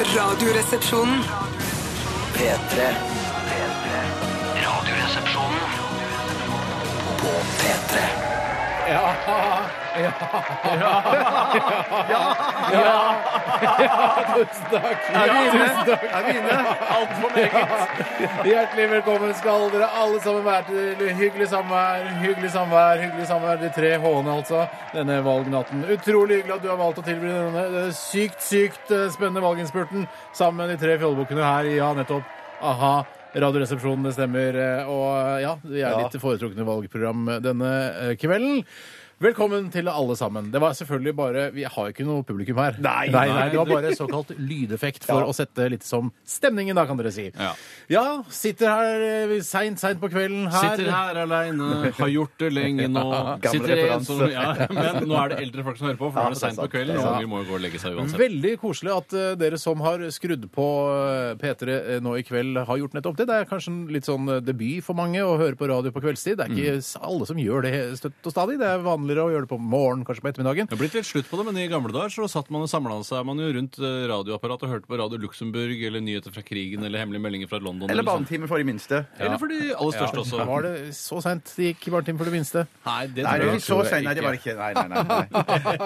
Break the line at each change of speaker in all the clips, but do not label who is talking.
Radioresepsjonen.
P3. Radioresepsjonen på P3.
Tusen takk. Tusen takk. Hjertelig velkommen skal dere alle sammen være til hyggelig samvær, hyggelig samvær, hyggelig samvær. De tre H-ene, altså. Denne valgnatten. Utrolig hyggelig at du har valgt å tilby denne, denne sykt, sykt eh, spennende valginnspurten sammen med de tre fjollebukkene her i Ja, nettopp. Aha. Radioresepsjonen, det stemmer. eh, Og ja, det er ditt foretrukne valgprogram denne eh, kvelden. Velkommen til alle sammen. Det var selvfølgelig bare Vi har jo ikke noe publikum her. Nei, nei, Det var bare såkalt lydeffekt for å sette litt som stemningen, da, kan dere si.
Ja.
Ja, sitter her eh, seint, seint på kvelden her.
Sitter her aleine, har gjort det lenge nå. Sitter en som, ja, men nå er det eldre folk som hører på, for nå er det seint på kvelden. og Unger må jo gå og legge seg uansett.
Veldig koselig at eh, dere som har skrudd på eh, P3 nå i kveld, har gjort nettopp det. Det er kanskje en litt sånn eh, debut for mange å høre på radio på kveldstid. Det er
Mm.
ikke s- alle som gjør det støtt og stadig. Det er vanligere å gjøre det på morgenen, kanskje på ettermiddagen.
Det har blitt litt slutt på det, men i gamle dager så satt man og samla seg man jo rundt eh, radioapparatet og hørte på Radio Luxembourg eller nyheter fra krigen eller hemmelige meldinger fra London.
Eller
sånt.
barnetime for de minste.
Eller for de aller største også.
Var det så seint det gikk i barnetime for det minste?
Nei, det
Nei,
tror
det
jeg
er så
tror jeg
sein. Nei, det var ikke Nei, nei, nei.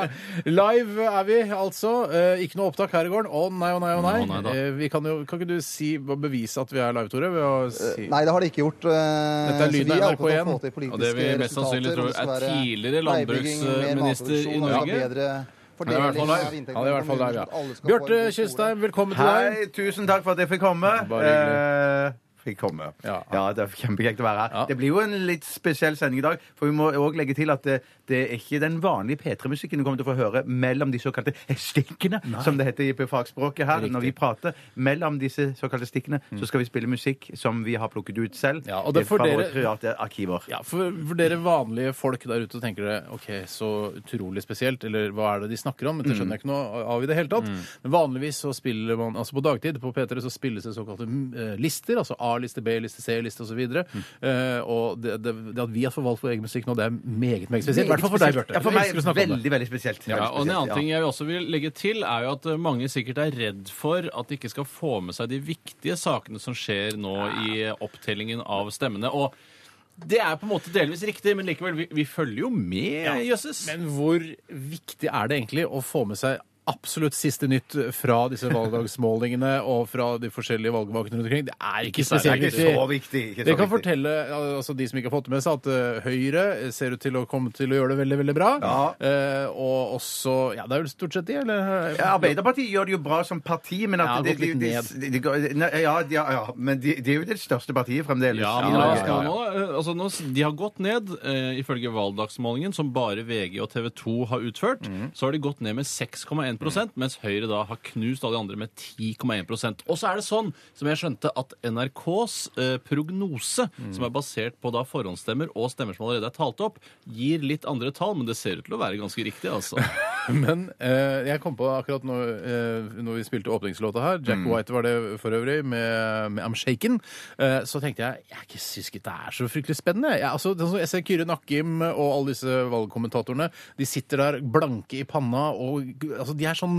nei.
Live er vi altså. Eh, ikke noe opptak her i gården. Å nei, å nei, å nei.
Å nei da.
Eh, vi kan, jo, kan ikke du si, bevise at vi er live, Tore? Ved å si...
Eh, Nei, det har de ikke gjort. eh,
Dette er
så
lyden
vi
av
er opptatt av å
NRK1.
få til politiske
Og det vi mest
resultater,
sannsynlig tror
om det skal
er
være
tidligere
veibygging, mer
landbruksminister i
matproduksjon, og det skal
Norge.
være bedre
i hvert fall
fordeling
live.
av inntektene
Ja, det er i
til
hvert fall
kommunene, sånn
live,
at alle
ja.
skal få
Bjarte
en god skole.
Tjøstheim, velkommen til deg.
Hei, tusen takk for at jeg fikk komme.
Bare hyggelig.
Eh, Fikk komme.
Ja.
Ja. det er kjempekjekt å være her.
Ja.
Det blir jo en litt spesiell sending i dag, for vi må òg legge til at det, det er ikke den vanlige P3-musikken du kommer til å få høre mellom de såkalte stikkene, som det heter i fagspråket her. Når vi prater mellom disse såkalte stikkene, så skal vi spille musikk som vi har plukket ut selv
Mm. Ja, og det
eh,
får
fra
dere-
våre private arkiver.
Ja, for, for dere vanlige folk der ute tenker dere OK, så utrolig spesielt, eller hva er det de snakker om? Dette skjønner jeg ikke noe av i det hele
Mm.
tatt. Men vanligvis så spiller man altså på dagtid på P3 så spilles det såkalte mm, eh, lister, altså A-liste, B-liste, C-liste osv. Og,
Mm.
så eh, og det, det, det at vi har forvalgt vår egen musikk nå, det er meget, meget spesielt. I hvert fall for deg, Bjarte.
Ja, for
Vi
meg
elsker å snakke om det.
veldig, veldig spesielt.
Ja,
Veldig
og En
spesielt,
annen
ja.
ting jeg også vil legge til, er jo at eh, mange sikkert er redd for at de ikke skal få med seg de viktige sakene som skjer nå i eh, opptellingen av stemmene. Og det er på en måte delvis riktig, men likevel, vi, vi følger jo med, jøsses.
Men hvor viktig er det egentlig å få med seg absolutt siste nytt fra disse valgdagsmålingene og fra de forskjellige valgvakene rundt omkring? Det er ikke
Det er
spesielt
ikke så viktig. Ikke så
Det kan
viktig.
fortelle altså de som ikke har fått det med seg, at eh, Høyre ser ut til å komme til å gjøre det veldig veldig bra. Eh, og også Ja, det er vel stort sett de, eller?
Ja, Arbeiderpartiet gjør det jo bra som parti, men at
Ja,
de,
gått
de,
litt
de, de, de, nei, ja, de, ja, ja, men de, de er jo det største partiet fremdeles.
Ja,
I
men
Norge.
la oss nå, nå, eh, altså, nå, s- de har gått ned, eh, ifølge valgdagsmålingen, som bare VG og TV 2 har utført. Så har de gått ned med 6,1 mens Høyre da har knust alle de andre med 10,1 Og så er det sånn, som jeg skjønte, at NRKs eh, prognose, som er basert på da forhåndsstemmer og stemmer som allerede er talt opp, gir litt andre tall, men det ser ut til å være ganske riktig, altså.
Men eh, jeg kom på akkurat nå, eh, når vi spilte åpningslåta her, Jack White var det for øvrig, med, med I'm Shaken, eh, så tenkte jeg jeg er ikke syns ikke det er så fryktelig spennende. Jeg, altså, sånn som jeg ser Kyrre Nakkim og alle disse valgkommentatorene, de sitter der blanke i panna og altså, de er sånn,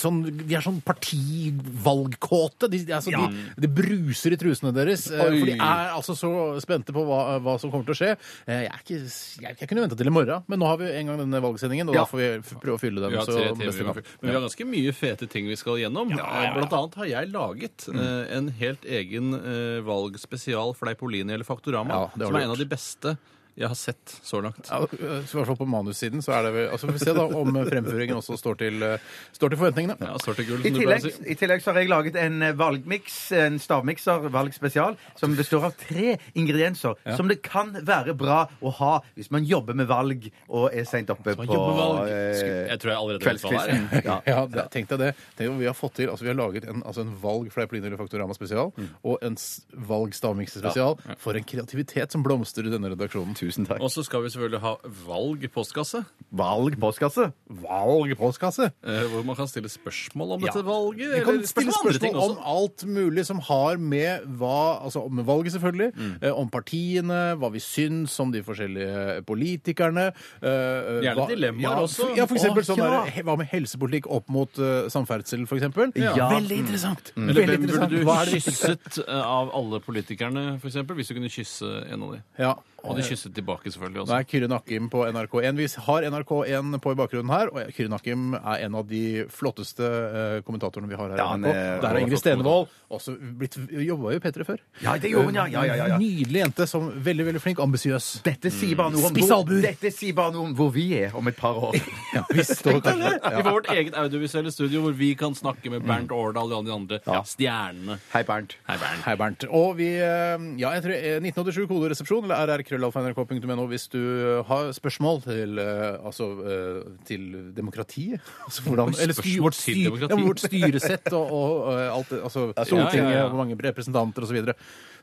sånn, de er sånn partivalgkåte. De, de, altså, de, det bruser i trusene deres. eh,
Oi.
for de er altså så spente på hva, hva som kommer til å skje. Eh, jeg, er ikke, jeg, jeg kunne venta til i morgen, men nå har vi en gang denne valgsendingen, og da får vi f- prøve å fylle den.
Vi har
Så
tre TV
beste
Men
navn.
vi har ganske mye fete ting vi skal gjennom. Blant annet har jeg laget
Mm.
eh, en helt egen eh, valgspesial Fleipolini eller Faktorama,
Ja, det har
som
du
er en
gjort.
av de beste jeg har sett så langt.
Ja, øh, så I hvert fall på manussiden. så er det vel, altså Vi får se da om fremføringen også står til, eh, står til forventningene.
Ja, sort til gull,
I
som du pleier å
tillegg,
si.
I tillegg så har jeg laget en eh, valgmiks, en stavmikser, valgspesial, som består av tre ingredienser som det kan være bra å ha hvis man jobber med valg og er seint oppe på
Jobbevalg.
eh,
Jeg tror jeg allerede vet hva det er.
kveldskvisten. Ja.
Ja, det, tenk deg det. Tenk om vi har fått til, altså vi har laget en, altså en valg Fleipolini eller Faktorama
Mm.
spesial, og en s- valg Stavmikser spesial. For en kreativitet som blomstrer i denne redaksjonen.
Tusen takk.
Og så skal vi selvfølgelig ha valg postkasse,
Valg postkasse.
Valg postkasse.
eh, hvor man kan stille spørsmål om
Ja.
dette valget.
Vi kan
eller
stille
spørsmål om andre ting
spørsmål om
også.
alt mulig som har med hva Altså om valget, selvfølgelig.
Mm.
eh, Om partiene, hva vi syns om de forskjellige politikerne. eh,
Gjerne
hva-
dilemmaer
ja,
også.
f- Ja, for eksempel
Å,
sånn
ja.
der, he- Hva med helsepolitikk opp mot eh, samferdsel, for eksempel?
Ja.
Veldig interessant.
Eller
Veldig
hvem burde
interessant.
du
Hva er det vi-
kysset eh, av alle politikerne, for eksempel, hvis du kunne kysse en av de?
Ja.
Og de kysset tilbake,
Nå
selvfølgelig. også.
er Kyrre Nakkim på NRK1. Vi har NRK1 på i bakgrunnen her, og Kyrre Nakkim er en av de flotteste eh, kommentatorene vi har her.
Ja,
i
han
NRK.
er-
Der er Ingrid
flott
Stenvold. Også blitt- Jobba jo i P3 før. Eh,
Ja, det gjorde hun, ja. Ja, ja, ja, ja.
Nydelig jente som veldig veldig flink, ambisiøs.
Dette sier bare noe om
Mm. Spiss
hvor,
albuer.
dette sier bare noe om hvor vi er om et par år.
Ja, visst, og kanskje,
Vi får vårt eget audiovisuelle studio hvor vi kan snakke med Bernt Årdal og alle de andre stjernene.
Hei, Bernt.
Hei, Bernt.
Hei, Bernt. Og vi eh, Ja, jeg tror eh, 1987 koderesepsjon eller rrkrøllalfa.nrk.no hvis du eh, har spørsmål til eh, altså eh, til demokratiet. Altså hvordan
Oi, spørsmål
vårt,
til
styr-
demokratiet.
ja, men vårt styresett og, og eh, alt det altså, Stortinget,
ja, ja, ja.
hvor mange representanter osv.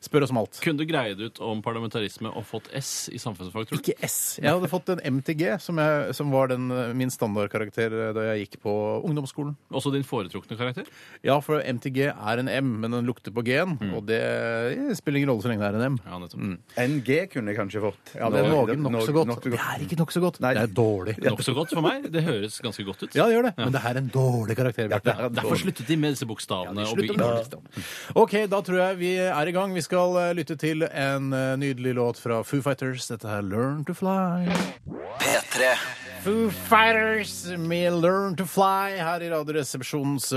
Spør oss om alt.
Kunne du greid ut om parlamentarisme og fått S i samfunnsfag, tror du?
Ikke S. Jeg hadde fått en MTG, som, jeg, som var den, eh, min standardkarakter eh, da jeg gikk på ungdomsskolen.
Også din foretrukne karakter?
Ja, for MTG er en M, men den lukter på G-en,
Mm.
og det eh, spiller ingen rolle så lenge det er en M.
Ja, nettopp.
NG kunne jeg kanskje fått.
Ja, det er
Nå-
noe nokså
nok-
godt.
nok så
Det er ikke nokså godt.
Nei.
Det er dårlig. Ja,
Nokså godt for meg. Det høres ganske godt ut.
det gjør det. Men det her er en dårlig karakter, Bjarte.
er en
Derfor sluttet de med disse bokstavene. og
Slutt å
begynte-
prate om det. liksom. OK, da tror jeg vi er i gang. Vi skal eh, lytte til en eh, nydelig låt fra Foo Fighters. Dette er Learn to Fly.
P3.
Foo Fighters med Learn to Fly her i Radioresepsjonens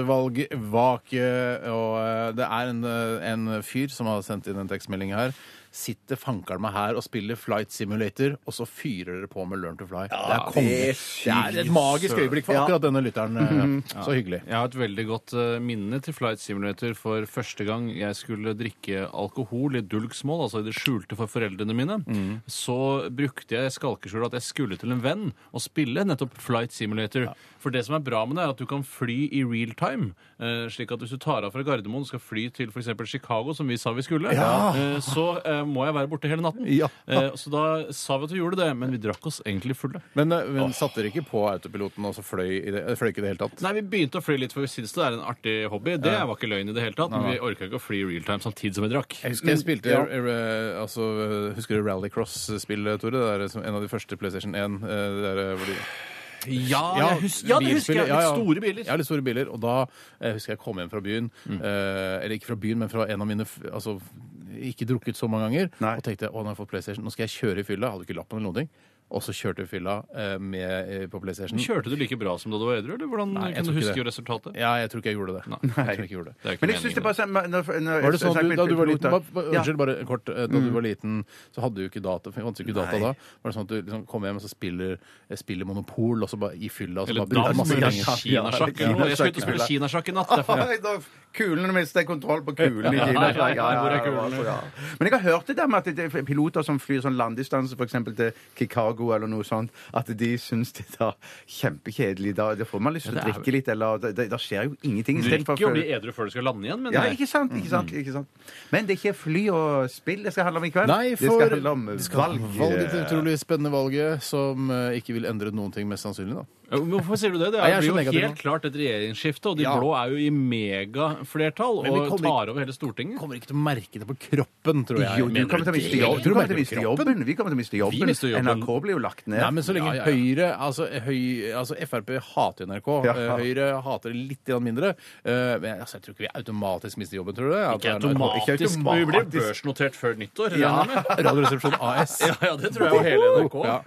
valgvake. Og eh, det er en, eh, en fyr som har sendt inn en tekstmelding her. Sitter fankeren meg her og spiller Flight Simulator, og så fyrer dere på med Learn to Fly. det er konge.
det er
Det er et magisk øyeblikk for akkurat denne lytteren. eh, ja. Så hyggelig.
Jeg har et veldig godt eh, minne til Flight Simulator for første gang jeg skulle drikke alkohol i dulgsmål, altså i det skjulte for foreldrene mine. Så brukte jeg skalkeskjul at jeg skulle til en venn og spille nettopp Flight Simulator. For det som er bra med det, er at du kan fly i real time. eh, Slik at hvis du tar av fra Gardermoen og skal fly til f.eks. Chicago, som vi sa vi skulle, eh, så eh, må jeg være borte hele natten.
Ja.
Eh, Så da sa vi at vi gjorde det, men vi drakk oss egentlig fulle.
Men, eh, men satte dere ikke på autopiloten og så fløy, i det, eh, fløy ikke i det hele tatt?
Nei, vi begynte å fly litt, for vi syntes det er en artig hobby. Det var ikke løgn i det hele tatt, men vi orka ikke å fly i real time samtidig som vi drakk.
Jeg husker jeg spilte eh, altså, eh, Husker du Rallycross-spillet, Tore? Det er eh, som en av de første PlayStation 1. eh, Det der, eh, hvor de
Ja, jeg hus-
bilspill-
ja det husker jeg!
ja,
Litt
ja.
store biler. Mm.
Ja, litt store biler. Og da eh, husker jeg jeg kom hjem fra byen, eh, eller ikke fra byen, men fra en av mine f- altså, ikke drukket så mange ganger,
Nei.
og tenkte å, nå har jeg fått PlayStation, nå skal jeg kjøre i fylla. Jeg hadde ikke lappen eller noen ting. Og så kjørte jeg i fylla eh, med, eh, på PlayStation.
Kjørte du like bra som da du var edru, eller hvordan
Nei, jeg
kan du
tror ikke
huske
det.
resultatet?
Ja, jeg tror ikke jeg gjorde det.
Nei.
Jeg tror ikke jeg gjorde det.
Det er ikke
Men jeg syns det
meningen.
bare sånn- når- når-
Var det sånn at du,
jeg-
da du var liten, ba,
piloter-
ba,
Ja.
unnskyld, bare kort. eh,
Mm.
Da du var liten, så hadde du ikke data. for det Fantes jo ikke data da. Var det sånn at du liksom kom hjem og så spiller, eh, spiller Monopol, og så bare i fylla og så
Eller
bare bruker
dans,
masse
eller
penger?
kinasjakk.
Ja,
eller noe. Jeg skal ut og spille
kinasjakk.
kinasjakk i natt. derfor jeg-
Oi, da- Kulene mister kontroll på kulene i Kina.
Ja, ja, ja, hvor er kulene?
altså, ja. Men jeg har hørt det der med at det er piloter som flyr sånn landdistanse, f.eks. til Chicago eller noe sånt, at de syns det er kjempekjedelig. Da, da får man lyst til å
det er vel-
drikke litt, eller Da, da skjer jo ingenting.
Du
i stedet for å
drikker jo å
føle-
bli edru før du skal lande igjen, men
Ja,
jeg-
ikke sant, ikke sant, ikke sant. Men det er ikke fly og spill det skal handle om i kveld.
Nei,
Det
for
skal handle om
det skal
valg.
handle om valget til det utrolig spennende valget som eh, ikke vil endre noen ting, mest sannsynlig. da.
Ja, men Hvorfor sier du det?
Nei,
Det
jeg er så
er blir jo
negativ
helt klart et regjeringsskifte, og de
Ja.
blå er jo i megaflertall
Men vi
og
kommer-
tar over hele Stortinget.
Kommer ikke til å merke det på kroppen, tror jeg.
Jo, du
Mener
kommer til å
du
miste
det?
jobben. Du
Tror du
kommer
merker
til å miste
kroppen?
jobben. Vi kommer til å miste jobben.
mister jobben.
NRK blir jo lagt ned.
Nei, men så lenge
Ja, ja, ja.
Høyre altså høy, altså Frp hater NRK.
Ja.
eh, Høyre hater det litt grann mindre. Eh, men jeg- altså, jeg tror ikke vi automatisk mister jobben, tror du? det? At
Ikke
det er NRK?
automatisk.
Ikke automatisk.
Vi blir børsnotert før nyttår. regner jeg med.
Radioresepsjon AS.
Ja, ja, det tror jeg var hele NRK.
Ja.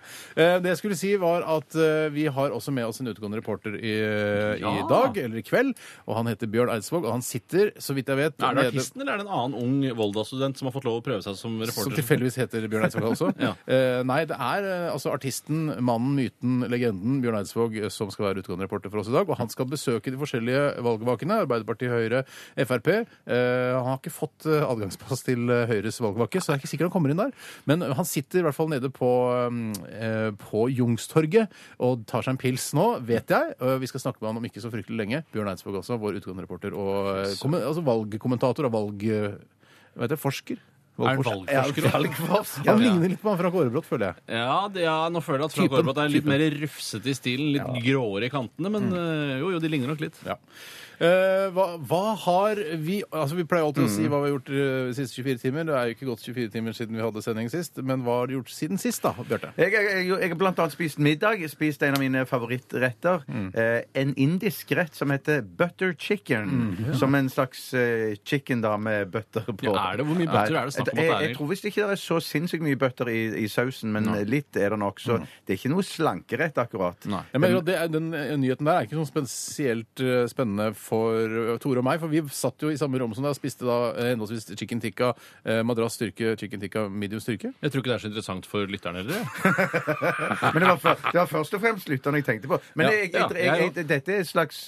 Eh, Det jeg skulle si var at eh, vi har også med oss en utegående reporter i, i
Ja.
dag, eller i kveld, og han heter Bjørn Eidsvåg, og han sitter, så vidt jeg vet,
Er det
nede-
artisten, eller er det en annen ung Volda-student som har fått lov å prøve seg som
som
reporter?
tilfeldigvis heter Bjørn Eidsvåg også.
Ja.
Eh, nei, det er eh, altså artisten, mannen, myten, legenden Bjørn Eidsvåg eh, som skal være utegående reporter for oss i dag. Og han skal besøke de forskjellige valgvakene. Arbeiderpartiet, Høyre, Frp. Eh, han har ikke fått eh, adgangspass til eh, Høyres valgvake, så det er ikke sikkert han kommer inn der. Men han sitter i hvert fall nede på, eh, på Jungstorget og tar seg en pils nå, vet jeg. Eh, vi skal snakke med han om ikke så fryktelig lenge. Bjørn Eidsvåg også, vår utegående reporter og eh, kommen- altså valgkommentator og valg... eh, Hva heter det? Forsker?
Er han
Valgforsk-
valgforsker?
Ja, valgforsker.
Han
Ja.
ligner litt på han fra Kårebrot, føler jeg.
Ja, det, ja, nå føler jeg at Frank
Typen.
Aarebrot er litt mer rufsete i stilen. Litt gråere i kantene, men eh, jo, jo, de ligner nok litt.
Ja. Eh, hva, hva har vi Altså Vi pleier alltid å si hva vi har gjort eh, de siste 24 timer. Det er jo ikke gått 24 timer siden vi hadde sending sist, men hva har du gjort siden sist, da, Bjarte?
Jeg, jeg, jeg, jeg har blant annet spist middag. Spist en av mine favorittretter.
Mm.
Eh, en indisk rett som heter butter chicken.
Mm.
Som en slags eh, chicken da med bøtter på.
Ja, er det- hvor mye bøtter er det snakk om at det er
Jeg,
i?
jeg tror visst ikke det er så sinnssykt mye bøtter i, i sausen, men litt er det nok. Så det er ikke noe slankerett, akkurat.
Mm. Nei.
Jeg mener, at det er, den eh, nyheten der er ikke sånn spesielt eh, spennende for eh, Tore og meg, for vi satt jo i samme rom som deg og spiste da eh, henholdsvis chicken tikka, eh, madrass styrke, chicken tikka medium styrke.
Jeg tror ikke det er så interessant for lytterne heller. jeg.
Men det var, for, det var først og fremst lytterne jeg tenkte på. Men
Ja,
jeg, jeg,
ja,
jeg, jeg,
jeg
dette er en slags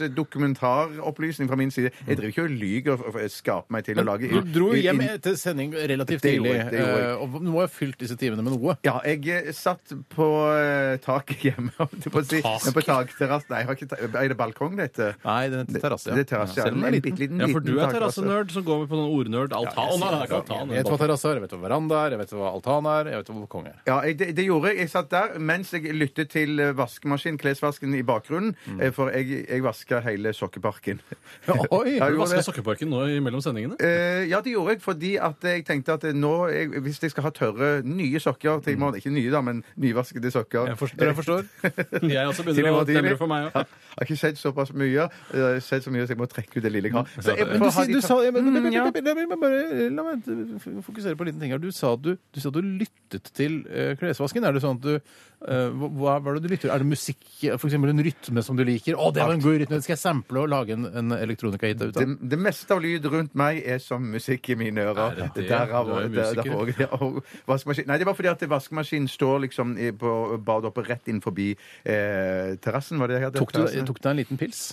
dokumentaropplysning fra min side. Jeg driver ikke og lyver og, og skaper meg til å lage
Du dro jo
i-
hjem
i-
etter sending relativt
Det gjorde
tidlig,
jeg, det gjorde jeg.
eh, og nå har jeg fylt disse timene med noe.
Ja, jeg eh, satt på eh, taket hjemme. holdt jeg På, å si.
Taket?
Men på takterrass. Nei, jeg har ikke ta er det balkong det heter?
Nei, den heter terrasse.
Det er terrasse, ja.
Selv om den er
En
liten.
bitte liten, altså.
Ja, for du er
liten terrasse.
terrassenerd som går med på noen ordnerd. Altan. Å, nei, det er ikke altan.
Jeg sånn. vet hva terrasse er, jeg vet hva veranda er, jeg vet hva altan er, jeg vet hva balkong er.
Ja, jeg, det, det gjorde jeg. Jeg satt der mens jeg lyttet til eh, vaskemaskin, klesvasken i bakgrunnen. eh, For jeg, jeg vaska hele sokkeparken.
Oi!
Ja,
Har du
gjorde
vaska
det.
sokkeparken nå imellom sendingene?
Eh, ja, det gjorde jeg fordi at jeg tenkte at eh, nå, jeg, hvis jeg skal ha tørre, nye sokker til i morgen Ikke nye, da, men nyvaskede sokker.
Jeg forstår. Jeg forstår.
Jeg også
Tidlig
Altså begynner å
morgen tidlig.
demre for meg
Ja,
òg.
jeg har ikke sett såpass mye. Jeg har sett så mye at jeg må trekke ut det lille jeg har. Så jeg får
Men
Eh, Du,
ha
sier-
de
du
ta-
sa, jeg, men, men,
Mm, ja.
men, men, men, men, bare, la meg eh, fokusere på en liten ting her. Du sa at du, du, sa at du lyttet til eh, klesvasken. Er det sånn at du eh, hva, hva er det du lytter? Er det musikk, eh, for eksempel en rytme som du liker? Å, det var en god rytme! Den skal jeg sample og lage en, en elektronikahit ut
Det,
av.
det meste av lyd rundt meg er som musikk i mine ører.
Er det det?
Derav,
Du er jo
der-
musiker.
derfor- ja, og vaskemaskin. Nei, det var fordi at vaskemaskinen står liksom i- på badet oppe rett inn forbi eh, terrassen. var det jeg hadde?
Tok du
Terrassen?
tok du deg en liten pils?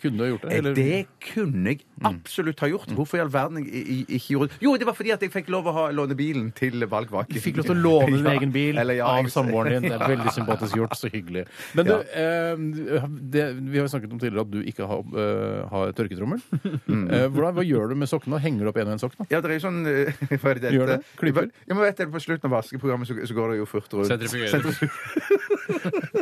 Kunne du ha gjort det?
Eh,
eller- Mm.
Det kunne jeg absolutt ha gjort. Hvorfor i all verden jeg, jeg, ikke gjorde det? Jo, det var fordi at jeg fikk lov å ha, låne bilen til valgvaken.
Du fikk lov til å låne din
Ja,
egen bil
eller ja,
av
jeg-
samboeren din. Det er veldig sympatisk gjort. Så hyggelig. Men du,
Ja.
eh, det, vi har jo snakket om tidligere at du ikke har, eh, har tørketrommel. Eh, hvordan, hva gjør du med sokkene? Henger du opp en og en sokk? da?
Ja, det er jo sånn eh, Hva er det det
Gjør
heter?
det? Klyper?
Ja, men vet dere, På slutten av vaskeprogrammet så, så går det jo fort rundt.
Sentrifugerer.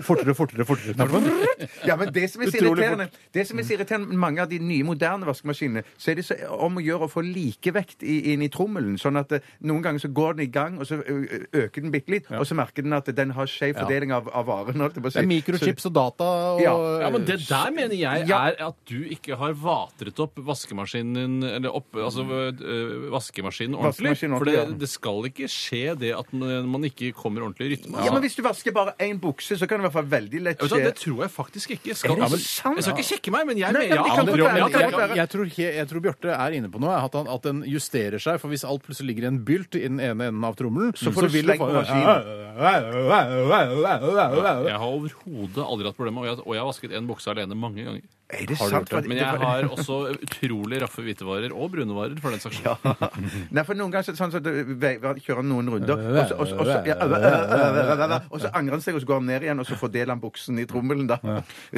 Fortere, fortere, fortere. knapper.
Ja, men det som er så
Utrolig
irriterende, det som er så irriterende med mange av de nye, moderne vaskemaskinene, så er det så om å gjøre å få likevekt i- inn i trommelen. Sånn at eh, noen ganger så går den i gang, og så ø- ø- øker den bitte litt, og så merker den at den har skjev fordeling av, av varen. holdt jeg på å si.
Det er mikrochips og data og
Ja.
Ja, men Det der mener jeg
Ja.
er at du ikke har vatret opp vaskemaskinen din, eller opp, altså, øh, vaskemaskinen ordentlig.
Vaskemaskinen
for det,
ordentlig, ja.
det skal ikke skje det at man man ikke kommer ordentlig i rytme. altså.
Så, ja, men hvis du vasker bare én bukse, så kan det i hvert fall veldig lett
Vet du hva,
skje
det tror jeg faktisk ikke. Skal,
Er det
Ja, men-
sant?
Jeg skal ikke kjekke meg, men jeg
Nei, men
mener
det
ja,
kan
men-
godt være,
ja,
det kan
ja,
godt være.
ja.
jeg, tror, he- jeg tror Bjarte er inne på noe. At, han, at den justerer seg. For hvis alt plutselig ligger i en bylt i den ene enden av trommelen, så,
får du
vil det
sleng på
bare-
Jeg har overhodet aldri hatt problemer, og jeg, og jeg har vasket en bukse alene mange ganger.
Er det
Har du
sant?
gjort det?
For-
Men jeg har også utrolig raffe hvitevarer, og brune varer, for den saks skyld.
Nei, for noen ganger så er det sånn at du ve- ve- kjører han noen runder, og så, og, så- og, så, ja, øh, øh, øh, øh, øh, og så angrer han seg, og så går han ned igjen, og så fordeler han buksen i trommelen, da. Hvis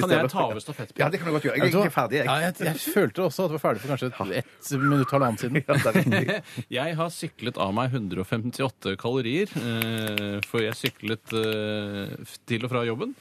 Kan
det er-
jeg ta over stafettpinnen?
Ja, det kan du godt gjøre. Jeg er
Vet du hva?
ikke ferdig, jeg.
Ja, jeg, jeg følte også at det var ferdig for kanskje et, et minutt halvannet siden.
Ja, det er riktig.
Jeg har syklet av meg 158 kalorier, eh, for jeg syklet eh, f- til og fra jobben.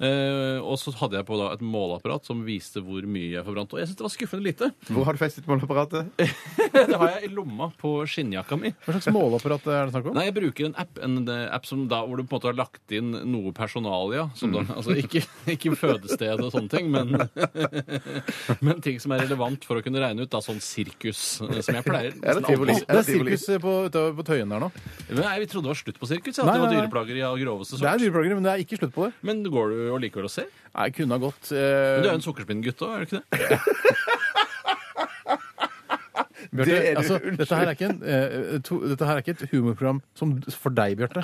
Eh, og så hadde jeg på da et måleapparat som viste hvor mye jeg forbrant. Og jeg syntes det var skuffende lite.
Hvor har du festet måleapparatet?
Det har jeg i lomma på skinnjakka mi.
Hva slags måleapparat er det snakk om?
Nei, jeg bruker en app, en eh, app som da, hvor du på en måte har lagt inn noe personalia. Som
Mm.
da, altså ikke, ikke fødested og sånne ting, men, men ting som er relevant for å kunne regne ut da, sånn sirkus, eh, som jeg pleier.
Er det tivoli?
Å, det er sirkus eh, på, utover på Tøyen der nå.
Nei, vi trodde det var slutt på sirkus. Ja,
Nei,
at det var
nei, nei.
dyreplager i av groveste
Det
sort.
er dyreplager, men det er ikke slutt på det.
Men går du og liker å se?
Nei, jeg kunne ha gått
Men du er
eh,
jo en sukkerspinngutt òg, er du ikke det?
Bjarte,
Det er du,
altså,
unnskyld.
dette, her er ikke en, eh, to, dette her er ikke et humorprogram som for deg, Bjarte.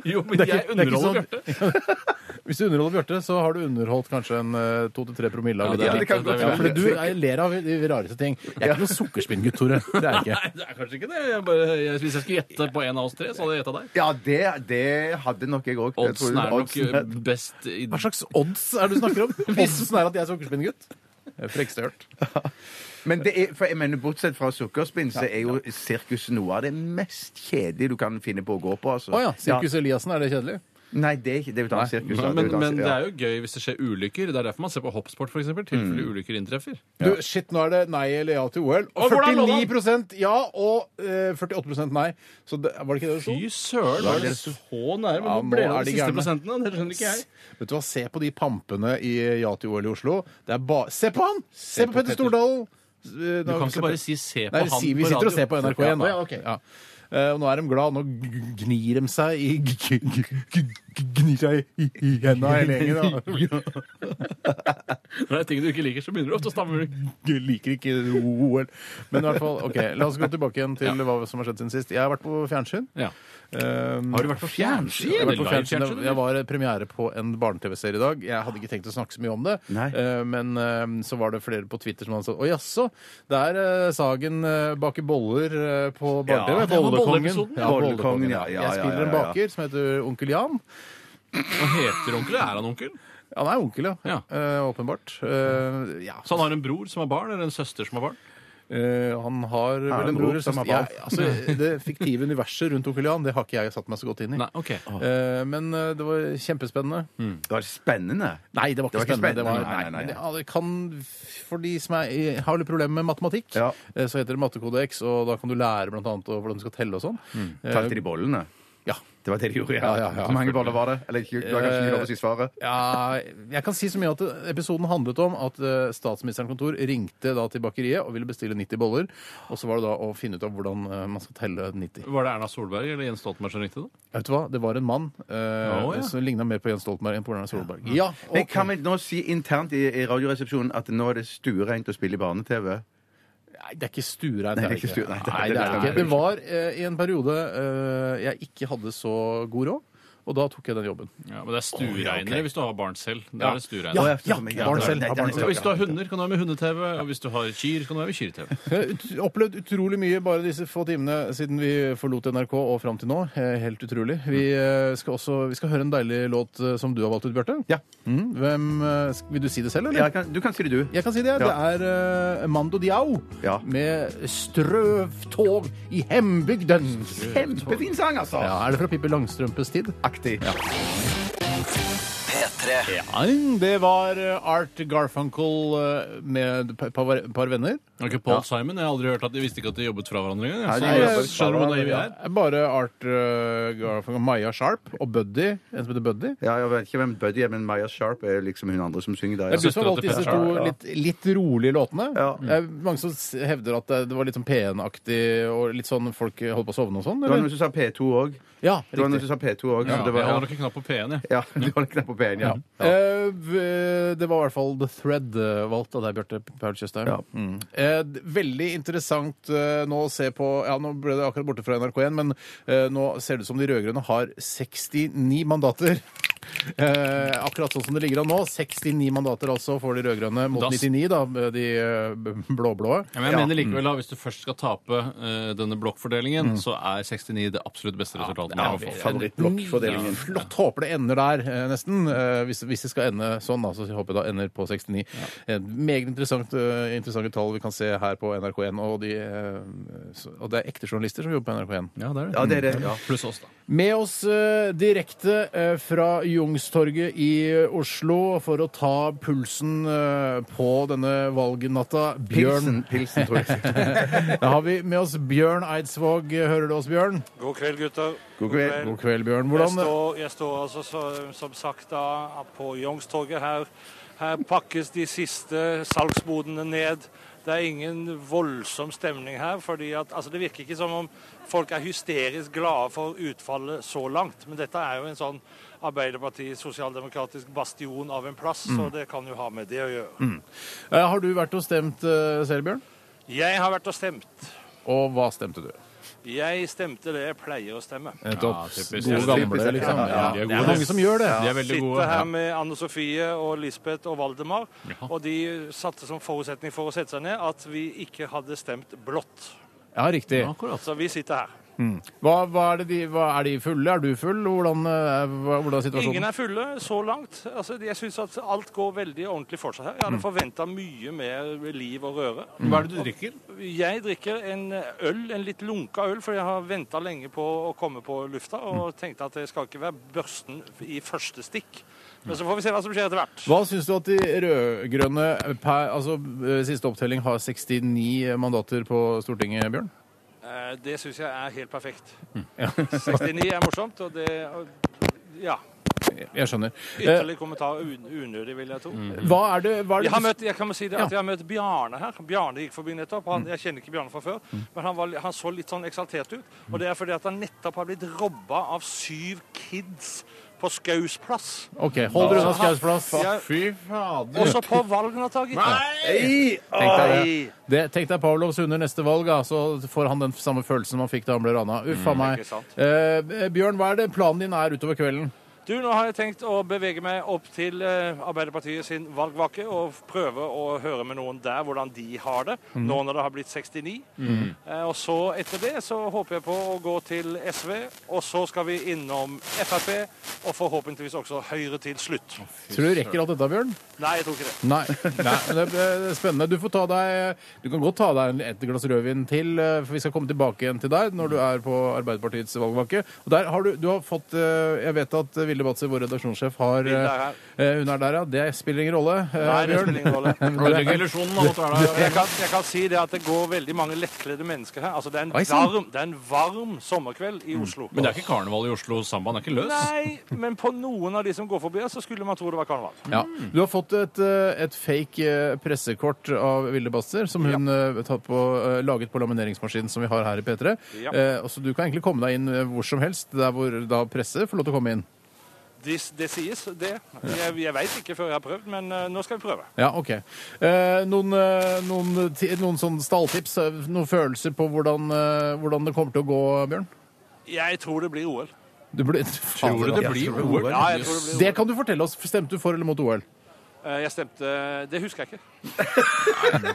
Jo, men
Det er ikke- det er
jeg
ikke
underholder
sånn-
Bjarte.
Hvis du underholder Bjarte, så har du underholdt kanskje en eh, 2-3 promille av
Ja,
litt.
det er
det kan godt
Ja,
være.
fordi du er, ler av de rareste ting. Jeg er ikke noen sukkerspinngutt, Tore. Det er jeg ikke.
Nei, det er kanskje ikke det. Jeg bare, jeg, hvis jeg skulle gjette på en av oss tre, så hadde jeg gjetta deg.
Ja, det, det hadde nok jeg òg.
Oddsen er nok eh, best i
Hva slags odds er det du snakker om? Oddsen er at jeg er sukkerspinngutt? Frekste hørt.
Men det er, for jeg mener, bortsett fra sukkerspinn, så er jo sirkus noe av det mest kjedelige du kan finne på å gå på. altså.
Å ja. Sirkus Eliassen, er det kjedelig?
Nei, det er ikke det er jo et annet
Nei,
sirkus. da.
Men,
jo et annet
men
sirkus,
det
ja.
er jo gøy hvis det skjer ulykker. Det er derfor man ser på hoppsport, f.eks. Tilfelle
Mm.
ulykker inntreffer.
Du, shit, nå er det nei eller ja til OL.
Å,
Og
hvordan lå
49 ja og eh, 48 nei. Så det, var det ikke det det sto?
Fy søren, var det så nære?
Ja,
Men hvor
nå
ble det
er
av
de
de siste
gærne.
prosentene? Det skjønner ikke jeg.
Vet du hva, Se på de pampene i eh, Ja til OL i Oslo. Det er ba Se på han! Se, på,
på
Petter
Petter.
Stordalen! Eh,
Du kan ikke bare si 'se på
Nei,
han'
si, vi
på
sitter og
radio.
ser på NRK1.
Ja, ja, ok.
Ja. Eh, og nå er de glad, nå g- gnir de seg i g- g- g- g- Gnir seg i, i henda hele gjengen. da.
Når det er ting du ikke liker, så begynner du ofte å stamme.
Jeg liker ikke OL. Men i hvert fall, ok, la oss gå tilbake igjen til hva som har skjedd siden sist. Jeg har vært på fjernsyn.
Ja.
Um,
Har du vært på fjernsyn?
Jeg, har vært på
Eller
fjernsyn.
live-fjernsyn,
jeg var premiere på en barne-TV-serie i dag. Jeg hadde ikke tenkt å snakke så mye om det,
Nei.
Eh, men eh, så var det flere på Twitter som hadde sagt å jaså, det er eh, Sagen eh, baker boller eh, på barne-TV.
det var
Bollekongen.
bolleepisoden.
Ja,
Bollekongen,
Bollekongen.
ja, ja,
Jeg
ja,
spiller en
ja, ja.
baker som heter Onkel Jan.
Hva heter onkel? Er han onkel?
Ja, Han er onkel, ja.
Ja.
Eh, åpenbart. Eh, ja.
Så han har en bror som har barn, eller en søster som har barn?
Eh, han har
Har
vel
han
en
bror
bror eller
som
søster.
har barn?
Jeg- altså, det fiktive universet rundt onkel Jan, det har ikke jeg satt meg så godt inn i.
Nei, ok.
Eh, men eh, det var kjempespennende.
Det var spennende.
Nei, det var ikke
Mm. Det var ikke
spennende. Det var,
spennende, nei, nei, nei.
men det- ja, det kan, for de som er, har litt problemer med matematikk,
Ja.
eh, så heter det Mattekodex, og da kan du lære blant annet og hvordan du skal telle og sånn. Eh,
Talte de bollene?
Ja.
Det var det de gjorde, ja.
Ja, ja, ja.
Hvor mange boller var det? Eller ikke- du har kanskje ikke lov å si svaret?
Ja, jeg kan si så mye at episoden handlet om at eh, statsministerens kontor ringte da til bakeriet og ville bestille 90 boller, og så var det da å finne ut av hvordan eh, man skal telle 90.
Var det Erna Solberg eller Jens Stoltenberg som ringte? da?
Vet du hva? Det var en mann eh,
Å, ja.
som ligna mer på Jens Stoltenberg enn på Erna Solberg. Ja,
Men
ok.
kan vi nå si internt i, i Radioresepsjonen at nå er det stuereint å spille i barne-TV?
Nei, det er ikke stuereint.
Nei, det er ikke stuereint.
Nei, det er det ikke. Det var eh, i en periode eh, jeg ikke hadde så god råd, og da tok jeg den jobben.
Ja, men det er stueregnere hvis du har barn selv. Da er det stueregnere.
Ja,
ja, barn selv,
Nei,
ha barn
nei,
selv.
Og hvis du har hunder, kan du ha med hunde-TV. Og hvis du har kyr, kan du ha med kyr-TV.
Jeg har ut- opplevd utrolig mye bare disse få timene siden vi forlot NRK og fram til nå. Eh, Helt utrolig. Vi eh, skal også vi skal høre en deilig låt eh, som du har valgt ut, Bjarte.
Ja.
Mm, hvem, eh, sk- vil du si det selv,
Ja,
eller?
jeg kan, du kan si det, du.
Jeg kan si det.
Ja.
Det er eh, Mando Diao
Ja.
med 'Strøvtog i hembygden'.
Kjempefin sang, altså!
Ja, er det fra Pippi Langstrømpes tid?
Aktig.
P3
Ja, det var eh, Art Garfunkel eh, med et par, par venner.
Var ikke Paul Simon? Jeg har aldri hørt at de visste ikke at de jobbet fra hverandre engang.
Nei, de
jeg. Så
jobbet
jeg Skjønner du
fra
hvor naive jeg er?
hverandre,
Bare Art eh, Garfunkel, Maya Sharp og Buddy, en som heter Buddy.
Ja, jeg vet ikke hvem Buddy er, men Maya Sharp er liksom hun andre som synger der.
Det er du
Ja.
som har valgt disse
Søstera
to
til
Petter Sharp, ja. Mm.
litt, litt rolige låtene.
Ja.
Det er mange som s- hevder at det- det var litt sånn P1-aktig, og litt sånn folk holdt på å sovne og sånn,
Det var noen
eller?
som sa P2 òg.
Ja,
Det var noen som
riktig.
sa P2 òg.
Ja,
Ja, det var,
Jeg holder
ja.
ikke knapp på P1, jeg.
ja, det var litt der på P1, ja. ja.
Eh, v- det var i hvert fall The Thread eh, valgt av deg, Bjarte Paul Tjøstheim.
Ja.
Mm. Eh, d- veldig interessant eh, nå å se på Ja, nå ble det akkurat borte fra NRK1, men eh, nå ser det ut som de rød-grønne har 69 mandater. Eh, akkurat sånn som det ligger an nå. 69 mandater altså for de rød-grønne, mot
Da s-
99 da, de eh, b- blå-blå.
Ja, men jeg mener likevel da, Hvis du først skal tape eh, denne blokkfordelingen, så er 69 det absolutt beste resultatet man kan få.
Favorittblokkfordelingen.
Flott. Håper det ender der, eh, nesten. Eh, hvis, hvis det skal ende sånn, da, så håper jeg det ender på 69. Eh, meget interessant, eh, interessante tall vi kan se her på NRK1. Og, de, eh, så- og det er ekte journalister som jobber på NRK1.
Ja, det er det.
Ja, det er det. Ja.
Pluss oss, da.
Med oss eh, direkte eh, fra Youngstorget i Oslo for å ta pulsen eh, på denne valgnatta. Bjørn.
Pilsen, pilsen, tror jeg.
Da har vi med oss Bjørn Eidsvåg. Hører du oss, Bjørn?
God kveld, gutter.
God kveld.
God kveld, Bjørn.
Jeg
Hvordan
står, jeg står altså så, som sagt da på Youngstorget her. Her pakkes de siste salgsbodene ned. Det er ingen voldsom stemning her. fordi at, altså Det virker ikke som om folk er hysterisk glade for utfallet så langt. Men dette er jo en sånn Arbeiderparti-sosialdemokratisk bastion av en plass, så det kan jo ha med det å gjøre.
Eh, Har du vært og stemt eh, selv, Bjørn?
Jeg har vært og stemt.
Og hva stemte du?
Jeg stemte det jeg pleier å stemme.
Nettopp.
typisk.
Gode
Ja,
gamle, liksom.
Ja,
Ja,
de
det
er
er
gode.
mange som gjør det.
De er veldig
Sitter
gode.
her med Anne Sofie og Lisbeth og Valdemar.
Ja.
Og de satte som forutsetning for å sette seg ned at vi ikke hadde stemt blått.
Ja, riktig.
Akkurat.
Så vi sitter her.
Hva, hva er, det de, hva, er de fulle? Er du full? Hvordan, eh, hva- hvordan er
sånn.
situasjonen?
Ingen er fulle så langt. Altså, jeg syns at alt går veldig ordentlig for seg her. Jeg hadde forventa mye mer liv og røre.
Mm. Hva er det du drikker?
Jeg drikker en øl, en litt lunka øl, for jeg har venta lenge på å komme på lufta og
Mm.
tenkte at jeg skal ikke være børsten i første stikk. Men så får vi se hva som skjer etter hvert.
Hva syns du at de rød-grønne per altså, eh, siste opptelling har 69 mandater på Stortinget, Bjørn?
Eh, Det syns jeg er helt perfekt.
Mm.
69 er morsomt, og det Ja.
Jeg skjønner. Eh, Mm.
Ytterligere kommentar un- unødig, vil jeg tro.
hva er det, hva er
Jeg
det
har
du-
møtt, jeg kan si det, at jeg har møtt Bjarne her. Bjarne gikk forbi nettopp.
Mm.
Han, jeg kjenner ikke Bjarne fra før, men han, var, han så litt sånn eksaltert ut.
Mm.
Og det er fordi at han nettopp har blitt robba av syv kids på Skaus plass.
OK, hold dere unna Skaus plass.
Ja.
Fy fader.
Også på valgnatta, gitt.
Mm. Tenk deg det.
Nei.
Det, tenk deg Pavlovs hunder neste valg, da, så får han den samme følelsen man fikk da han ble rana. Uff a meg.
Mm. Ikke sant.
Eh, Bjørn, hva er det planen din er utover kvelden?
Du, nå har jeg tenkt å bevege meg opp til eh, Arbeiderpartiet sin valgvake og prøve å høre med noen der hvordan de har det,
Mhm.
nå når det har blitt 69. Eh, og så etter det så håper jeg på å gå til SV, og så skal vi innom Frp, og forhåpentligvis også Høyre til slutt.
Tror du rekker alt dette, Bjørn?
Nei, jeg tror ikke det.
Nei. Nei. men Det er spennende. Du, får ta deg, du kan godt ta deg en- et glass rødvin til, eh, for vi skal komme tilbake igjen til deg når du er på Arbeiderpartiets valgvake. Og der har du, du har fått eh, Jeg vet at Vilde Batzer, vår redaksjonssjef, har
Vilde er her.
eh, Hun er der, ja. Det spiller ingen rolle. eh,
Nei, det
Bjørn.
spiller ingen rolle.
Ødelegger illusjonen av å være der.
Jeg kan, jeg kan si det at det går veldig mange lettkledde mennesker her. Altså, det er en
Oi, sann.
varm, det er en varm sommerkveld i Oslo.
Mm. Men det er ikke karneval i Oslo. Sambaen er ikke løs.
Nei, men på noen av de som går forbi her, så skulle man tro det var karneval.
Ja. Du har fått et, eh, et fake eh, pressekort av Vilde Batzer, som hun eh, tatt på, eh, laget på lamineringsmaskinen som vi har her i P3.
Ja.
Eh, og så du kan egentlig komme deg inn eh, hvor som helst, der hvor da presse får lov til å komme inn.
Det, det sies, det. Jeg, jeg veit ikke før jeg har prøvd, men eh, nå skal vi prøve.
Ja, OK. Eh, noen eh, noen, ti- noen sånn stalltips, eh, noen følelser på hvordan, eh, hvordan det kommer til å gå, Bjørn?
Jeg tror det blir OL.
Du ble,
Tror du det blir OL?
Ja, jeg tror det blir OL.
det kan du fortelle oss. Stemte du for eller mot OL?
Eh, Jeg stemte Det husker jeg ikke.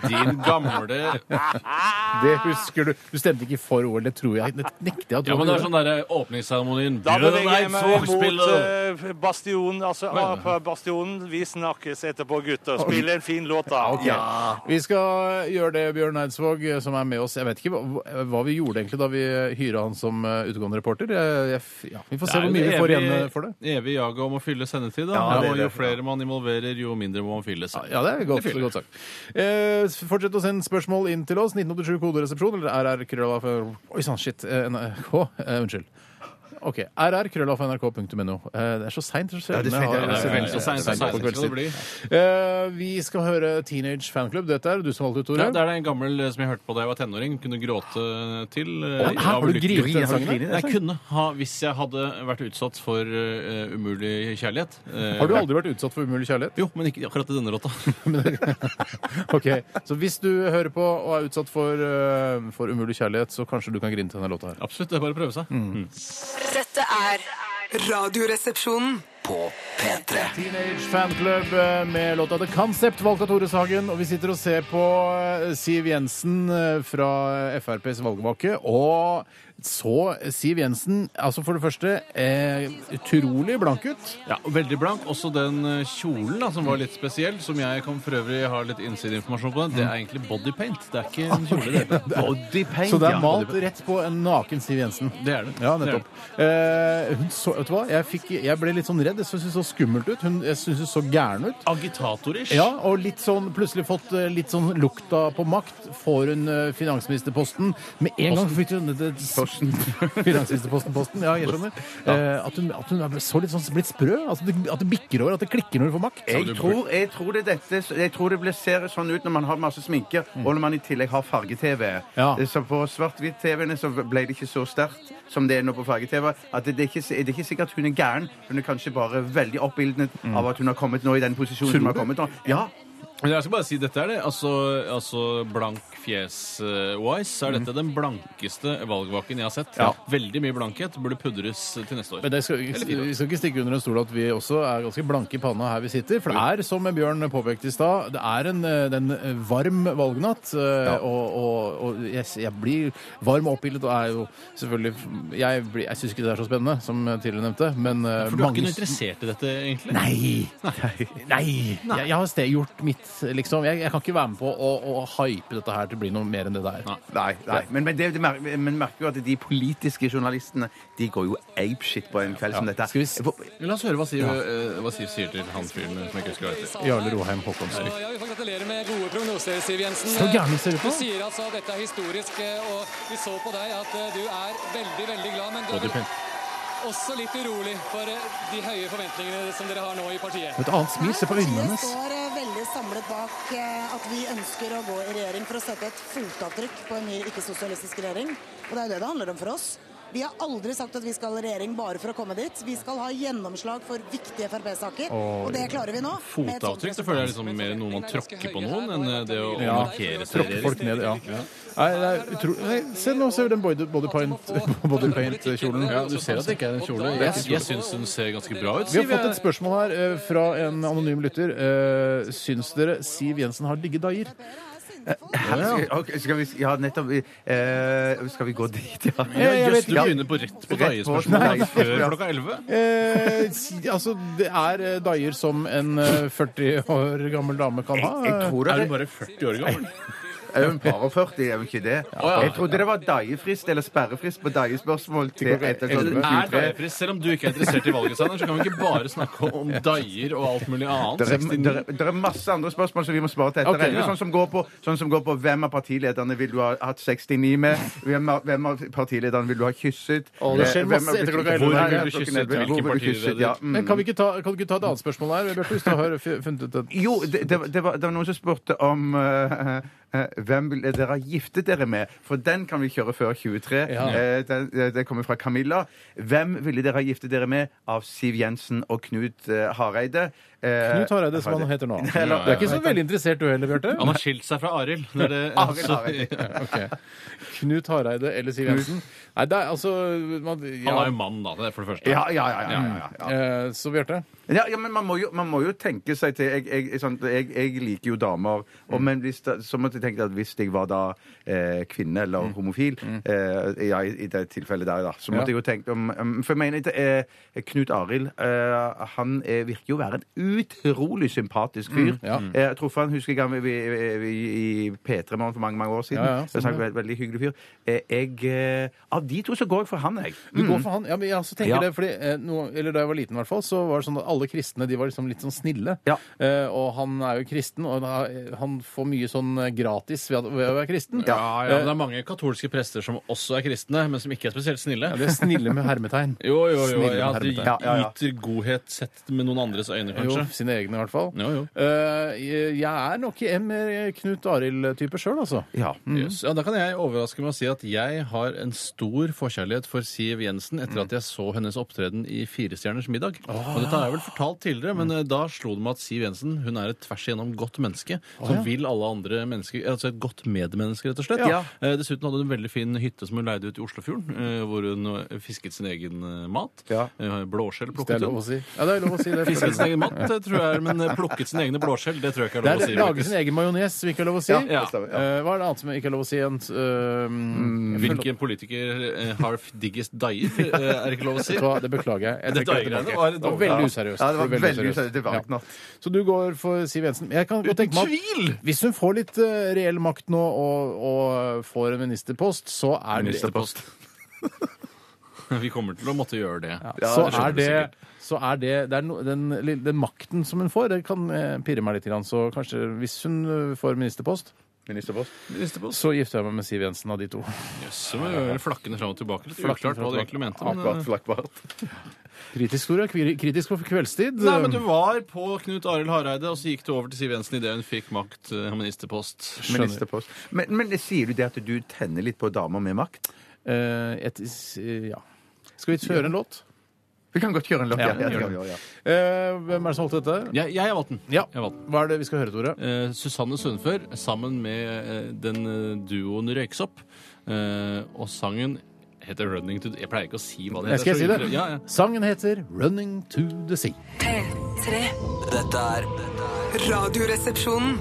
Din gamle
Det husker du. Du stemte ikke for OL, det tror jeg. Det nekter jeg at du
Ja, men det er
gjorde.
sånn derre åpningsseremonien
Da beveger jeg
Bjørn
meg
Eidsvåg
mot
spiller
eh, Bastionen. Altså ah, på Bastionen. Vi snakkes etterpå, gutter. Spill en fin låt, da.
Ok. Vi skal gjøre det, Bjørn Eidsvåg, eh, som er med oss. Jeg vet ikke hva, hva vi gjorde egentlig da vi hyra han som eh, utegående reporter. Jeg, jeg, ja, vi får se hvor mye vi får igjen eh, for det.
Evig jaget om å fylle sendetid. Da.
Ja, det er
og
det.
jo flere man involverer, jo mindre må man fylle. Seg.
Ja, det er godt,
fyller.
godt sagt. Eh, fortsett å sende spørsmål inn til oss. 1987 koderesepsjon eller rr Oi sann, shit. eh, NRK. Eh, unnskyld. OK. rr.krøllalfa.nrk.no. Eh, det er så seint. Så
det
sjelden
er
jeg
sent, ja,
har-
det er
Det er vel
veldig
så sent,
sent på
så sent skal det
kveldstid.
bli.
Eh, vi skal høre Teenage Fanclub. Dette er du som valgte ut, Tore.
Ja, det er det en gammel eh, som jeg hørte på da jeg var tenåring. Kunne gråte til. eh,
Hæ, har
av
du
lykke.
grinet til den
Har du
sangen?
grinet?
der?
Jeg kunne ha, hvis jeg hadde vært utsatt for eh, umulig kjærlighet. Eh,
Har du aldri vært utsatt for umulig kjærlighet?
Jo, men ikke akkurat i denne låta.
Ok, Så hvis du hører på og er utsatt for, eh, for umulig kjærlighet, så kanskje du kan grine til denne låta her.
Absolutt, det er bare å prøve seg.
Dette er Radioresepsjonen.
På P3.
Teenage Fanclub eh, med låta The Concept, valgt av Tore Sagen. Og vi sitter og ser på eh, Siv Jensen eh, fra FrPs valgvake. Og så Siv Jensen, altså for det første, eh, utrolig blank ut.
Ja, og Veldig blank. Også den eh, kjolen da, som var litt spesiell, som jeg kan for øvrig ha litt innsideinformasjon på, den, det er egentlig body paint. Det er ikke en kjole. Det er,
Body paint,
Så det er
ja.
malt rett på en naken Siv Jensen.
det, er det.
Ja,
Det er
nettopp. Eh, hun så, vet du hva? Jeg, fikk, jeg ble litt sånn redd. Jeg syntes hun så skummelt ut. Hun, jeg syntes hun så gæren ut.
det. Agitatorisk.
Ja, og litt sånn, plutselig fått eh, litt sånn lukta på makt. Får hun eh, finansministerposten. Med en gang fikk hun det, posten. Finansministerposten, posten, ja, jeg skjønner. Eh, at hun, at hun er så litt sånn blitt sprø. At det, at det bikker over, at det klikker når hun får makt.
Jeg tror, jeg tror det, dette, jeg tror det blir, ser sånn ut når man har masse sminke, og når man i tillegg har farge-TV.
Mm. Ja.
Så på svart-hvitt-TV-ene så ble det ikke så sterkt som det er nå på farge-TV. At det, det, er ikke, det er ikke sikkert at hun er
Mm.
gæren. Hun er kanskje bare veldig oppildnet av at hun har kommet nå i den posisjonen hun har kommet nå. Ja,
Men jeg skal bare si dette er det. Altså, altså blank fjes-wise så er dette den blankeste valgvaken jeg har sett.
Mm. Ja.
Veldig mye blankhet. Burde pudres til neste år.
Men det skal, vi skal ikke stikke under en stol at vi også er ganske blanke i panna her vi sitter. For det er, som Bjørn påpekte i stad, det er en, eh, det er en varm valgnatt. eh, Og, og, og yes, jeg blir varm og oppildnet og er jo selvfølgelig Jeg, blir- jeg syns ikke det er så spennende, som jeg tidligere nevnte, men eh,
For du er ikke noe
mange-
interessert i dette, egentlig?
Nei! Nei! Jeg, jeg har ste- gjort mitt, liksom. Jeg, jeg kan ikke være med på å, å hype dette her til å bli noe mer enn det det er.
Nei.
Nei, nei. Men, men, det, det mer, men merker jo at de politiske journalistene de går jo apeshit på en kveld som dette.
Skal vi s-
Hvor-
La oss høre hva Siv, eh, hva Siv sier til han fyren som jeg ikke husker hva heter.
Jarle Roheim Håkonsen.
Ja, jeg vil få gratulere med gode prognoser, Siv Jensen.
Så gæren ser du på.
Du sier altså at dette er historisk, eh, og vi så på deg at eh, du er veldig, veldig glad, men du er vel også litt urolig for eh, de høye forventningene som dere har nå i partiet.
Et annet smil. Se på øynene
Partiet
hennes.
står eh, veldig samlet bak eh, at vi ønsker å gå i regjering for å sette et fotavtrykk på en ny ikke-sosialistisk regjering. Og det er jo det det handler om for oss. Vi har aldri sagt at vi skal i regjering bare for å komme dit. Vi skal ha gjennomslag for viktige Frp-saker, og det klarer vi nå. med et sånt
Fotavtrykk det føler jeg er liksom mer noe man tråkker på noen, enn eh, det å å
Ja.
markere seg.
Tråkke folk ned, ja. Nei, det er utro... Nei, se nå ser du den body, body paint- body paint-kjolen.
Ja, du ser at det ikke
er en
kjole.
Jeg, jeg syns hun ser ganske bra ut.
Vi har fått et spørsmål her eh, fra en anonym lytter. Eh, Syns dere Siv Jensen har digge dager?
Skal, ok, skal vi Ja, nettopp. vi- eh, skal vi gå dit, ja?
Ja,
jeg
Jøss,
vet
du
ikke.
begynner på rett
Rett
på
på
daiespørsmålet før
daiespørsmålet.
klokka 11.
Eh, si, altså, det er eh, dager som en eh, 40 år gammel dame kan ha.
Jeg tror
Er
det
du bare 40 år gammel?
er jo en par og 40, er jo ikke det? Jeg trodde det var daiefrist eller sperrefrist på daiespørsmål til etter
Eller
klokken
er
23.
daiefrist? Selv om du ikke er interessert i valget, Steinar, så kan vi ikke bare snakke om daier og alt mulig annet.
Det er,
69.
der er, der er masse andre spørsmål som vi må svare til etter.
Ok,
elleve,
ja.
sånn, som går på, sånn som går på hvem av partilederne vil du ha hatt 69 med? Hvem av, hvem av partilederne vil du ha kysset?
Å, det skjer
Eh, hvem
masse
har blitt-
etter klokka elleve.
Hvor
Hvor vil
er klokken
du kysset?
elleve?
Hvilken
Hvor vil du
partileder?
kysset? Ja, mm.
Men kan, vi ikke ta, kan du ikke ta et annet spørsmål her, Bjarte, hvis du har f- funnet ut et
Jo, det, det, var- det, var, det var noen som spurte om eh, eh, hvem ville dere ha giftet dere med? For den kan vi kjøre før 23.
Ja.
Eh, den, eh, det kommer fra Camilla. Hvem ville dere ha giftet dere med av Siv Jensen og Knut eh, Hareide? Eh,
Knut Hareide, som han heter nå. Du
Eller-
er ikke så veldig interessert du heller, Bjarte?
Han har skilt seg fra Arild. Det er det, altså,
Arild Hareide.
Ok. Knut Hareide eller Siv Jensen? Nei, det er altså man,
Han er
ja.
jo mann, da. Det er for det første.
Ja, ja, ja. ja, ja, ja.
Eh, Så Bjarte?
Ja, ja, men man må, jo, man må jo tenke seg til Jeg, jeg, sånn, jeg, jeg liker jo damer,
Mm.
og, men hvis da, så måtte jeg tenke at hvis jeg var da eh, kvinne eller
Mm.
homofil, eh, ja, i, i det tilfellet der, da, så
Ja.
måtte jeg jo tenke om om- For jeg mener ikke eh, Knut Arild eh, Han eh, virker jo å være en utrolig sympatisk fyr.
Mm, ja.
Eh, Jeg traff han, husker jeg han vi, vi, vi, i P3 Morgen for mange mange år siden.
Ja, ja,
så han var en veldig hyggelig fyr. Eh, jeg, eh, av de to så går jeg for han, jeg.
Du
Mm.
går for han? Ja, men jeg også tenker
Ja.
det, fordi, eh, nå- eller Da jeg var liten, i hvert fall, så var det sånn at alle kristne de var liksom litt sånn snille.
Ja.
Eh, og han er jo kristen, og da, eh, han får mye sånn eh, gratis ved, at- ved å være kristen. Eh,
Ja, ja, men Det er mange katolske prester som også er kristne, men som ikke er spesielt snille.
Ja, det er snille med hermetegn.
Jo, jo, jo.
Snille
Ja,
med
at de
hermetegn.
Ja, ja, ja.
yter godhet sett med noen andres øyne,
Jo,
kanskje.
sine egne, i hvert fall.
Jo, jo.
Eh, jeg jeg er nok en mer Knut Arild-type sjøl, altså.
Ja.
Yes. Ja, da kan jeg overraske med å si at jeg har en stor forkjærlighet for Siv Jensen etter at jeg så hennes opptreden i Firestjerners middag.
Ah.
Og dette har jeg vel fortalt tidligere, men eh, da slo det meg at Siv Jensen hun er et tvers igjennom godt menneske. Som vil alle andre mennesker. Altså et godt medmenneske, rett og slett.
Ja.
Eh, Dessuten hadde hun en veldig fin hytte som hun leide ut i Oslofjorden, eh, hvor hun eh, fisket sin egen eh, mat.
Ja.
Eh, Blåskjell
Det er
plukket
lov å
hun.
si. Ja, det er lov å si det.
Fisket sin egen mat, det tror jeg, men eh, plukket sin egne blåskjell, det tror jeg ikke
Det er
er lov å si.
lage
faktisk.
sin egen majones, som ikke er lov å si.
Ja, det stemmer, ja.
Eh, hva er det annet som ikke er lov å si? En, eh,
Hvilken politiker eh, har diggest daier, eh, er det ikke lov å si.
Vet du hva, det beklager jeg. jeg
Dette
trekker
øyegreiene
tilbake.
var
det var veldig useriøst.
Ja, det var veldig
seriøst.
useriøst. Det var ikke noe.
Så du går for Siv Jensen. Jeg kan godt tenke meg at
tvil!
Hvis hun får litt eh, reell makt nå og, og får en ministerpost, så er det,
Ministerpost. Vi kommer til å måtte gjøre det.
så
det skjønner
er
du
det,
sikkert.
så er det, det er no, den, lille- den makten som hun får, det kan eh, pirre meg litt. Grann. Så kanskje hvis hun eh, får ministerpost,
Ministerpost.
Ministerpost.
så gifter jeg meg med Siv Jensen av de to.
Jøss, så må vi gjøre flakkende fram og tilbake. Litt uklart hva du egentlig mente. Men, eh,
Akkurat flakkbart.
Kritisk store, kvir- kritisk for kveldstid.
nei, men du var på Knut Arild Hareide, og så gikk du over til Siv Jensen idet hun fikk makt eh, og ministerpost.
Ministerpost. Men, men sier du det at du tenner litt på damer med makt?
Eh, et, s- ja. Skal vi høre en låt?
Vi kan godt kjøre en lokk.
Ja,
Ja,
gjør
ja,
det.
ja, ja.
Eh, hvem er det som holdt dette?
Jeg, jeg har valgt den.
Ja.
Jeg har valgt den.
Hva er det vi skal høre, Tore?
Eh, Susanne Sundfør sammen med eh, den eh, duoen Røyksopp. Eh, og sangen heter 'Running to the-" Jeg pleier ikke å si hva det
Jeg
heter.
skal si
så-
det.
Ja, ja.
Sangen heter 'Running to the Sea'.
P3.
Dette er dette er
Radioresepsjonen.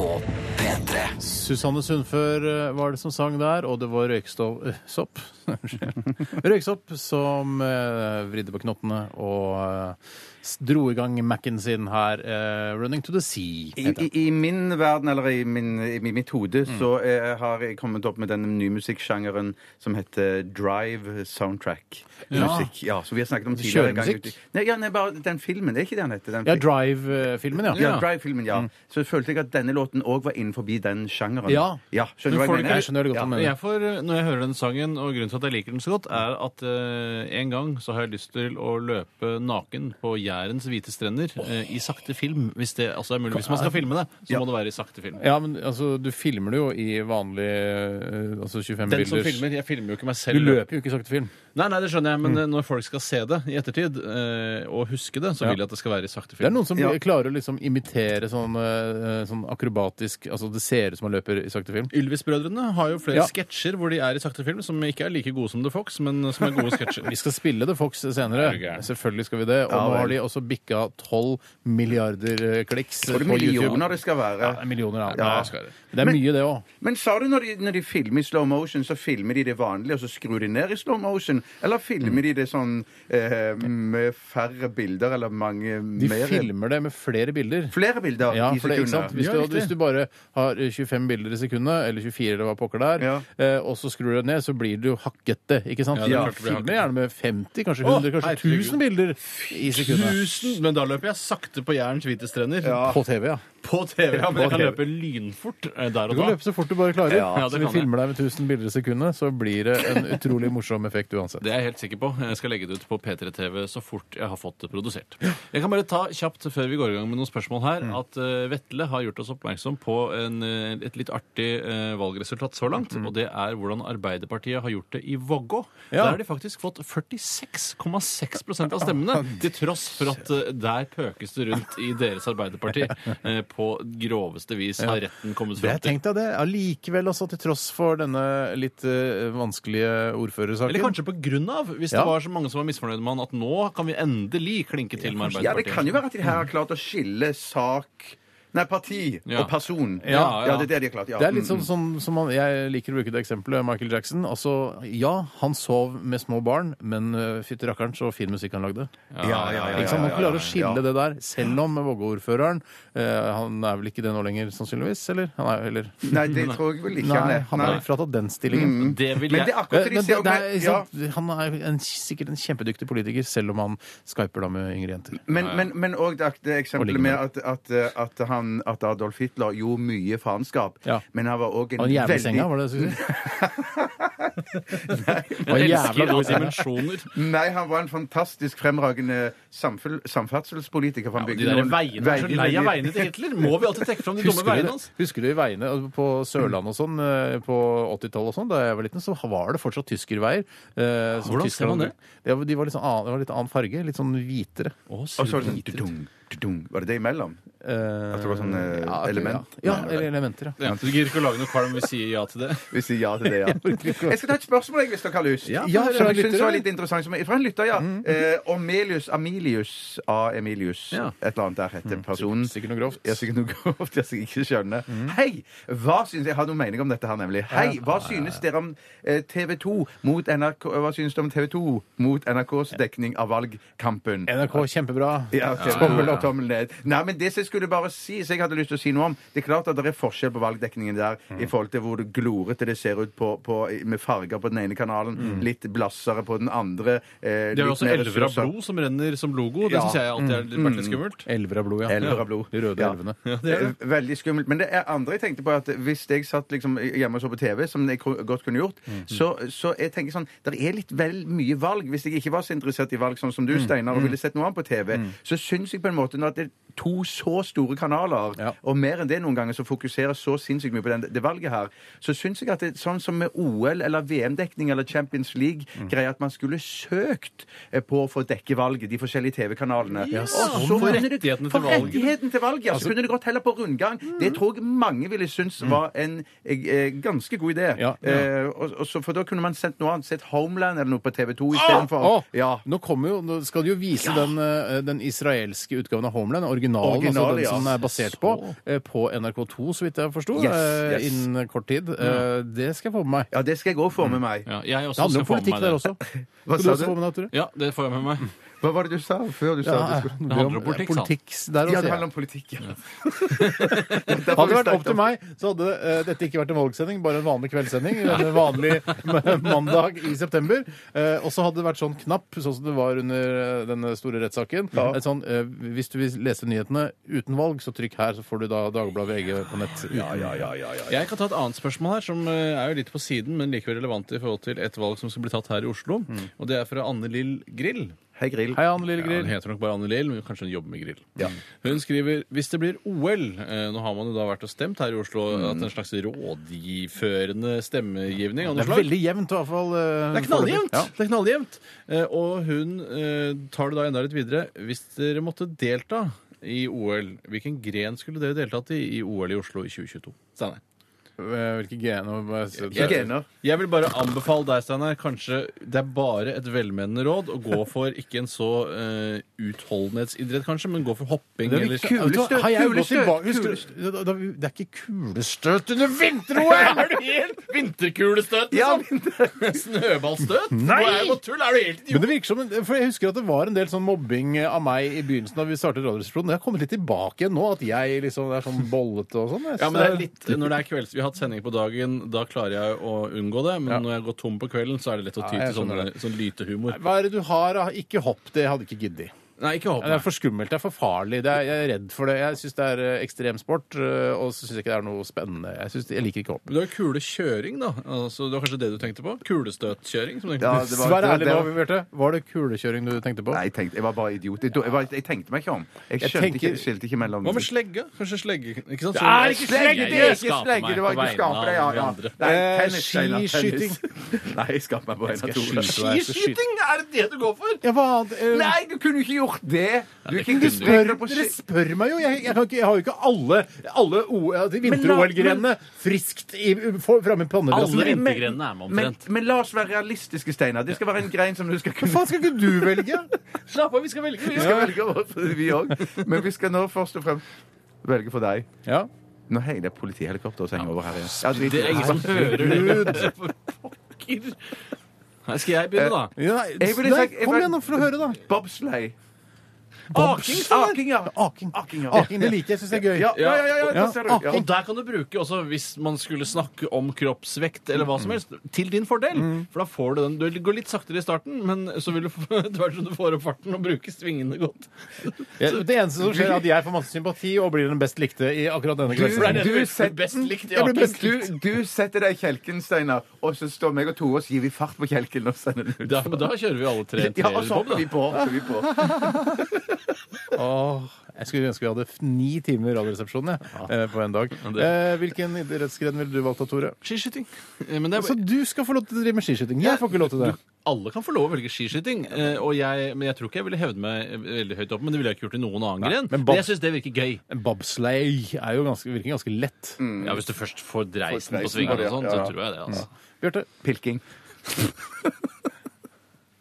på P3.
Susanne Sundfør eh, var det som sang der, og det var røykstov... eh, Sopp? Unnskyld. Røyksopp som eh, vridde på knottene og eh, s- dro i gang Mac-en sin her. eh, 'Running to the Sea'.
I,
heter den.
i, I min verden, eller i, min, i mitt hode,
Mm.
så eh, har jeg kommet opp med den nye musikksjangeren som heter drive soundtrack. Musikk, ja, Som vi har snakket om tidligere. en gang
Kjøremusikk?
ute. Nei, ja, nei, bare den filmen. Det er ikke det han heter. Den
Ja,
fil-
Drive-filmen, ja. Mm.
ja, Drive-filmen, ja. Så følte jeg at denne låten òg var innenfor den sjangeren.
Ja.
skjønner du hva
får
jeg
du
mener?
Jeg skjønner det godt.
Ja.
hva du mener.
Jeg får, når jeg hører den sangen, og grunnen til at jeg liker den så godt, er at eh, en gang så har jeg lyst til å løpe naken på Jærens hvite strender eh, i sakte film. Hvis det altså er mulig. Hvis man skal filme det, så må det være i sakte film.
Ja, men altså, du filmer det jo i vanlig eh, altså 25
Den som
bilders-
filmer, Jeg filmer jo ikke meg
Du
selv.
løper Mm. jo ikke sakte film.
Nei, nei, det skjønner jeg, men eh, når folk skal se det i ettertid, eh, og huske det, så vil jeg at det skal være i sakte
Det er
film.
noen som
Ja.
klarer å liksom imitere sånn, eh, sånn akrobatisk Altså det ser ut som man løper i sakte film.
Ylvis-brødrene har jo flere
Ja.
sketsjer hvor de er i sakte film, som ikke er like gode som The Fox, men som er gode sketsjer.
Vi skal spille The Fox senere.
Er du gæren?
Selvfølgelig skal vi det. Og
Ja,
nå har
vel.
de også bikka 12 milliarder eh, kliks på
Hvor
YouTube.
millioner det skal være.
Ja, det er millioner, ja.
Ja.
Ja, skal det. Men det er mye, det òg.
Men sa du når de, når de filmer i slow motion, så filmer de det vanlige, og så skrur de ned i slow motion? Eller filmer de det sånn eh, med færre bilder, eller mange
De
mer?
filmer det med flere bilder.
Flere bilder
Ja,
i
for det, ikke sant?
sekundet.
Hvis,
Ja,
du,
riktig.
hvis du bare har eh, 25 bilder i sekundet, eller 24 eller hva pokker det er,
Ja.
eh, og så skrur du det ned, så blir det jo hakkete. ikke sant?
Ja,
det er
Ja,
klart
det blir
Filmer gjerne med 50, kanskje
Å,
100, kanskje
herregud.
1000 bilder i sekundet.
Tusen, men da løper jeg sakte på Jærens hvite strender.
På TV, ja.
På TV. Ja, men jeg kan
TV.
løpe lynfort eh, der
Du kan
og da.
løpe så fort du bare klarer.
Ja, det
så vi
kan jeg.
filmer deg med 1000 bilder i sekundet, så blir det en utrolig morsom effekt uansett.
Det er jeg helt sikker på. Jeg skal legge det ut på P3 TV så fort jeg har fått det produsert. Jeg kan bare ta kjapt før vi går i gang med noen spørsmål her,
Mm.
at eh, Vetle har gjort oss oppmerksom på en, eh, et litt artig eh, valgresultat så langt,
Mm.
og det er hvordan Arbeiderpartiet har gjort det i Vågå. Der har de faktisk fått 46,6 prosent av stemmene, til tross for at eh, der pøkes det rundt i deres Arbeiderparti eh, på groveste vis, har retten kommet
Jeg
fram til.
tenkte det allikevel, altså, til tross for denne litt eh, vanskelige ordførersaken.
Eller kanskje på grunn av, hvis
Ja.
det var så mange som var misfornøyde med han, at nå kan vi endelig klinke til med
Ja, det
Arbeiderpartiet.
kan jo være at de her har klart å skille sak Nei, parti og
Ja.
person.
Ja, ja.
det er det de har klart. Ja.
Det er litt
Mm,
sånn som, som man, Jeg liker å bruke det eksempelet. Michael Jackson. Altså, ja, han sov med små barn, men uh, fytti rakkeren så fin musikk han lagde.
mm. ja, ja, ja, ja,
Ikke sant? Man
ja,
klarer å
ja.
skille det der, selv om Vågå-ordføreren eh, Han er vel ikke det nå lenger, sannsynligvis? Eller? Han er, eller?
Nei, det tror jeg vel ikke han
Nei,
er.
han
Nei. Mm.
er fratatt den stillingen.
Det vil
Men det
jeg...
er akkurat
Eh,
det de
Men det,
ser
det er,
med-
ikke
ja.
sant? Han er jo en, sikkert en kjempedyktig politiker, selv om han skyper da med yngre jenter.
Men, men, men også det, det
Og
eksempelet
ligge
med at, at, eh, at, han, at Adolf Hitler gjorde mye faenskap,
Ja.
men han var òg en
Han er jævlig i
veldig
senga, var det det du skulle si? Han er
Jeg
jævla
elsker
god
av
i senga.
dimensjoner.
Nei, han var en fantastisk fremragende samfell- samferdselspolitiker. for han
De
bygde
der
noen
veiene, jeg er så lei av veiene til Hitler. Må vi alltid trekke fram de dumme
Husker du,
veiene
det?
hans?
husker du i veiene altså, på Sørlandet og sånn, eh, på 80-tallet og sånn, da jeg var liten, så var det fortsatt tyskerveier. eh, som
Hvordan ser man det?
Ja, De var litt sånn annen, det var litt annen farge, litt sånn hvitere.
Og så var det sånn dudung, dudung. Var det det imellom?
Eh,
At det var sånn eh,
ja,
element?
Ja,
Nei,
eller elementer, ja.
Ja, du gidder ikke å lage noe kvalm hvis vi sier ja til det.
Vi sier ja til det, ja. Jeg skal ta et spørsmål jeg, hvis dere har lyst.
Ja,
Ja,
fra en
som jeg synes
lytter,
var
ja.
litt interessant. Som, fra en lytter, ja.
Mm.
Eh, Omelius Amelius A. Emilius.
Ja.
Et eller annet der heter personen.
Mm. Sikkert noe grovt. Mm.
Jeg sikkert noe grovt jeg skal ikke skjønne. Hei! Hva synes, jeg har noen mening om dette her, nemlig. Hei, hva synes dere om eh, TV 2 mot NRK Hva synes dere om TV 2 mot NRKs dekning av valgkampen?
NRK, kjempebra.
Ja, ok. Tommel opp, tommel ned. Nei, men det som jeg skulle bare si, som jeg hadde lyst til å si noe om Det er klart at det er forskjell på valgdekningen der i
Mm.
forhold til hvor glorete det ser ut på, på, med farger på den ene kanalen, litt blassere på den andre. Eh,
De har Mm. jo
litt
også
mer
elver av
ressurser.
blod som renner som logo. Det
Ja.
syns jeg alltid har vært litt skummelt.
Elver av Mm, blod, ja.
Elver av blod.
De røde
Ja.
elvene.
Eh, Veldig skummelt. Men det er andre jeg tenkte på at hvis jeg satt liksom hjemme og så på TV, som jeg ko- godt kunne gjort, så, så jeg tenker sånn Det er litt Mhm. vel mye valg. Hvis jeg ikke var så interessert i valg, sånn som du, Steinar, og ville sett noe annet på TV, så syns jeg på en måte måte nå at det er to så store kanaler,
Ja.
og mer enn det noen ganger, som fokuserer så sinnssykt mye på den, det valget her, så syns jeg at det, sånn som med OL eller VM-dekning eller Champions League, greier at man skulle søkt eh, på å få dekke valget, de forskjellige TV-kanalene. Ja,
sånn. For rettighetene til valget.
rettigheten til valget, ja, så kunne det gått heller på rundgang. Det tror jeg mange ville synes var en eh, eh, ganske god idé.
Ja.
Eh, og, og så, for da kunne man sendt noe annet, sett Homeland eller noe på TV 2
Å,
istedenfor. Ja.
nå, kommer jo, nå skal de jo vise den, eh, den israelske utgaven av Homeland, originalen,
Original,
altså den
ja.
som den er basert på, eh, på NRK2, så vidt jeg forsto,
Yes,
eh,
yes.
innen kort tid. Eh, Det skal jeg få med meg.
ja, det skal jeg òg få med meg.
Ja, jeg
Det
også
handler
skal
om
få med
politikk
meg
der
det.
også. Skal
Hva
du
sa
også
du?
få med deg, Tore?
Ja, det får jeg med meg.
Hva var det du sa før du sa at du skulle
det
handler om politikk, sa han.
politikk der
Ja,
også.
det
ja.
handler om politikk, ja.
Hadde det vært opp til meg, så hadde eh, dette ikke vært en valgsending, bare en vanlig kveldssending. En vanlig m- mandag i september. Eh, og så hadde det vært sånn knapp, sånn som det var under eh, den store rettssaken. Et Sånn, eh, hvis du vil lese nyhetene uten valg, så trykk her, så får du da Dagbladet VG på nett. Uten.
Jeg kan ta et annet spørsmål her, som eh, er jo litt på siden, men likevel relevant i forhold til et valg som skal bli tatt her i Oslo. Og det er fra Anne Lill Grill.
Hei, Grill.
Hei, Anne Lille
Ja, hun
Mm. Grill.
heter nok bare Anne Lill, men kanskje hun jobber med grill. Hun skriver hvis det blir OL eh, Nå har man jo da vært og stemt her i Oslo at en slags rådgiførende stemmegivning av
Mm. Det
noe
er
slag.
veldig jevnt, i hvert fall. eh,
Det er knalljevnt! Det er knalljevnt. Eh, Og hun eh, tar det da enda litt videre. Hvis dere måtte delta i OL, hvilken gren skulle dere deltatt i i OL i Oslo i 2022? Steinar.
Eh, Hvilke
Ikke gener.
Jeg vil bare anbefale deg, Steinar, kanskje det er bare et velmenende råd å gå for ikke en så eh, utholdenhetsidrett, kanskje, men gå for hopping
Det er
eller
ikke kulestøt! Har jeg gått
kulestøt,
tilbake- Husker du- da- da- Det er ikke kulestøt under vinter-OL!
Er du helt vinterkulestøt?
Ja,
liksom? Snøballstøt?
Nei!
Hva er det på tull? Er du helt idiot?
Men det virker som, en- for Jeg husker at det var en del sånn mobbing av meg i begynnelsen da vi startet Radioresepsjonen. Det har kommet litt tilbake igjen nå, at jeg liksom er sånn bollete og sånn. Jeg
Ja, men det er
synes
litt, Når det er kvelds, vi har hatt sending på dagen, da klarer jeg å unngå det. Men når jeg går tom på kvelden, så er det lett å ty
Ja, jeg
til sånn,
skjønner
sånn lytehumor.
Hva er det du har da? Ikke hopp, det hadde ikke giddet.
Nei, ikke håp.
Det er for skummelt, det er for farlig. Det er, jeg er redd for det. Jeg syns det er eh, ekstremsport, eh, og så syns jeg ikke det er noe spennende. Jeg, synes, jeg liker ikke hopp.
Men du har jo kulekjøring, da. Altså, det var kanskje det du tenkte på? Kulestøtkjøring? Som du tenkte
Ja,
på.
det var-
Vær
det var-
ærlig nå, Bjarte. Var det kulekjøring du tenkte på?
Nei, jeg, tenkte, jeg var bare idiot. Jeg, jeg, var, jeg tenkte meg ikke om. Jeg
Jeg
skjønte
tenker-
ikke, skilte ikke mellom
Hva med slegge? Kanskje slegge Ikke sant?
Det er ikke slegge,
det er
Jeg
ikke
skaper
slegge,
meg
det var
på
ikke
vegne
skaper,
av
det, ja,
alle
ja.
andre.
Nei,
Eh,
tennis, Steinar, tennis. Nei, jeg skal meg på en av
Jeg
to.
skal skyte deg, jeg skal skyte.
Er det det du går for?
Ja, hva annet? Eh,
Nei, du kunne ikke gjort det! Du
det
kunne
kunne
ikke
du.
spille på
Dere
ski.
spør meg jo! Jeg, jeg, kan ikke, jeg har jo ikke alle, alle O- ja, de vinter-OL-grenene friskt i- for- framme i pannedassen.
Alle vintergrenene er med
Men,
omtrent.
men la oss være realistiske, Steinar. Det skal være en grein som du skal
Hva
kunne
faen skal ikke du velge?
Slapp av, vi skal velge.
Vi skal velge over for vi òg. Men vi skal nå først og fremst velge for deg.
Ja.
Nå heier det politihelikopter og henger over her igjen. Ja, drit i
Det er ingen som hører det. Pokker. Her skal jeg begynne, da.
Ja, nei,
Jeg ville
nei,
sagt- jeg
kom
var-
igjen, da, for å høre, da.
Bobsleigh.
Aking,
Aking, ja.
Aking.
Aking, ja.
Aking, det liker jeg. Syns det er gøy.
Ja, ja, ja, ja, ja,
Ja,
der ser du. Ja.
Eh, Og der kan du bruke også hvis man skulle snakke om kroppsvekt eller hva som helst, til din fordel. For da får du den. Du går litt saktere i starten, men så vil du få- etter hvert som du får opp farten og bruker svingene godt.
Jeg- Det eneste som skjer, er at jeg får masse sympati og blir den best likte i akkurat denne
For det er
kvelden.
det som
Du
blir
setter-
best likt i
Jeg blir
Aker.
best
Du, du setter deg i kjelken, Steinar, og så står meg og Tore og så gir vi fart på kjelken og sender den ut.
Da, men da kjører vi alle tre en
Ja, og
treer
så
bob,
hopper vi
da.
på. hopper vi på.
Åh, jeg skulle ønske vi hadde f- ni timer Radioresepsjon jeg, eh, på en dag.
det-
Eh, Hvilken idrettsgren ville du valgt av, Tore?
Skiskyting. Eh, Men det
Så
er,
du skal få lov til å drive med skiskyting. Jeg får ikke lov til det.
alle kan få lov å velge skiskyting, eh, og jeg, men jeg tror ikke jeg ville hevde meg eh, veldig høyt opp. Men det ville jeg ikke gjort i noen annen
men
gren. Men,
bob-
jeg syns det virker gøy.
Bobsleigh er jo ganske, virker ganske lett.
Mm.
Ja, Hvis du først Mm. får dreisen
dreisen
på
på
svingene
det,
og sånn,
ja.
så tror jeg det. altså.
Bjarte,
Pilking.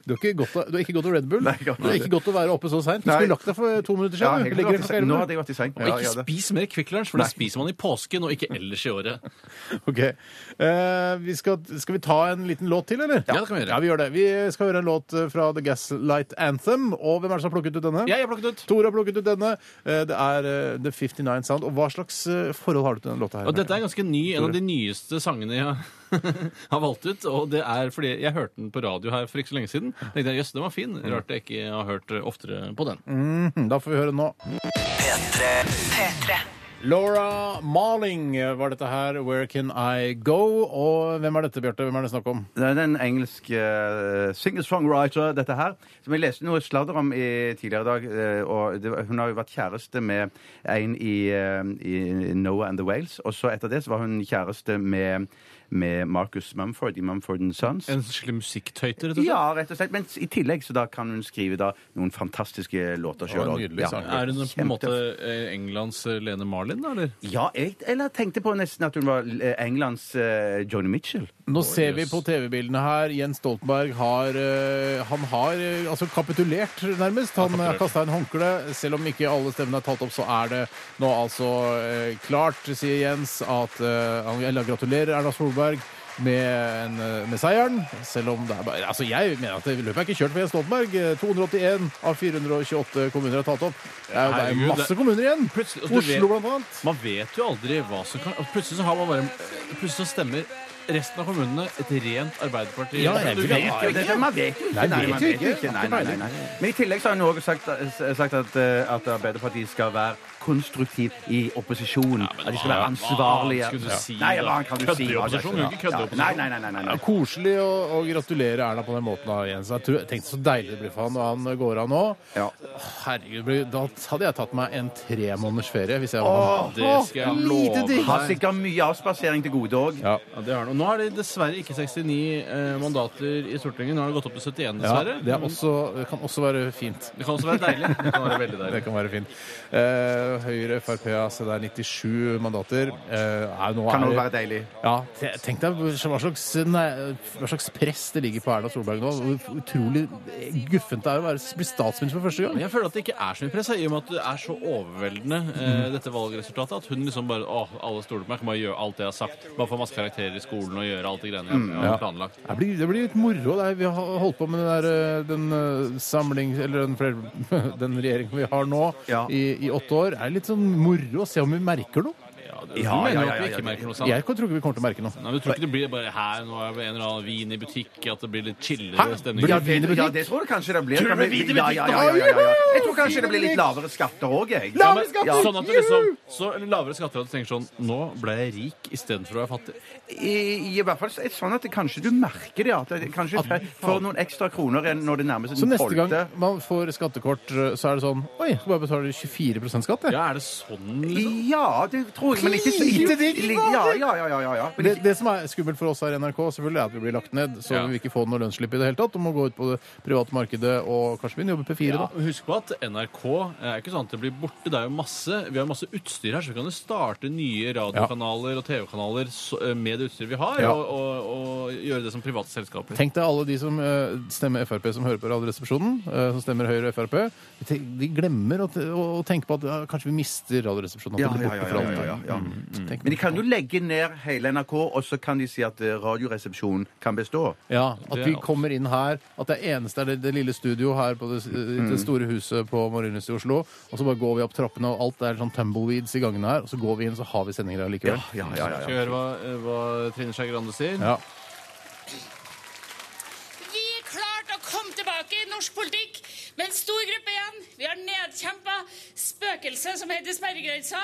du har ikke gått av, du har ikke gått av Red Bull.
Nei, jeg har ikke
du har ikke gått å være oppe så seint. Du
Nei.
skulle lagt deg for to minutter
Ja,
siden.
jeg
du.
hadde
Legger
vært
deg
i
for
seng. nå
elleve.
hadde jeg vært i seng.
Og
Ja, jeg
ikke
hadde.
spis mer Kvikk Lunsj, for det spiser man i påsken og ikke ellers i året.
Ok. Eh, vi skal, skal vi ta en liten låt til, eller?
Ja, det kan vi gjøre.
Ja, vi gjør det. Vi skal høre en låt eh, fra The Gaslight Anthem. Og hvem er det som har plukket ut denne?
Jeg er plukket ut.
Tore har plukket ut denne. Eh, Det er eh, The 59 Sound. Og hva slags eh, forhold har du til denne låta? her?
Og dette er ganske ny, en av de nyeste sangene jeg har valgt ut. Og det er fordi jeg hørte den på radio her for ikke så lenge siden. Tenkte jeg, jøss, den var fin. Rart jeg eh, ikke har hørt oftere på den.
Da får vi høre den nå.
P3.
P3.
Laura Marling var dette her. Where can I go? Og hvem er dette, Bjarte? Hvem er det snakk om?
Det er en engelsk eh, singer-songwriter, dette her, som jeg leste noe sladder om i, tidligere i dag. eh, og det, var- hun har jo vært kjæreste med en i, eh, i Noah and the Wales, og så etter det så var hun kjæreste med, med Marcus Mumford i Mumford and Sons.
En skikkelig musikktøyter, rett og slett?
Ja, rett og slett. Men i tillegg så da kan hun skrive da noen fantastiske låter sjøl.
Og en nydelig sang.
Er hun på
Kjempe-
en måte eh, Englands eh, Lene Marlin, da, eller?
Ja, jeg eller tenkte på nesten at hun var eh, Englands eh, Johnny Mitchell.
Nå ser vi
jøss.
på TV-bildene her. Jens Stoltenberg har, eh, han har eh, altså kapitulert, nærmest. Han eh, har kasta en håndkle. Selv om ikke alle stemmene er tatt opp, så er det nå altså eh, klart, sier Jens, at eh, han- Eller gratulerer, Erna Solberg. Med, en, eh, med seieren, selv om det er bare Altså, jeg mener at det- løpet er ikke kjørt for Jens Stoltenberg. Eh, 281 av 428 kommuner er tatt opp. Det er, jo- det er
Herregud,
masse
det-
kommuner igjen!
Plutselig- og du vet-
Oslo, blant annet.
Man vet jo aldri hva som kan og Plutselig så har man bare Plutselig så stemmer resten av kommunene et rent Arbeiderparti.
Ja, jeg
Du
vet
kan-
jo
Ja, det- Man vet jo ikke.
Nei,
Nei,
vet
man
jo
vet jo
ikke.
ikke. Nei, nei, nei, nei. Men i tillegg så har hun også sagt, sagt at, eh, at Arbeiderpartiet skal være konstruktiv i opposisjon. At de skal være
hva-
ansvarlige.
hva skulle du si,
Nei,
da?
hva kan du si?
Kødder i opposisjon? Du kan ikke kødde i
Ja. Nei, nei, nei. nei, nei,
Det
nei.
er koselig å, å gratulere Erna på den måten. da, Jens. Jeg tror, tenkte så deilig det blir for han når han går av nå.
Ja.
Herregud, blir- Da hadde jeg tatt meg en tre måneders ferie hvis jeg
Åh,
var
Det skal jeg love
digg.
Har sikkert mye avspasering til gode òg.
Ja.
Ja, det har den. Og nå er det dessverre ikke 69 eh, mandater i Stortinget. Nå har det gått opp til 71,
Ja,
dessverre.
det, er også, det kan også være fint.
Det kan også være deilig. Det kan være veldig
Det
deilig.
kan være fint. Eh, Høyre, Frp, ja, se der, 97 mandater. Eh, er, nå
Kan
er
òg
det-
være deilig.
Ja, te- tenk deg hva slags, nei, hva slags press det ligger på Erna Solberg nå. Hvor utrolig guffent det er å være, bli statsminister for første gang.
Men jeg føler at det ikke er så mye press, jeg, i og med at det er så overveldende, eh,
Mm.
dette valgresultatet, at hun liksom bare Å, alle stoler på meg. Jeg kan bare gjøre alt det jeg har sagt. Bare få masse karakterer i skolen og gjøre alt det greiene jeg, jeg
Mm, ja.
har planlagt.
Det blir, det blir litt moro. Det er, vi har holdt på med den, der, eh, den eh, samling Eller den, flere- den regjeringen vi har nå
Ja.
i, i åtte år. Det er litt sånn moro å se om vi merker noe.
Ja, du
Ja, ja,
mener jo
ja,
at vi
ja,
ikke
ja.
merker noe
Jeg
sånt.
tror ikke vi kommer til å merke noe.
Nei, men du tror ikke det blir bare her, nå er det en eller annen vin i butikk, at det blir litt
Hæ?
chillere stemning?
Blir
Ja,
det vin i
det,
butikk?
ja, det tror jeg kanskje det blir.
Tror du det blir vin i
Ja, ja, ja, ja, ja, ja. Jeg tror kanskje det blir litt lavere skatter òg, jeg.
Ja, men-
Ja.
Sånn at du liksom så lavere skatter at du tenker sånn Nå ble jeg rik istedenfor å være fattig.
I, I hvert fall er det sånn at det, kanskje du merker det. At det kanskje tre- får noen ekstra kroner enn når det nærmer seg
Så
den
neste gang
tolvte.
man får skattekort, eh, så er det sånn Oi, jeg skal bare betale 24 skatt, jeg.
Ja, er det sånn? liksom?
Ja, det tror jeg, men ikke så
Lite digg,
li- Ja, ja, ja. ja, ja, ja. Men
Det,
ikke,
det som er skummelt for oss her i NRK, selvfølgelig er at vi blir lagt ned. Så
Ja.
vi vil ikke få noe lønnsslipp i det hele tatt. Og må gå ut på det private markedet og kanskje begynne å jobbe P4,
Ja,
da.
og husk på at NRK er ikke sånn at det blir borte. Det er jo masse, vi har masse utstyr her, så vi kan jo starte nye radiokanaler og TV-kanaler så- eh, med det utstyret vi har,
Ja.
og, og, og gjøre det som private selskaper.
Tenk deg alle de som eh, stemmer Frp, som hører på Radioresepsjonen, eh, som stemmer Høyre og Frp. De tenk- De glemmer å, te- å, å tenke på at ja, kanskje vi mister Radioresepsjonen. at
ja,
det blir
ja,
borte
ja,
for
ja, ja,
alltid.
ja, ja.
Tenk-
Men de kan jo legge ned hele NRK, og så kan de si at eh, Radioresepsjonen kan bestå.
ja, At
Det er
vi
alt.
kommer inn her, at det eneste er det, det lille studio her på det, s- eh, i
Mm.
det store huset på Marienlyst i Oslo, og så bare går vi opp trappene, og alt er sånn tumbleweeds i gangene her, og så går vi inn, så har vi sendinger her
Ja,
likevel.
ja, ja, ja,
Skal vi
ja.
høre hva, eh, hva Trine Skei Grande sier?
Ja.
Vi klarte å komme tilbake i norsk politikk med en stor gruppe igjen. Vi har nedkjempa spøkelset som heter sperregrensa.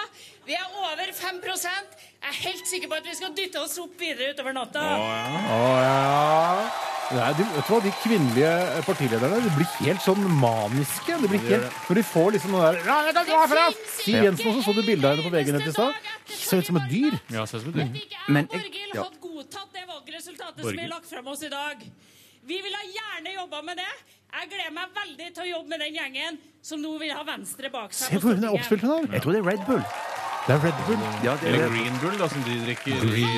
Vi er over 5 Jeg er helt sikker på at vi skal dytte oss opp videre utover natta.
Å, ja. Nei, de, vet du hva, de kvinnelige eh, partilederne de blir helt sånn maniske. De blir helt, når de får liksom noe der ja, jeg kan gå herfra! Siv Jensen også, så du bildet av henne på veggen etter i stad? Ser ut som et dyr.
Ja, ses med
At
det.
ikke
Men
jeg
jeg-
og Borghild
ja.
hadde godtatt det valgresultatet som
Borghild.
er lagt fram oss i dag. Vi ville gjerne jobba med det. Jeg gleder meg veldig til å jobbe med den gjengen som nå vil ha Venstre bak seg.
Se
på
hvor hun er
Stortinget.
oppspilt, hun der.
Jeg tror det er Red Bull.
Det er Red Bull.
Ja, det er
Eller
det.
Green Bull, da, som de drikker.
Green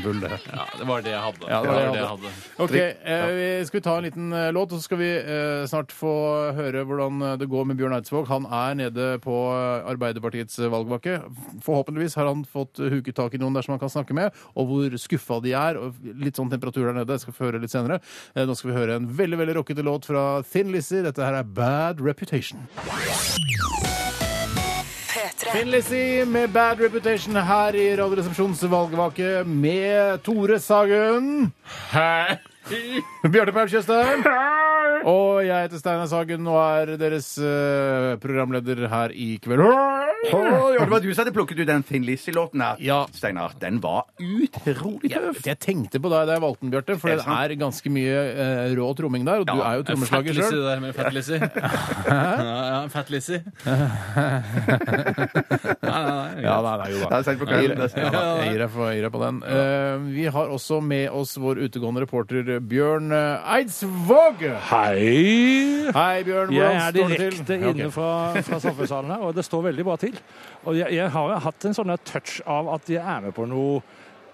Bull, det.
Ja, det var det jeg hadde.
Ja, det var det jeg hadde. Ok,
Trygg.
eh, vi- Skal vi ta en liten eh, låt, og så skal vi eh, snart få høre hvordan eh, det går med Bjørn Eidsvåg. Han er nede på eh, Arbeiderpartiets eh, valgbakke. Forhåpentligvis har han fått eh, huket tak i noen der som han kan snakke med, og hvor skuffa de er. og Litt sånn temperatur der nede. Jeg skal få høre litt senere. Eh, Nå skal vi høre en veldig veldig rockete låt fra Thin Lizzie. Dette her er Bad Reputation.
P3.
Thin Lizzie med Bad Reputation her i Radioresepsjonens valgvake med Tore Sagen. Bjarte Paul Tjøstheim. Og jeg heter Steinar Sagen og er deres eh, programleder her i kveld.
Å, ja, det var du som hadde plukket ut den Finn Lizzie-låten her.
Ja.
Steinar, den var utrolig
Jeg,
tøff.
jeg tenkte på deg da jeg valgte den, Bjarte, for
Er
det
det sant?
er ganske mye eh, rå tromming der, og du er jo trommeslager sjøl.
det der med Fat Lizzie. Ja, ja, Fat Lizzie. Nei, nei, nei.
Ja, nei, nei, jo da.
Ja, sent på kvelden, nesten.
Ja, da, jeg gir deg for- jeg gir deg på den. Eh, vi har også med oss vår utegående reporter Bjørn eh, Eidsvåg.
Hei!
Hei, Bjørn.
Jeg
Hvordan
er
står det til?
direkte
Ja, ok.
inne fra, fra samfunnssalen her, og det står veldig bra til. Og jeg, jeg har jo hatt en sånn der touch av at jeg er med på noe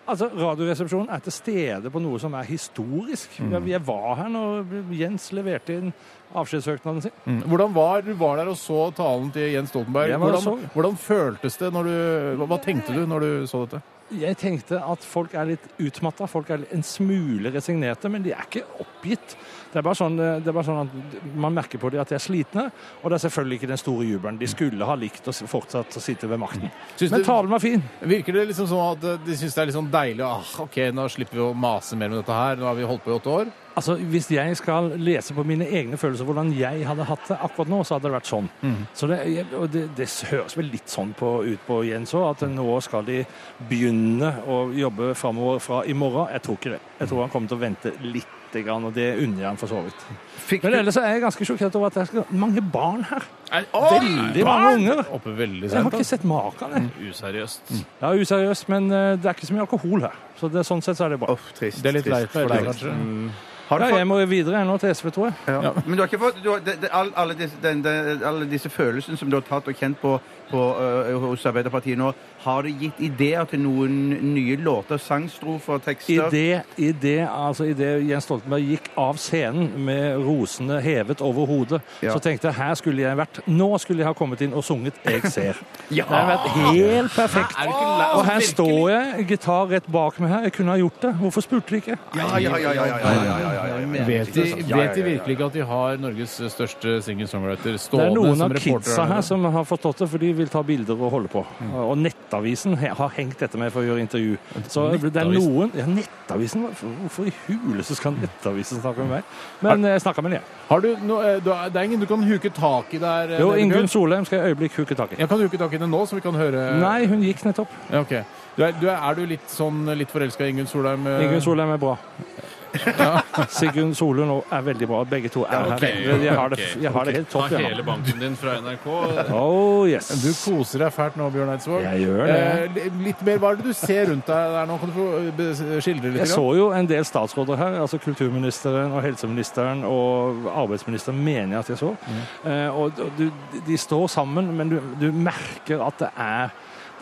Altså, Radioresepsjonen er til stede på noe som er historisk.
Mm.
Jeg, jeg var her når Jens leverte inn avskjedssøknaden sin.
Mm. Hvordan var du var der og så talen til Jens Stoltenberg?
Jeg var og
Hvordan,
så.
hvordan føltes det når du hva, hva tenkte du når du så dette?
Jeg tenkte at folk er litt utmatta, folk er en smule resignerte, men de er ikke oppgitt. Det er bare sånn, det er bare sånn at Man merker på dem at de er slitne, og det er selvfølgelig ikke den store jubelen. De skulle ha likt å s- fortsatt å sitte ved makten.
Syns
Men
du-
talen var fin.
Virker det liksom sånn at eh, de syns det er litt sånn deilig ah, OK, nå slipper vi å mase mer med dette her. Nå har vi holdt på i åtte år.
Altså, Hvis jeg skal lese på mine egne følelser hvordan jeg hadde hatt det akkurat nå, så hadde det vært sånn. Så det, jeg- og det, det høres vel litt sånn på, ut på Jens òg, at nå skal de begynne å jobbe framover fra i morgen. Jeg tror ikke det. Jeg tror han kommer til å vente litt. Grann, og det unner jeg ham for så vidt.
Fikk
Men
du
ellers er jeg ganske sjokkert over at det er så mange barn her.
Veldig
Veldig mange unger.
Oppe veldig
Jeg har
sent.
ikke
altså.
sett maken.
Mhm.
jeg.
Useriøst.
Det er useriøst, men eh, det er ikke så mye alkohol her. Så det, sånn sett så er det bra.
Uff, trist.
Det er litt
trist,
leit for deg,
trist.
kanskje.
Har du
Ja,
fått
jeg må videre jeg, nå til SV, tror jeg.
Ja. Men du har ikke fått du har, det, det, all- alle, disse, den, den, alle disse følelsene som du har tatt og kjent på, på øh, hos Arbeiderpartiet nå, har det gitt ideer til noen nye låter, sangstrofer,
I
tekster?
det, i det, altså, i det Jens Stoltenberg gikk av scenen med rosene hevet over hodet,
Ja.
så tenkte jeg her skulle jeg vært. Nå skulle jeg ha kommet inn og sunget 'Jeg ser'. Det har vært helt perfekt.
Er du ikke lei?
Og her står jeg, gitar rett bak meg her. Jeg kunne ha gjort det. Hvorfor spurte de ikke?
Ja, ja, ja, ja, ja, ja, ja, ja, ja, ja.
Vet de,
Ja, ja,
vet
ja,
de
ja.
virkelig ikke at de har Norges største singer-songwriter
Det er
stående
noen
som
av
reporter?
kidsa
her
her
nede?
som har forstått det, for de vil ta bilder og holde på. Og Nettavisen he- har hengt etter meg for å gjøre intervju. Så det er
Nettavisen?
noen Ja, Nettavisen? hva- Hvorfor i huleste skal Nettavisen snakke med meg? Men jeg snakka med dem, jeg.
Har du no, eh, du har- det er ingen du kan huke tak i der? eh,
Jo,
nede,
Ingunn
Bjørn?
Solheim skal jeg øyeblikk huke tak i.
Jeg kan huke tak i det nå, så vi kan høre
Nei, hun gikk nettopp.
Ja, ok. Du er, du er, er du litt sånn litt forelska i Ingunn Solheim? eh?
Ingunn Solheim er bra. Sigrun Solund og- er veldig bra. Begge to er her.
ok,
Jeg har det, jeg har det helt
Ta
topp. jeg.
hele banken din fra NRK.
Oh yes.
Du koser deg fælt nå, Bjørn Eidsvåg.
Jeg gjør det.
Eh, li- litt mer, Hva er det du ser rundt deg der nå? Kan du få eh, be- skildre litt?
Jeg
grann?
så jo en del statsråder her, altså kulturministeren og helseministeren og arbeidsministeren, mener jeg at jeg så.
Mm.
Eh, og du, de står sammen, men du, du merker at det er,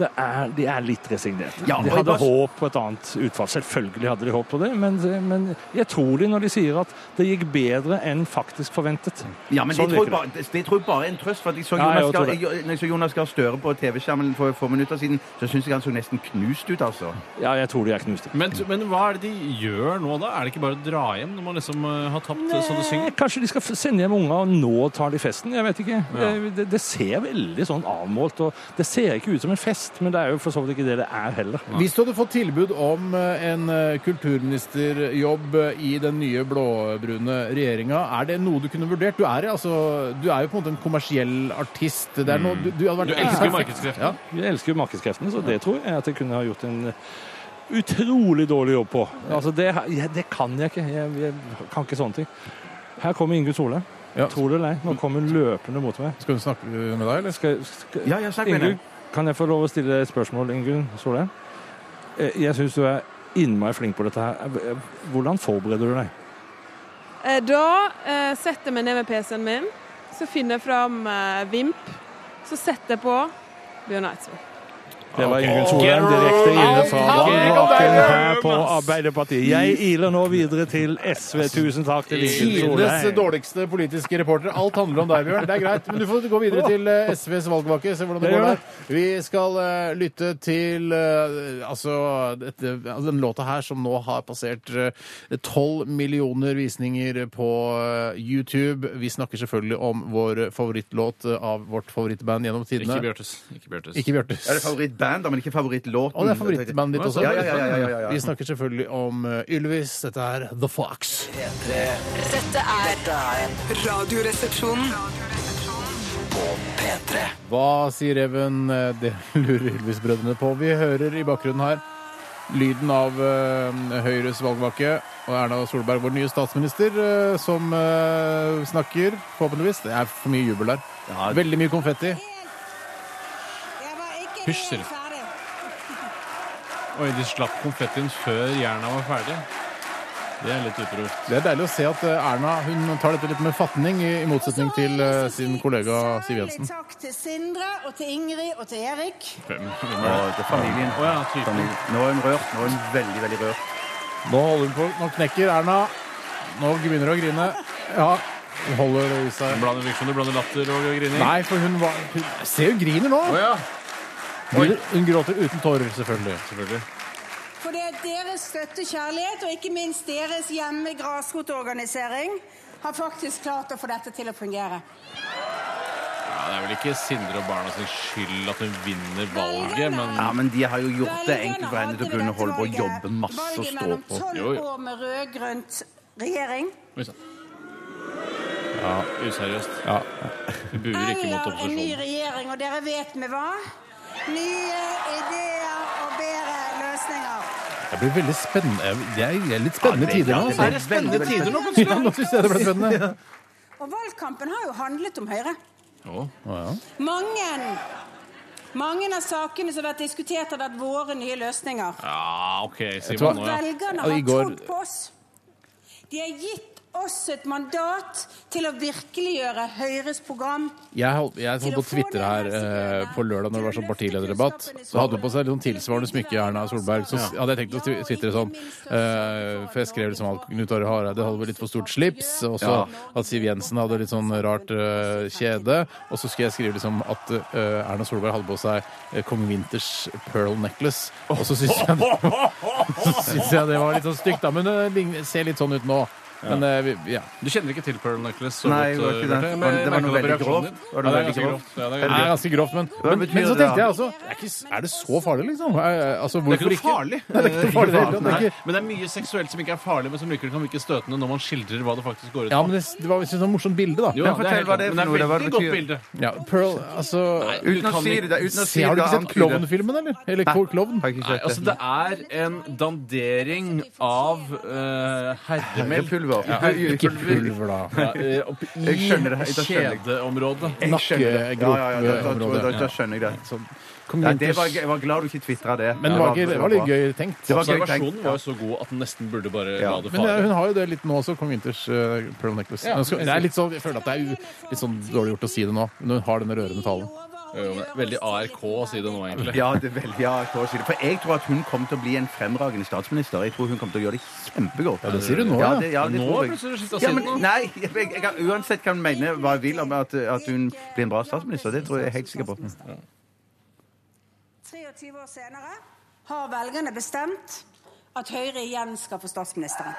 det er De er litt resignerte.
Ja,
de
og jeg
hadde
bare-
håp på et annet utfall. Selvfølgelig hadde de håp på det, men, men jeg tror de når de sier at det gikk bedre enn faktisk forventet.
Ja, men
Sånn
det, tror jeg
virker det.
bare, det, det tror jeg bare er en trøst, for at jeg så
Ja, jeg
Jonas,
tror
Gahr- jeg, når jeg så Jonas Gahr Støre på TV-skjermen for få minutter siden, så syns jeg han så nesten knust ut, altså.
Ja, jeg tror de er knuste.
Men, men hva er det de gjør nå, da? Er det ikke bare å dra hjem når man liksom eh, har tapt eh, så det
Eh,
synger?
Kanskje de skal f- sende hjem unga, og nå tar de festen. Jeg vet ikke. Eh, Det, det ser veldig sånn avmålt og Det ser ikke ut som en fest, men det er jo for så vidt ikke det det er heller.
Hvis du hadde fått tilbud om eh, en eh, kulturministerjobb eh, i den nye blåbrune regjeringa, er det noe du kunne vurdert? Du er, altså, du er jo på en måte en kommersiell artist. Det er noe,
Mm.
du, du hadde vært
Du elsker jo markedskreftene.
Ja.
Jeg elsker jo markedskreftene, så det tror jeg at jeg kunne ha gjort en eh, utrolig dårlig jobb på. Altså, det, jeg, det kan jeg ikke. Jeg, jeg kan ikke sånne ting. Her kommer Ingunn Solheim.
Ja.
Tror du det eller ei, nå kommer hun løpende mot meg.
Skal hun snakke med deg, eller?
Skal, skal,
Ja, ja, snakk med
Ingunn,
henne.
kan jeg få lov å stille et spørsmål, Ingunn Solheim? Eh, Jeg syns du er innmari flink på dette her. Eh, Hvordan forbereder du deg?
Eh, Da eh, setter jeg meg ned med PC-en min, så finner jeg fram eh, Vimp, så setter jeg på Bjørn Eidsvåg.
Det var Ingunn Solheim direkte inne fra valgvaken her på Arbeiderpartiet. Jeg iler nå videre til SV. Tusen takk til Ingunn
Tidenes
Solheim.
dårligste politiske reporter. Alt handler om deg, Bjørn. Det er greit. Men du får gå videre til eh, SVs valgvake. Se hvordan det
Det
går
gjør
der. Vi skal eh, lytte til eh, altså, dette, altså den låta her som nå har passert eh, tolv millioner visninger på eh, YouTube. Vi snakker selvfølgelig om vår favorittlåt eh, av vårt favorittband gjennom tidene.
Ikke Bjørtes. Ikke Bjørtes.
Ikke Bjørtes.
Er det favorittband, da, men ikke favorittlåten?
Og det er favorittbandet ditt også.
Ja, ja, ja, ja, ja, ja, ja.
Vi snakker selvfølgelig om eh, Ylvis. Dette er The Fox.
Dette er Radioresepsjonen.
P3.
Hva sier reven? Det lurer Ylvis-brødrene på. Vi hører i bakgrunnen her lyden av eh, Høyres valgvake og Erna Solberg, vår nye statsminister, eh, som eh, snakker, forhåpentligvis. Det er for mye jubel der. Veldig mye konfetti.
Hysj, sier de. Oi, de slapp konfettien før jerna var ferdig. Det er litt utrolig.
Det er deilig å se at eh, Erna hun tar dette litt med fatning, i i motsetning til eh, sin kollega Siv Jensen.
Takk til Sindre og til Ingrid og til Erik.
Og til familien.
Å ja, typen.
Familien. Nå er hun rørt. Nå er hun veldig, veldig rørt.
Nå holder hun på. Nå knekker Erna. Nå begynner hun å grine. Ja, hun holder det i seg.
Blander virksomhet, blander latter og grining.
Nei, for hun var hun, Se, hun griner nå!
Å ja,
Hun, hun gråter uten tårer, selvfølgelig.
selvfølgelig.
For det er deres støtte, kjærlighet og ikke minst deres hjemme grasrotorganisering har faktisk klart å få dette til å fungere.
Ja, det er vel ikke Sindre og barna sin skyld at hun vinner valget, men
Ja, men de har jo gjort det enkelt for henne til å
Velgerne
kunne
hadde
holde på å
ved dette
jobbe masse og
valget
stå på.
Valget
Jo,
mellom
jo.
tolv år med rød-grønt regjering
Oi sann. Useriøst. Vi buer ikke mot
eller en ny
opposisjonen.
regjering, og dere vet med hva. Nye ideer og bedre løsninger.
Det blir veldig spennende. Jeg- Det er- det er litt spennende tider nå.
det
altså.
er spennende tider nå,
Ja, nå syns jeg det ble spennende.
Og valgkampen har jo handlet om Høyre.
Å,
Mange, mange av sakene som har vært diskutert, har vært våre nye løsninger.
Ja, OK,
Vet du hva?
Simon. Nå, ja.
Velgerne
Og i
har
går-
trodd på oss. De har gitt oss et mandat til å virkeliggjøre Høyres program.
Jeg holdt, jeg holdt på å tvitre her eh, på lørdag når det var sånn partilederdebatt. Så hadde hun på seg litt sånn tilsvarende smykke, Erna Solberg. Så s- hadde jeg tenkt å twi- tvitre sånn. eh, for jeg skrev liksom at Knut Are Hareide hadde litt for stort slips, og så at Siv Jensen hadde litt sånn rart eh, kjede. Og så skulle jeg skrive liksom at eh, Erna Solberg hadde på seg eh, kong Winters pearl necklace. Og så syns jeg, så syns jeg det var litt sånn stygt, da. Men det ligner- ser litt sånn ut nå. Men eh, vi, ja.
Du kjenner ikke til Pearl Necklace? så
Nei,
godt, eh,
jeg gjorde ikke
Bjarte,
det.
men
Det var- det var
jeg
noe
merker
veldig
på
grovt.
reaksjonen din.
Det var
Ja,
noe
det er
veldig
ganske
grovt.
grovt. Ja, det
Det
er
er
grovt.
ganske grovt, men,
Hva
men,
betyr
men så
det?
tenkte jeg altså Er, ikke, s- er det så farlig, liksom? Er, er- altså,
Det er
hvorfor
ikke noe
ikke?
farlig.
Nei, det er ikke noe farlig. Det er, det er ikke,
Men det er mye seksuelt som ikke er farlig, men som likevel kan virke støtende når man skildrer hva det faktisk går ut på.
ja, men det, det var jeg synes det var et morsomt bilde, da.
Jo,
Men
det er
fortell
helt
hva det
klart,
er
men det
for noe,
er
hva det
et veldig godt
betyr.
bilde.
Ja, Pearl, altså
Uten å si det, uten å
se,
si det,
Har du ikke
det
sett
antyder.
Klovnfilmen, eller? Eller
sånn Nei,
Klovn?
Har ikke
Nei, altså
sett
Det
det.
er en dandering av eh, herremel
Pulver.
Ikke pulver, da.
ja, eh, opp i
Jeg skjønner det, jeg skjønner det.
kjedeområdet.
Jeg skjønner det. Ja, ja, ja, da- da-
Nakkegrop-området.
da- da skjønner jeg det.
Kom
Nei,
igjen,
det var,
Tuss.
jeg var glad du ikke tvitra det.
Men det var, ikke, det var litt
bra.
gøy tenkt. altså.
Det var gøy
Observasjonen
tenkt.
var jo så god at den nesten burde bare
Ja.
la det
Men det, er-
fare.
hun har jo det litt nå også, Kong Winters eh, Pearl Necklace. Men skal- det er litt sånn, jeg føler at det er jo litt sånn dårlig gjort å si det nå, når hun har denne rørende talen.
Jo, men Veldig ARK å si det nå, egentlig.
Ja, det er veldig ja, jeg får si det. For jeg tror at hun kommer til å bli en fremragende statsminister. Jeg tror hun kommer til å gjøre det kjempegodt.
Ja, det sier hun nå,
ja.
ja.
det, ja, det
Nå
tror
er
jeg.
plutselig siste
Ja,
siden
men,
nå.
nei, jeg, jeg kan uansett kan mene hva jeg vil om at, at hun blir en bra statsminister. Det tror jeg jeg er helt sikker på.
23 år senere har velgerne bestemt at Høyre igjen skal få statsministeren.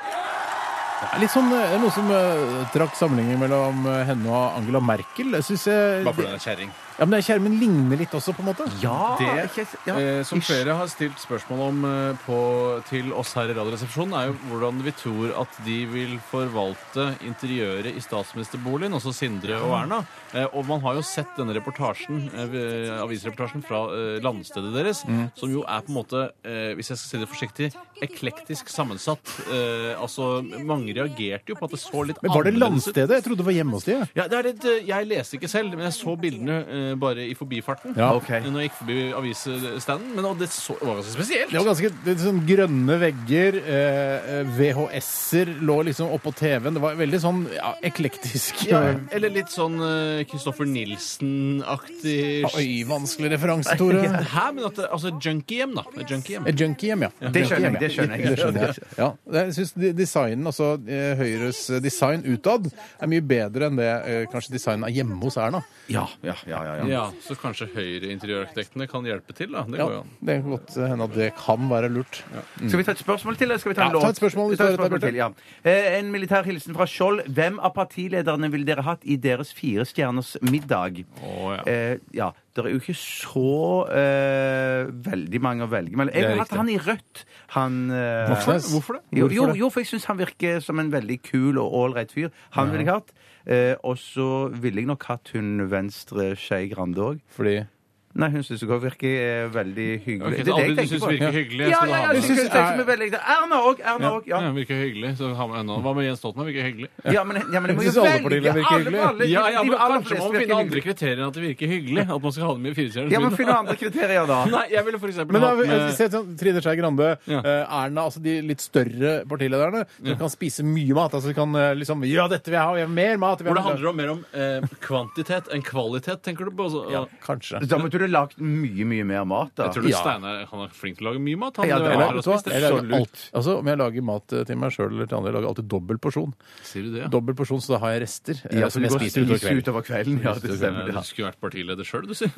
Det er Litt sånn, eh, noe som eh, trakk sammenligning mellom eh, henne og Angela Merkel. Jeg synes jeg,
Bare fordi hun er kjerring.
ja, men det er Kjermen ligner litt også, på en måte.
Ja,
Det
ikke- ja.
eh, som flere har stilt spørsmål om eh, på, til oss her i Radioresepsjonen, er jo hvordan vi tror at de vil forvalte interiøret i statsministerboligen, også Sindre og Erna. Eh, og man har jo sett denne reportasjen, eh, avisreportasjen fra eh, landstedet deres, som jo er på en måte, eh, hvis jeg skal si det forsiktig, eklektisk sammensatt. Eh, altså, mange reagerte jo på at det så litt
Men var det
annerledes ut.
landstedet? Jeg trodde det var hjemme hos de. jeg.
Ja, det er litt, eh, jeg leste ikke selv, men jeg så bildene eh, bare i forbifarten. Eh,
Ja.
Ok.
Når jeg gikk forbi avisstanden. Men og det så, det var ganske spesielt.
Det var ganske det er sånn grønne vegger, eh, eh, VHS-er lå liksom oppå TV-en. Det var veldig sånn ja, eklektisk.
Ja, eller litt sånn eh, Christopher Nielsen-aktig
Oi, vanskelig referanse, Tore.
Hæ, men at det, altså junkiehjem, da. Et junkiehjem.
Et junkiehjem, ja.
Det skjønner jeg,
Junkiehjem, ja.
det skjønner jeg.
Det skjønner jeg. Ja, det- jeg synes de- designen, altså eh, Høyres eh, design utad, er mye bedre enn det eh, kanskje designen er hjemme hos Erna.
Ja, ja, ja, ja, ja.
Ja, så kanskje Høyre-interiørarkitektene kan hjelpe til, da. Det
Ja,
går jo an.
det kan godt hende at det kan være lurt.
Skal vi ta et spørsmål til? Eller skal vi ta en
Mm. Ja,
låt?
ta et spørsmål hvis
Vi tar
det er dette,
til, ja. Eh, En militær hilsen fra Skjold. Hvem av partilederne ville dere hatt i deres fire stjerners middag?
Å, ja.
Eh, ja. Det er jo ikke så eh, veldig mange å velge mellom.
Det
Jeg
er
ville hatt
riktig.
han i Rødt. Han eh,
Hvorfor det? Hvorfor det?
Jo,
Hvorfor
jo,
det?
jo, for jeg syns han virker som en veldig kul og ålreit fyr. Han ville jeg hatt. Eh, og så ville jeg nok hatt hun venstre Skei Grande òg.
Fordi?
Nei, hun syns ikke hun virker eh, veldig hyggelig.
Ok, så alle du synes virker hyggelig,
Ja,
skal du
ja,
ha
ja, du synes
med. Jeg synes
det som er veldig Erna òg! Erna òg, ja.
Ja, virker hyggelig. Så har man ennå. Hva med Jens Stoltenberg? Virker hyggelig.
Ja, men, ja, men det må
Jeg
jo
synes alle
velge
partiene virker
alle-
hyggelige.
alle-
ja, ja,
de
men
aller
Kanskje
fleste
man må
virker
finne andre
hyggelige.
kriterier enn at det virker hyggelig. At man skal ha det med i firestjerners
Ja, men
middag.
finn noen andre kriterier, da.
Nei, jeg ville for eksempel
Men da,
hatt med
se, sånn, Trine Skei Grande,
Ja.
eh, Erna, altså de litt større partilederne, som
Ja.
kan spise mye mat. altså de kan eh, liksom, Ja, dette vil jeg ha! Jeg vil mer mat! jeg vil
Hvor det
ha mer-
handler om, mer om eh, kvantitet enn kvalitet, tenker du på? Altså,
kanskje.
Da måtte du lagd mye, mye mer mat, da.
Jeg tror du Steinar han er flink til å lage mye mat. Han,
Ja, det
har
er, vet du hva?
spist
Jeg lager
absolutt.
alt. Altså, om jeg lager mat eh, til meg sjøl eller til andre, jeg lager alltid dobbel porsjon.
Sier du det?
Dobbel porsjon, så da har jeg rester. eh,
Ja, så
som
det
jeg
går
spiser utover
spise
kvelden.
utover kvelden, ja, det stemmer,
Du
ja.
skulle vært partileder sjøl, du sier.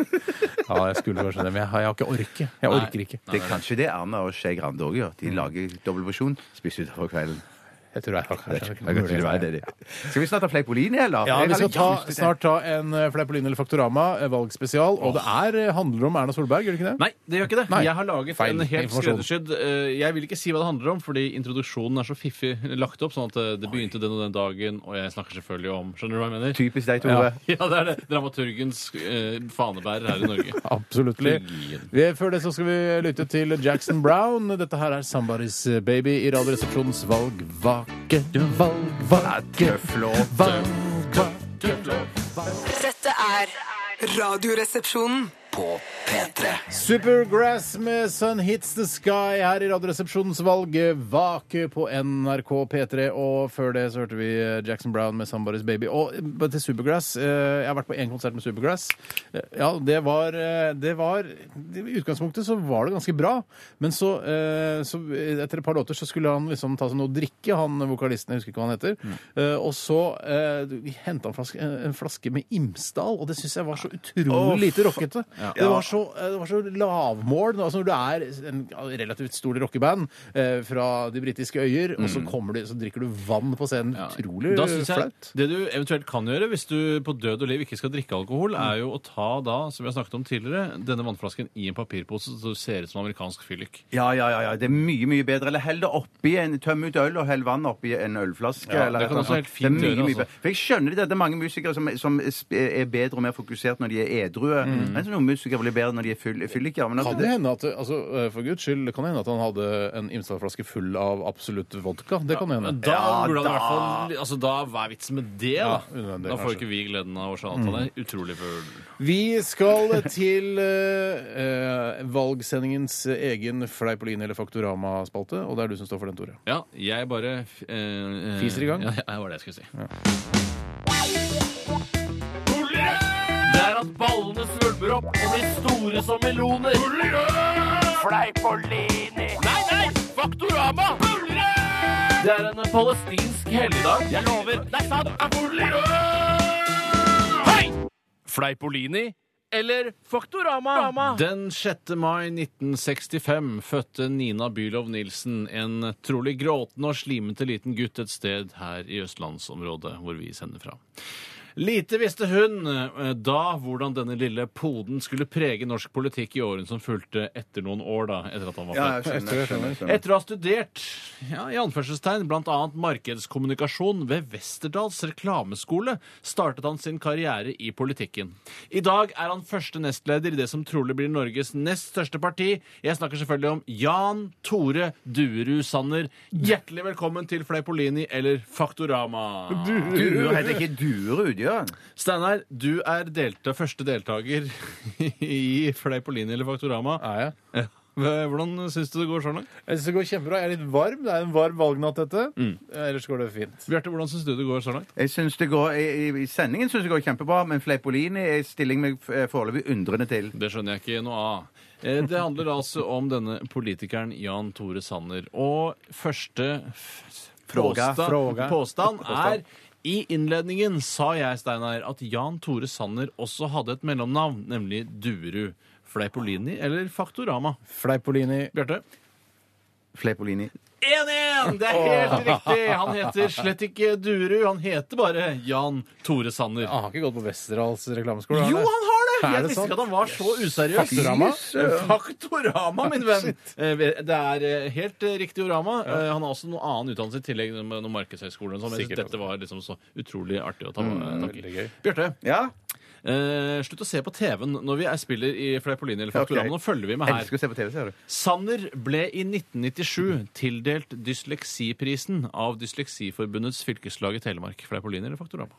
Ja, jeg skulle kanskje det, men jeg har, jeg har ikke orket. Jeg
Nei.
orker ikke.
Det er kanskje det Erna og Skei Grande òg gjør. De lager dobbel porsjon, spiser utover kvelden.
Jeg tror jeg har
Det er ikke- det er det, de. Skal vi snart ta Fleipolini, eller?
Ja,
Jeg
Vi
hadde
skal ta,
lyst til det.
snart ta en eh, Fleipolin eller Faktorama eh, valgspesial. Og det er, eh, handler om Erna Solberg, gjør det ikke det?
Nei, det gjør ikke det.
Nei.
Jeg har laget
Feil
en helt
informasjon.
skreddersydd eh, Jeg vil ikke si hva det handler om, fordi introduksjonen er så fiffig lagt opp. Sånn at eh, det begynte den og den dagen, og jeg snakker selvfølgelig om Skjønner du hva jeg mener?
Typisk deg, Tore.
Ja, det er det. Dramaturgens eh, fanebærer her i Norge.
Absolutt. Før det så skal vi lytte til Jackson Brown. Dette her er Somebody's eh, Baby i Radioresepsjonens valgvake. Valgvake.
Tøff låt.
Valgvake.
Dette er Radioresepsjonen.
På P3.
Supergrass med Sun Hits The Sky her i Radioresepsjonens valgvake på NRK P3. Og før det så hørte vi eh, Jackson Brown med Somebody's Baby. Og eh, til Supergrass eh, Jeg har vært på én konsert med Supergrass. Eh, Ja, det var, eh, det var det- I utgangspunktet så var det ganske bra. Men så, eh, så etter et par låter så skulle han liksom ta seg noe å drikke, han vokalisten. Jeg husker ikke hva han heter. Eh, Og så eh, henta han flaske, en flaske med Imsdal, og det syns jeg var så utrolig
Åh,
lite rockete.
Ja.
Det var så, eh, det var så lavmål. Altså når du er en relativt stor rockeband eh, fra de britiske øyer, og så, kommer du, så drikker du vann på scenen. Utrolig
Mm. Da synes jeg
flaut.
Det du eventuelt kan gjøre hvis du på død og liv ikke skal drikke alkohol, er jo å ta da, som vi har snakket om tidligere, denne vannflasken i en papirpose så det ser ut som amerikansk fyllik.
Ja, ja, ja, ja. Det er mye, mye bedre. Eller hell det oppi en Tøm ut øl og hell vann oppi en ølflaske.
Ja,
eller
det kan
et eller
også
annet.
helt fint
Det er
gjøre,
mye, mye
altså.
bedre. For jeg skjønner det. Det er mange musikere som, som sp- er bedre og mer fokusert når de er edrue. Men så noen musikere blir bedre når de er fyll- fylliker. Men
Kan det hende at, altså, eh, for guds skyld, kan det hende at han hadde en Imsdal-flaske full av absolutt vodka? Det kan hende.
Men Da
Ja,
burde han i
da-
hvert fall Altså, da hva er vitsen med det,
Ja,
da?
unødvendig,
da får
kanskje. Mm.
ikke vi gleden av å se at han er utrolig full.
Vi skal til eh, eh, valgsendingens egen Fleipolin eller Faktorama-spalte, og det er du som står for den, Tore.
Ja, jeg bare f- eh, eh,
Fiser i gang?
Ja, det var det jeg skulle si. Det er at ballene svulmer opp og blir store som meloner. Fleipolini. Nei, nei! Faktorama! Det er en palestinsk helligdag. Jeg lover. Nei, sant! Hei! Fleipolini. Eller Faktorama. Den 6. mai 1965 fødte Nina Bylov Nilsen en trolig gråtende og slimete liten gutt et sted her i østlandsområdet hvor vi sender fra. Lite visste hun eh, da hvordan denne lille poden skulle prege norsk politikk i årene som fulgte etter noen år, da, etter at han var
Ja,
født.
jeg skjønner. jeg skjønner, jeg skjønner.
Etter å ha studert ja, i anførselstegn, blant annet markedskommunikasjon ved Westerdals reklameskole, startet han sin karriere i politikken. I dag er han første nestleder i det som trolig blir Norges nest største parti. Jeg snakker selvfølgelig om Jan Tore Duerud Sanner. Hjertelig velkommen til Fleipolini eller Faktorama.
Duer heter ikke Durud, gjør han?
Steinar, du er delta, første deltaker i Fleipolini eller Faktorama.
Er jeg?
Ja. Hvordan syns du det går så langt?
Jeg synes det går kjempebra. Jeg er litt varm. Det er en varm valgnatt, dette.
Mm.
Ellers går det fint.
Bjarte, hvordan syns du det går så langt?
Jeg synes det går, i, I sendingen syns jeg det går kjempebra, men Fleipolini er stilling meg eh, foreløpig undrende til.
Det skjønner jeg ikke noe av. Eh, Det handler altså om denne politikeren Jan Tore Sanner. Og første f-
Fråga,
påsta-
fråga.
påstand er i innledningen sa jeg, Steinar, at Jan Tore Sanner også hadde et mellomnavn, nemlig Durud. Fleipolini eller Faktorama?
Fleipolini.
Bjarte?
Fleipolini.
1-1! Det er helt riktig! Han heter slett ikke Durud, han heter bare Jan Tore Sanner.
Han har ikke gått på Westerdals reklameskole? har
Jo,
han det?
han har det!
Er
Jeg
det
visste ikke
sant?
at han var så useriøs.
Faktorama?
Fy søren. Faktorama, min venn! Eh, Det er eh, helt eh, riktig orama. Eh, Han har også noe annen utdannelse i tillegg, noe- noe markedshøyskole. og sånn, men Jeg synes
Sikkert.
dette var liksom så utrolig artig å ta
Mm,
tak
veldig
i.
gøy.
Bjarte. Eh, slutt å se på TV-en når vi er spiller i Fleipolini eller
Ok.
Faktorama. Nå følger vi med her.
Elsker å se på TV, ser du.
Sanner ble i 1997 tildelt Dysleksiprisen av Dysleksiforbundets fylkeslag i Telemark. Fleipolini eller Faktorama?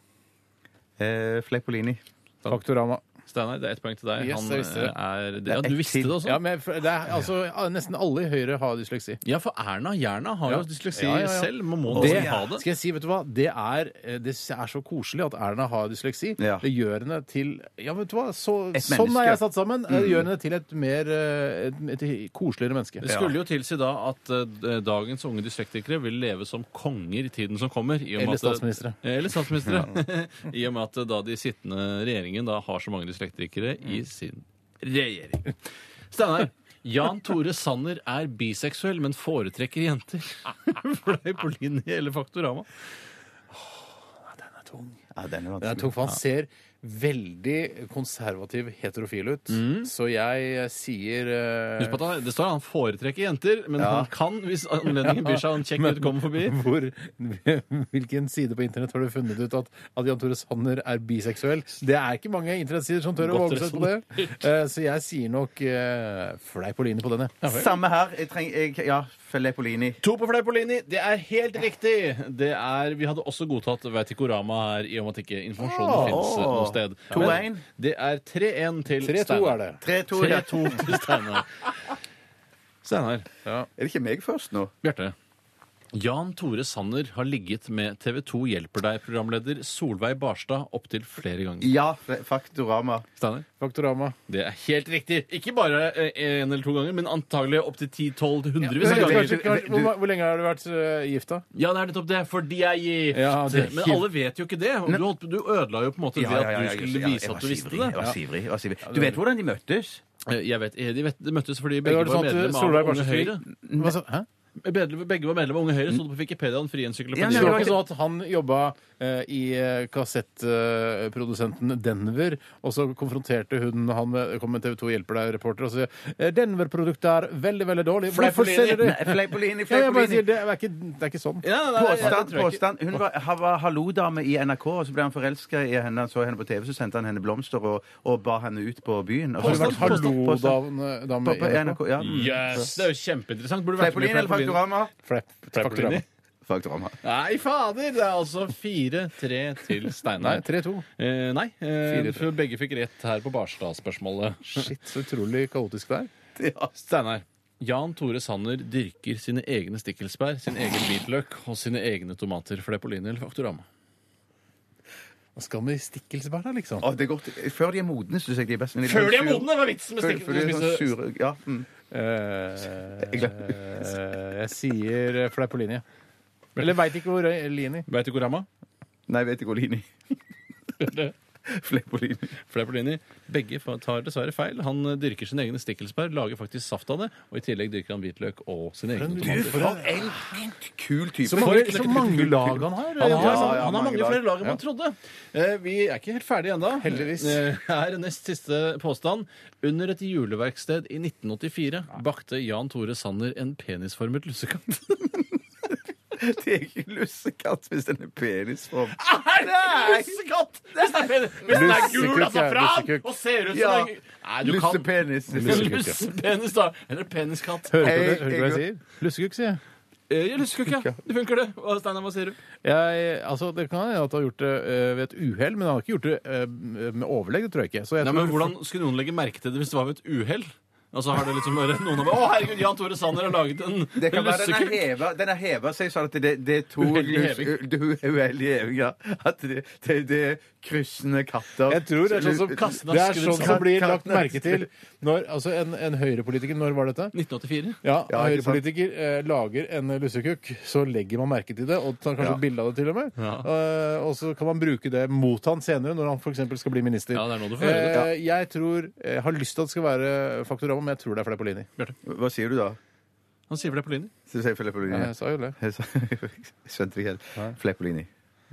Eh, Fleipolini.
Faktorama.
Steinar, det er ett poeng til deg.
Yes,
Han
jeg visste det.
eh, er,
Det er
ja,
ett
du visste
til.
det også?
Ja, men for- det er, altså, nesten alle i Høyre har dysleksi.
Ja, for Erna Jerna har
Ja.
jo dysleksi
Ja, ja, ja.
selv. Man må
Og
nesten
det-
ha det.
Skal jeg si, vet du hva? Det er, eh, det er så koselig at Erna har dysleksi.
Ja.
Det gjør henne til Ja, vet du hva? Så,
Et
sånn
menneske.
er jeg satt sammen. Det
Mm.
gjør henne til et mer eh, et, et koseligere menneske.
Det skulle jo tilsi da at eh, dagens unge dyslektikere vil leve som konger i tiden som kommer. I og med
Eller
at-
statsministre.
Eh, Eller statsministre. I og med at eh, da de sittende regjeringen da har så mange dyslektikere i
Mm.
sin regjering. Steinar. Jan Tore Sanner er biseksuell, men foretrekker jenter. Fleipolini eller Faktorama?
Ja,
Det
den er
er
vanskelig.
tungt, for han ser veldig konservativ heterofil ut. Så jeg sier eh,
Husk på at han, det står han foretrekker jenter, men
Ja.
han kan, hvis anledningen byr seg, og en kjekk gutt kommer forbi.
Hvor, hvilken side på internett har du funnet ut at, at Jan Tore Sanner er biseksuell? Det er ikke mange internettsider som tør å
Godt
våge seg på det. Eh, Så jeg sier nok uh, Fleipolini på denne.
Samme her. Jeg trenger, jeg, ja, Fleipolini.
To på Fleipolini, det er helt riktig! Det er, vi hadde også godtatt Veitikorama her, i og med at ikke informasjonen
Åh.
finnes eh, noe sted.
To
Men
en.
Det er 3-1 til
3-2 er det.
3-2. ja.
3-2 til Steinar. Steinar.
Er det ikke meg først nå?
Bjarte. Jan Tore Sanner har ligget med TV 2 Hjelper deg-programleder Solveig Barstad opptil flere ganger.
Ja, Fle- Faktorama.
Steinar.
Faktorama.
Det er helt riktig. Ikke bare én eller to ganger, men antagelig opptil 10-12 hundrevis av ganger.
Kanskje, kanskje, hvor, ma- hvor lenge har du vært eh, gift, da?
Ja, det er nettopp det, fordi jeg er gift.
Ja, det er
Men
gift.
alle vet jo ikke det. og Du, holdt, du ødela jo på en måte ved at du skulle
jeg
vise
var
at du visste
skivrig, Jeg
det.
var skivrig, jeg var skivrig. Du vet hvordan de møttes?
Eh, Jeg vet, eh, de, vet, de møttes fordi
Eller
begge
var det
var,
sånn at
medlem
Solveig
av Unge
Barstad
Høyre. Eh,
Hva så- Hæ?
Begge, begge var medlem av Unge Høyre, sto det på Wikipediaen fri encyklopedi.
Ja,
Så det
nei, det
var
var
ikke sånn at han jobba eh, i kassettprodusenten Denver, og så konfronterte hun han med, kom med TV 2 Hjelper deg-reporter og sa eh, Denver-produktet er veldig, veldig dårlig. Hvorfor
Fleipolini.
selger du
Nei, Fleipolini,
Ja, jeg bare
Fleipolini.
sier, det, er ikke, det er ikke sånn.
Ja, nei, nei,
Påstand,
jeg tror ikke-
påstand. Hun var, ha- var hallo-dame i NRK, og så ble han forelska i henne. Han så henne på TV, så sendte han henne blomster og, og bar henne ut på byen. Og så-
Har du vært
Påstand, påstand. På,
hallo-dame
på NRK, ja.
Yes, det er jo kjempeinteressant. Burde vært med i
Fleipolini eller Faktorama?
Fleipolini?
Faktorama.
Nei, fader! Det er altså 4-3 til
Nei,
Steinar.
3-2.
Eh, nei, eh,
4-3.
for begge fikk rett her på Barstad-spørsmålet.
Shit, så utrolig kaotisk det er.
Steinar. Jan Tore Sanner dyrker sine egne stikkelsbær, sin egen hvitløk og sine egne tomater. Fleipolini eller Faktorama?
Hva skal man i stikkelsbær, da, liksom?
Å, det er godt. Før de er modne, syns jeg de er best. men
Før de er
sånn
modne, var vitsen med
sur- Før, før de er sånn
stikkelsbær.
sure Ja. Mm.
Eh,
Jeg glemmer.
jeg sier eh, Fleipolini. Eller veit ikke hvor eh, Lini
Veit du hvor ramma?
Nei, jeg vet ikke hvor Lini. Fleipolini.
Fleipolini. Begge fa- tar dessverre feil. Han eh, dyrker sine egne stikkelsbær, lager faktisk saft av det, og i tillegg dyrker han hvitløk og sine egne tomater.
For en en kul type.
Så mange, så mange lag han har.
Han har,
Ja,
sånn-
ja,
han har
mange
mange
lag.
flere lag enn man trodde. Eh, vi er ikke helt ferdige ennå.
Heldigvis.
Eh, Her er nest siste påstand. Under et juleverksted i 1984 bakte Jan Tore Sanner en penisformet lussekatt.
Det er ikke lussekatt hvis den er penisform.
Er det lussekatt? Hvis den er, pen- hvis den er gul
Lussekukk,
altså
ja,
fram
lussekukk.
og ser ut som
Ja.
en Nei, du kan
Lussepenis.
Lussepenis, da. Eller peniskatt.
Hører
Jeg-
du hva- hører du hva jeg
jeg-
sier? Lussekukk, sier jeg.
Eh, ja, Lussekukk, ja. Det funker, det. Hva, Steinar, hva sier du?
jeg. Altså, det kan hende at han har gjort det eh, ved et uhell, men han har ikke gjort det eh, med overlegg. Det tror jeg ikke. Så jeg
Nei,
tror
men Hvordan skulle noen legge merke til det hvis det var ved et uhell? Altså har det liksom bare noen av Å, herregud, Jan Tore Sanner har laget en
Det kan være den har
lussekukk.
heva, den har heva seg sånn at det, det er to
Uheldig heving.
lus- det er Uheldig heving, ja. At det, det, det er kryssende katter.
Jeg tror det er sånn som,
Kasten
det
har
er sånn
skrevet
som
sånn.
blir lagt merke til når altså en, en høyrepolitiker Når var dette? Ja, en
1984.
Ja, ikke sant.
Høyrepolitiker eh, lager en lussekukk, så legger man merke til det, og tar kanskje
Ja.
et bilde av det til og med. Eh, og så kan man bruke det mot han senere, når han f.eks. skal bli minister.
Ja, det er nå du får høre
Eh, jeg tror, jeg har lyst til at det skal være Faktorama, men jeg tror det er Fleipolini.
Hva sier du da?
Han sier Fleipolini.
Så sier Fleipolini.
Eh, Jeg sa jo det.
Jeg sa- jeg skjønte det ikke helt. Fleipolini.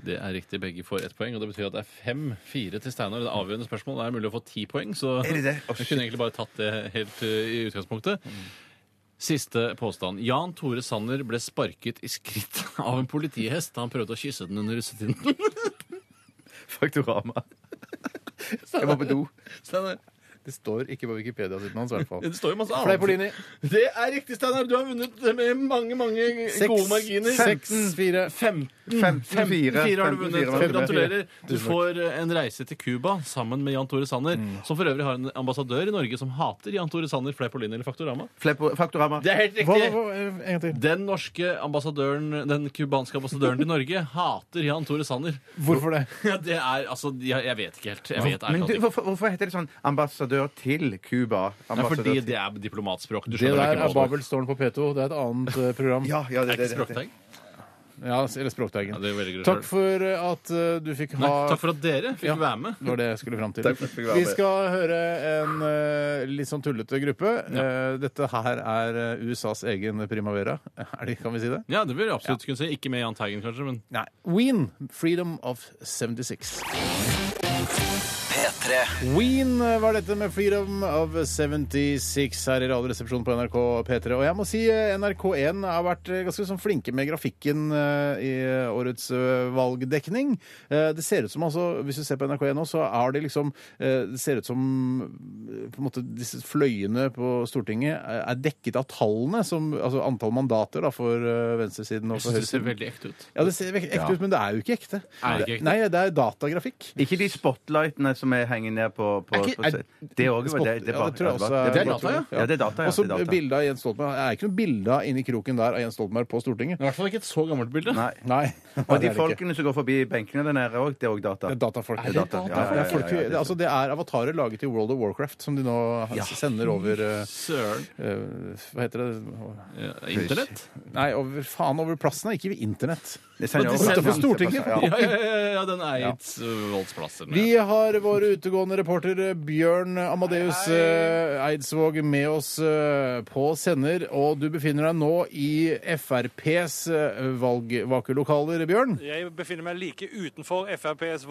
Det er riktig. Begge får ett poeng. og Det betyr at det er fem-fire til Steinar. Det er avgjørende spørsmål. Det er mulig å få ti poeng, så
Er det det? Å,
jeg kunne egentlig bare tatt det helt eh, i utgangspunktet. Siste påstand. Jan Tore Sanner ble sparket i skritt av en politihest da han prøvde å kysse den under russetiden.
Faktorama. Jeg må på do.
Det står ikke på Wikipedia-siden hans, i hvert fall.
Det står jo masse annet.
Fleipolini.
Det er riktig, Steinar. Du har vunnet med mange, mange gode marginer.
6, 4,
15.
15,
15-4
4
har du vunnet. Gratulerer. Du
Tusen takk. Mm.
får eh, en reise til Cuba sammen med Jan Tore Sanner, som for øvrig har en ambassadør i Norge som hater Jan Tore Sanner, Fleipolini eller Faktorama.
Faktorama.
Det er helt
Hva,
riktig!
hva, en gang til.
Den norske ambassadøren, den cubanske ambassadøren til Norge hater Jan Tore Sanner.
Hvorfor det?
Ja, det er altså Jeg, jeg vet ikke helt. Jeg vet,
Men du,
ærlig talt ikke.
hvorfor, hvorfor heter det sånn ambassadør til Cuba?
Det er
Ambassadør
fordi
til-
det er diplomatspråk. Du
Det
skjønner
der
ikke
er
hva det er.
Babels tårn på P2. Det er et annet eh, program.
Ja, ja, det, det,
Det er ikke
det, det.
språktag.
Ja, eller Språkteigen.
Ja, det velger du
Takk
selv.
for eh, at eh, du fikk
Nei,
ha
takk for at dere fikk
Ja.
være med.
Det var det jeg skulle fram til.
Takk for at jeg fikk være
Vi
med.
skal høre en eh, litt sånn tullete gruppe. Eh, dette her er eh, USAs egen Primavera. Er det, kan vi si det?
Ja, det vil jeg absolutt kunne si. Ikke med Jahn Teigen, kanskje, men
Nei. Ween, Freedom of 76.
P3
Ween eh, var dette med Freedom of 76 her i Radioresepsjonen på NRK P3. Og jeg må si eh, NRK1 har vært eh, ganske sånn flinke med grafikken eh, i årets eh, valgdekning. Eh, Det ser ut som, altså, hvis du ser på NRK1 nå, så er det liksom eh, Det ser ut som eh, på en måte disse fløyene på Stortinget eh, er dekket av tallene, som, altså antall mandater da, for eh, venstresiden og
jeg
for
syns det ser
høyresiden.
veldig ekte ut.
Ja, det ser vek- ekte
Ja.
ut, men det er jo ikke ekte.
Er det ikke ekte?
Nei, det er datagrafikk.
Ikke de spotlightene som er henger ned på, på
Er ikke- er-
på- Det òg var
Spot-
det.
ja, det tror jeg også er-
Det er data, ja.
Ja, det er data. Ja,
Og så
det er data.
bildet av Jens Stoltenberg. Det er ikke noe bilde av inni kroken der av Jens Stoltenberg på Stortinget.
Det er i hvert fall ikke et så gammelt bilde.
Nei.
Nei. det
Og de
er det ikke.
folkene som går forbi benkene der nede òg, det er òg data.
Det er datafolk.
Er det data? Ja, ja, ja,
Det er folk-
ja, ja, det er
altså, det er avatarer laget i World of Warcraft som de nå sender over eh,
Søren.
eh, Hva heter det
Ja, Internett?
Nei, over, faen over plassen, ikke ved internett.
Det sender
Og de
jeg også.
sender-
Ja,
Stortinget.
ja.
Ja, ja, ja, ja den er i et uh, voldsplasser.
Vi har vår utegående reporter eh, Bjørn Amadeus eh, Eidsvåg med oss eh, på sender. Og du befinner deg nå i FrPs eh, valgvakulokaler, Bjørn.
Jeg befinner meg like utenfor FrPs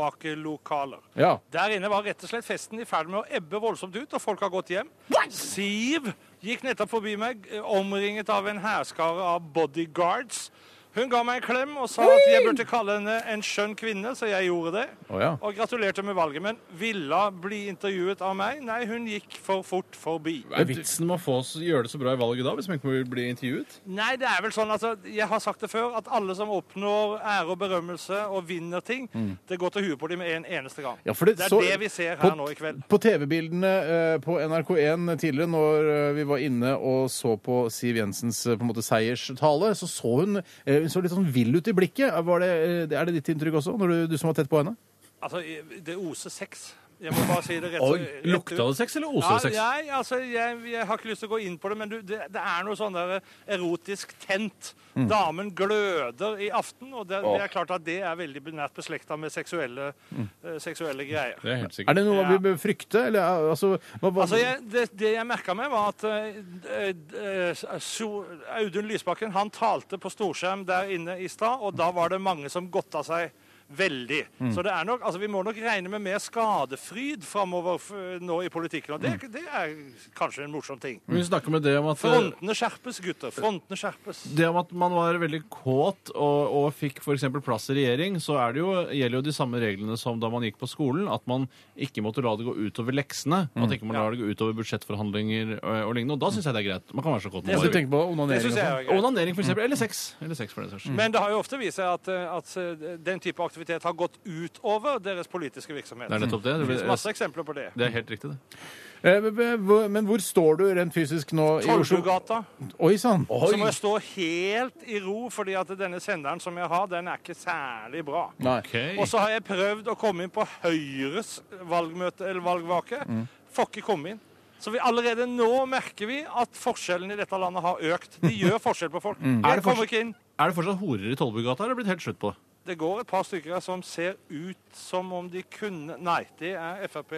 valgvakelokaler.
Ja.
Der inne var rett og slett festen i ferd med å ebbe voldsomt ut, og folk har gått hjem. Siv gikk nettopp forbi meg, eh, omringet av en hærskare av bodyguards. Hun ga meg en klem og sa at jeg burde kalle henne en skjønn kvinne, så jeg gjorde det.
Å, ja.
Og gratulerte med valget, men ville bli intervjuet av meg? Nei, hun gikk for fort forbi.
Er vitsen med å få oss- gjøre det så bra i valget da, hvis man ikke vil bli intervjuet?
Nei, det er vel sånn, altså, jeg har sagt det før, at alle som oppnår ære og berømmelse og vinner ting, det går til huet på dem med en eneste gang.
Mm. Ja, for det,
er
så-
det vi ser
på-
her nå i kveld.
På TV-bildene eh, på NRK1 tidligere, når eh, vi var inne og så på Siv Jensens eh, på en måte, seierstale, så så hun, eh, hun så litt sånn vill ut i blikket. Var det, eh, er det ditt inntrykk også, når du, du som var tett på henne?
Altså, det oser sex. Jeg må bare si det rett,
Oi,
rett ut.
Lukta det sex, eller oser det sex?
Ja, nei, altså, jeg, jeg har ikke lyst til å gå inn på det, men du, det, det er noe sånn der erotisk tent.
Mm.
Damen gløder i aften, og det, det er klart at det er veldig nært beslekta med seksuelle,
Mm.
eh, seksuelle greier.
Det er helt
Er
sikkert.
det noe
Ja.
vi bør frykte? Eller, eh, altså, hva, hva,
Altså, jeg, det, det jeg merka meg, var at eh, eh, so, Audun Lysbakken han talte på storskjerm der inne i stad, og da var det mange som godta seg veldig.
Mm.
Så det er nok, altså, vi må nok regne med mer skadefryd framover nå i politikken, og det,
Mm.
det er kanskje en morsom ting.
Vi snakker med det om at eh,
Frontene skjerpes, gutter. Frontene skjerpes.
det om at man var veldig kåt og, og fikk for eksempel plass i regjering, så er det jo, gjelder jo de samme reglene som da man gikk på skolen, at man ikke måtte la det gå utover leksene. At ikke man lar det gå utover budsjettforhandlinger og, og lignende. Og da syns jeg det er greit. Man kan være så kåt
hva skal
man
Altså, du
bare vil.
tenke på?
Det
Onanering og
syns jeg
sånn?
er greit.
Onanering, for eksempel. Eller sex. Eller sex, for den saks skyld.
Men det har jo ofte vist seg at, eh, at eh, den type aktivitet har gått utover deres politiske virksomhet.
Det er nettopp det. Det,
finnes masse
blir-
eksempler på det.
det er helt riktig, det.
Eh, men- men hvor- Men hvor står du rent fysisk nå i Oslo?
Tollbugata.
Oi sann!
Så må jeg stå helt i ro, fordi at denne senderen som jeg har, den er ikke særlig bra.
Nei.
Ok.
Og så har jeg prøvd å komme inn på Høyres valgmøte eller valgvake.
Mm.
Får ikke komme inn. Så vi allerede nå merker vi at forskjellen i dette landet har økt. De gjør forskjell på folk.
Mm. Er det
Jeg kommer ikke inn.
Er det fortsatt horer i Tollbugata, eller er det blitt helt slutt på det?
Det går et par stykker her som ser ut som om de kunne Nei, det er Frp.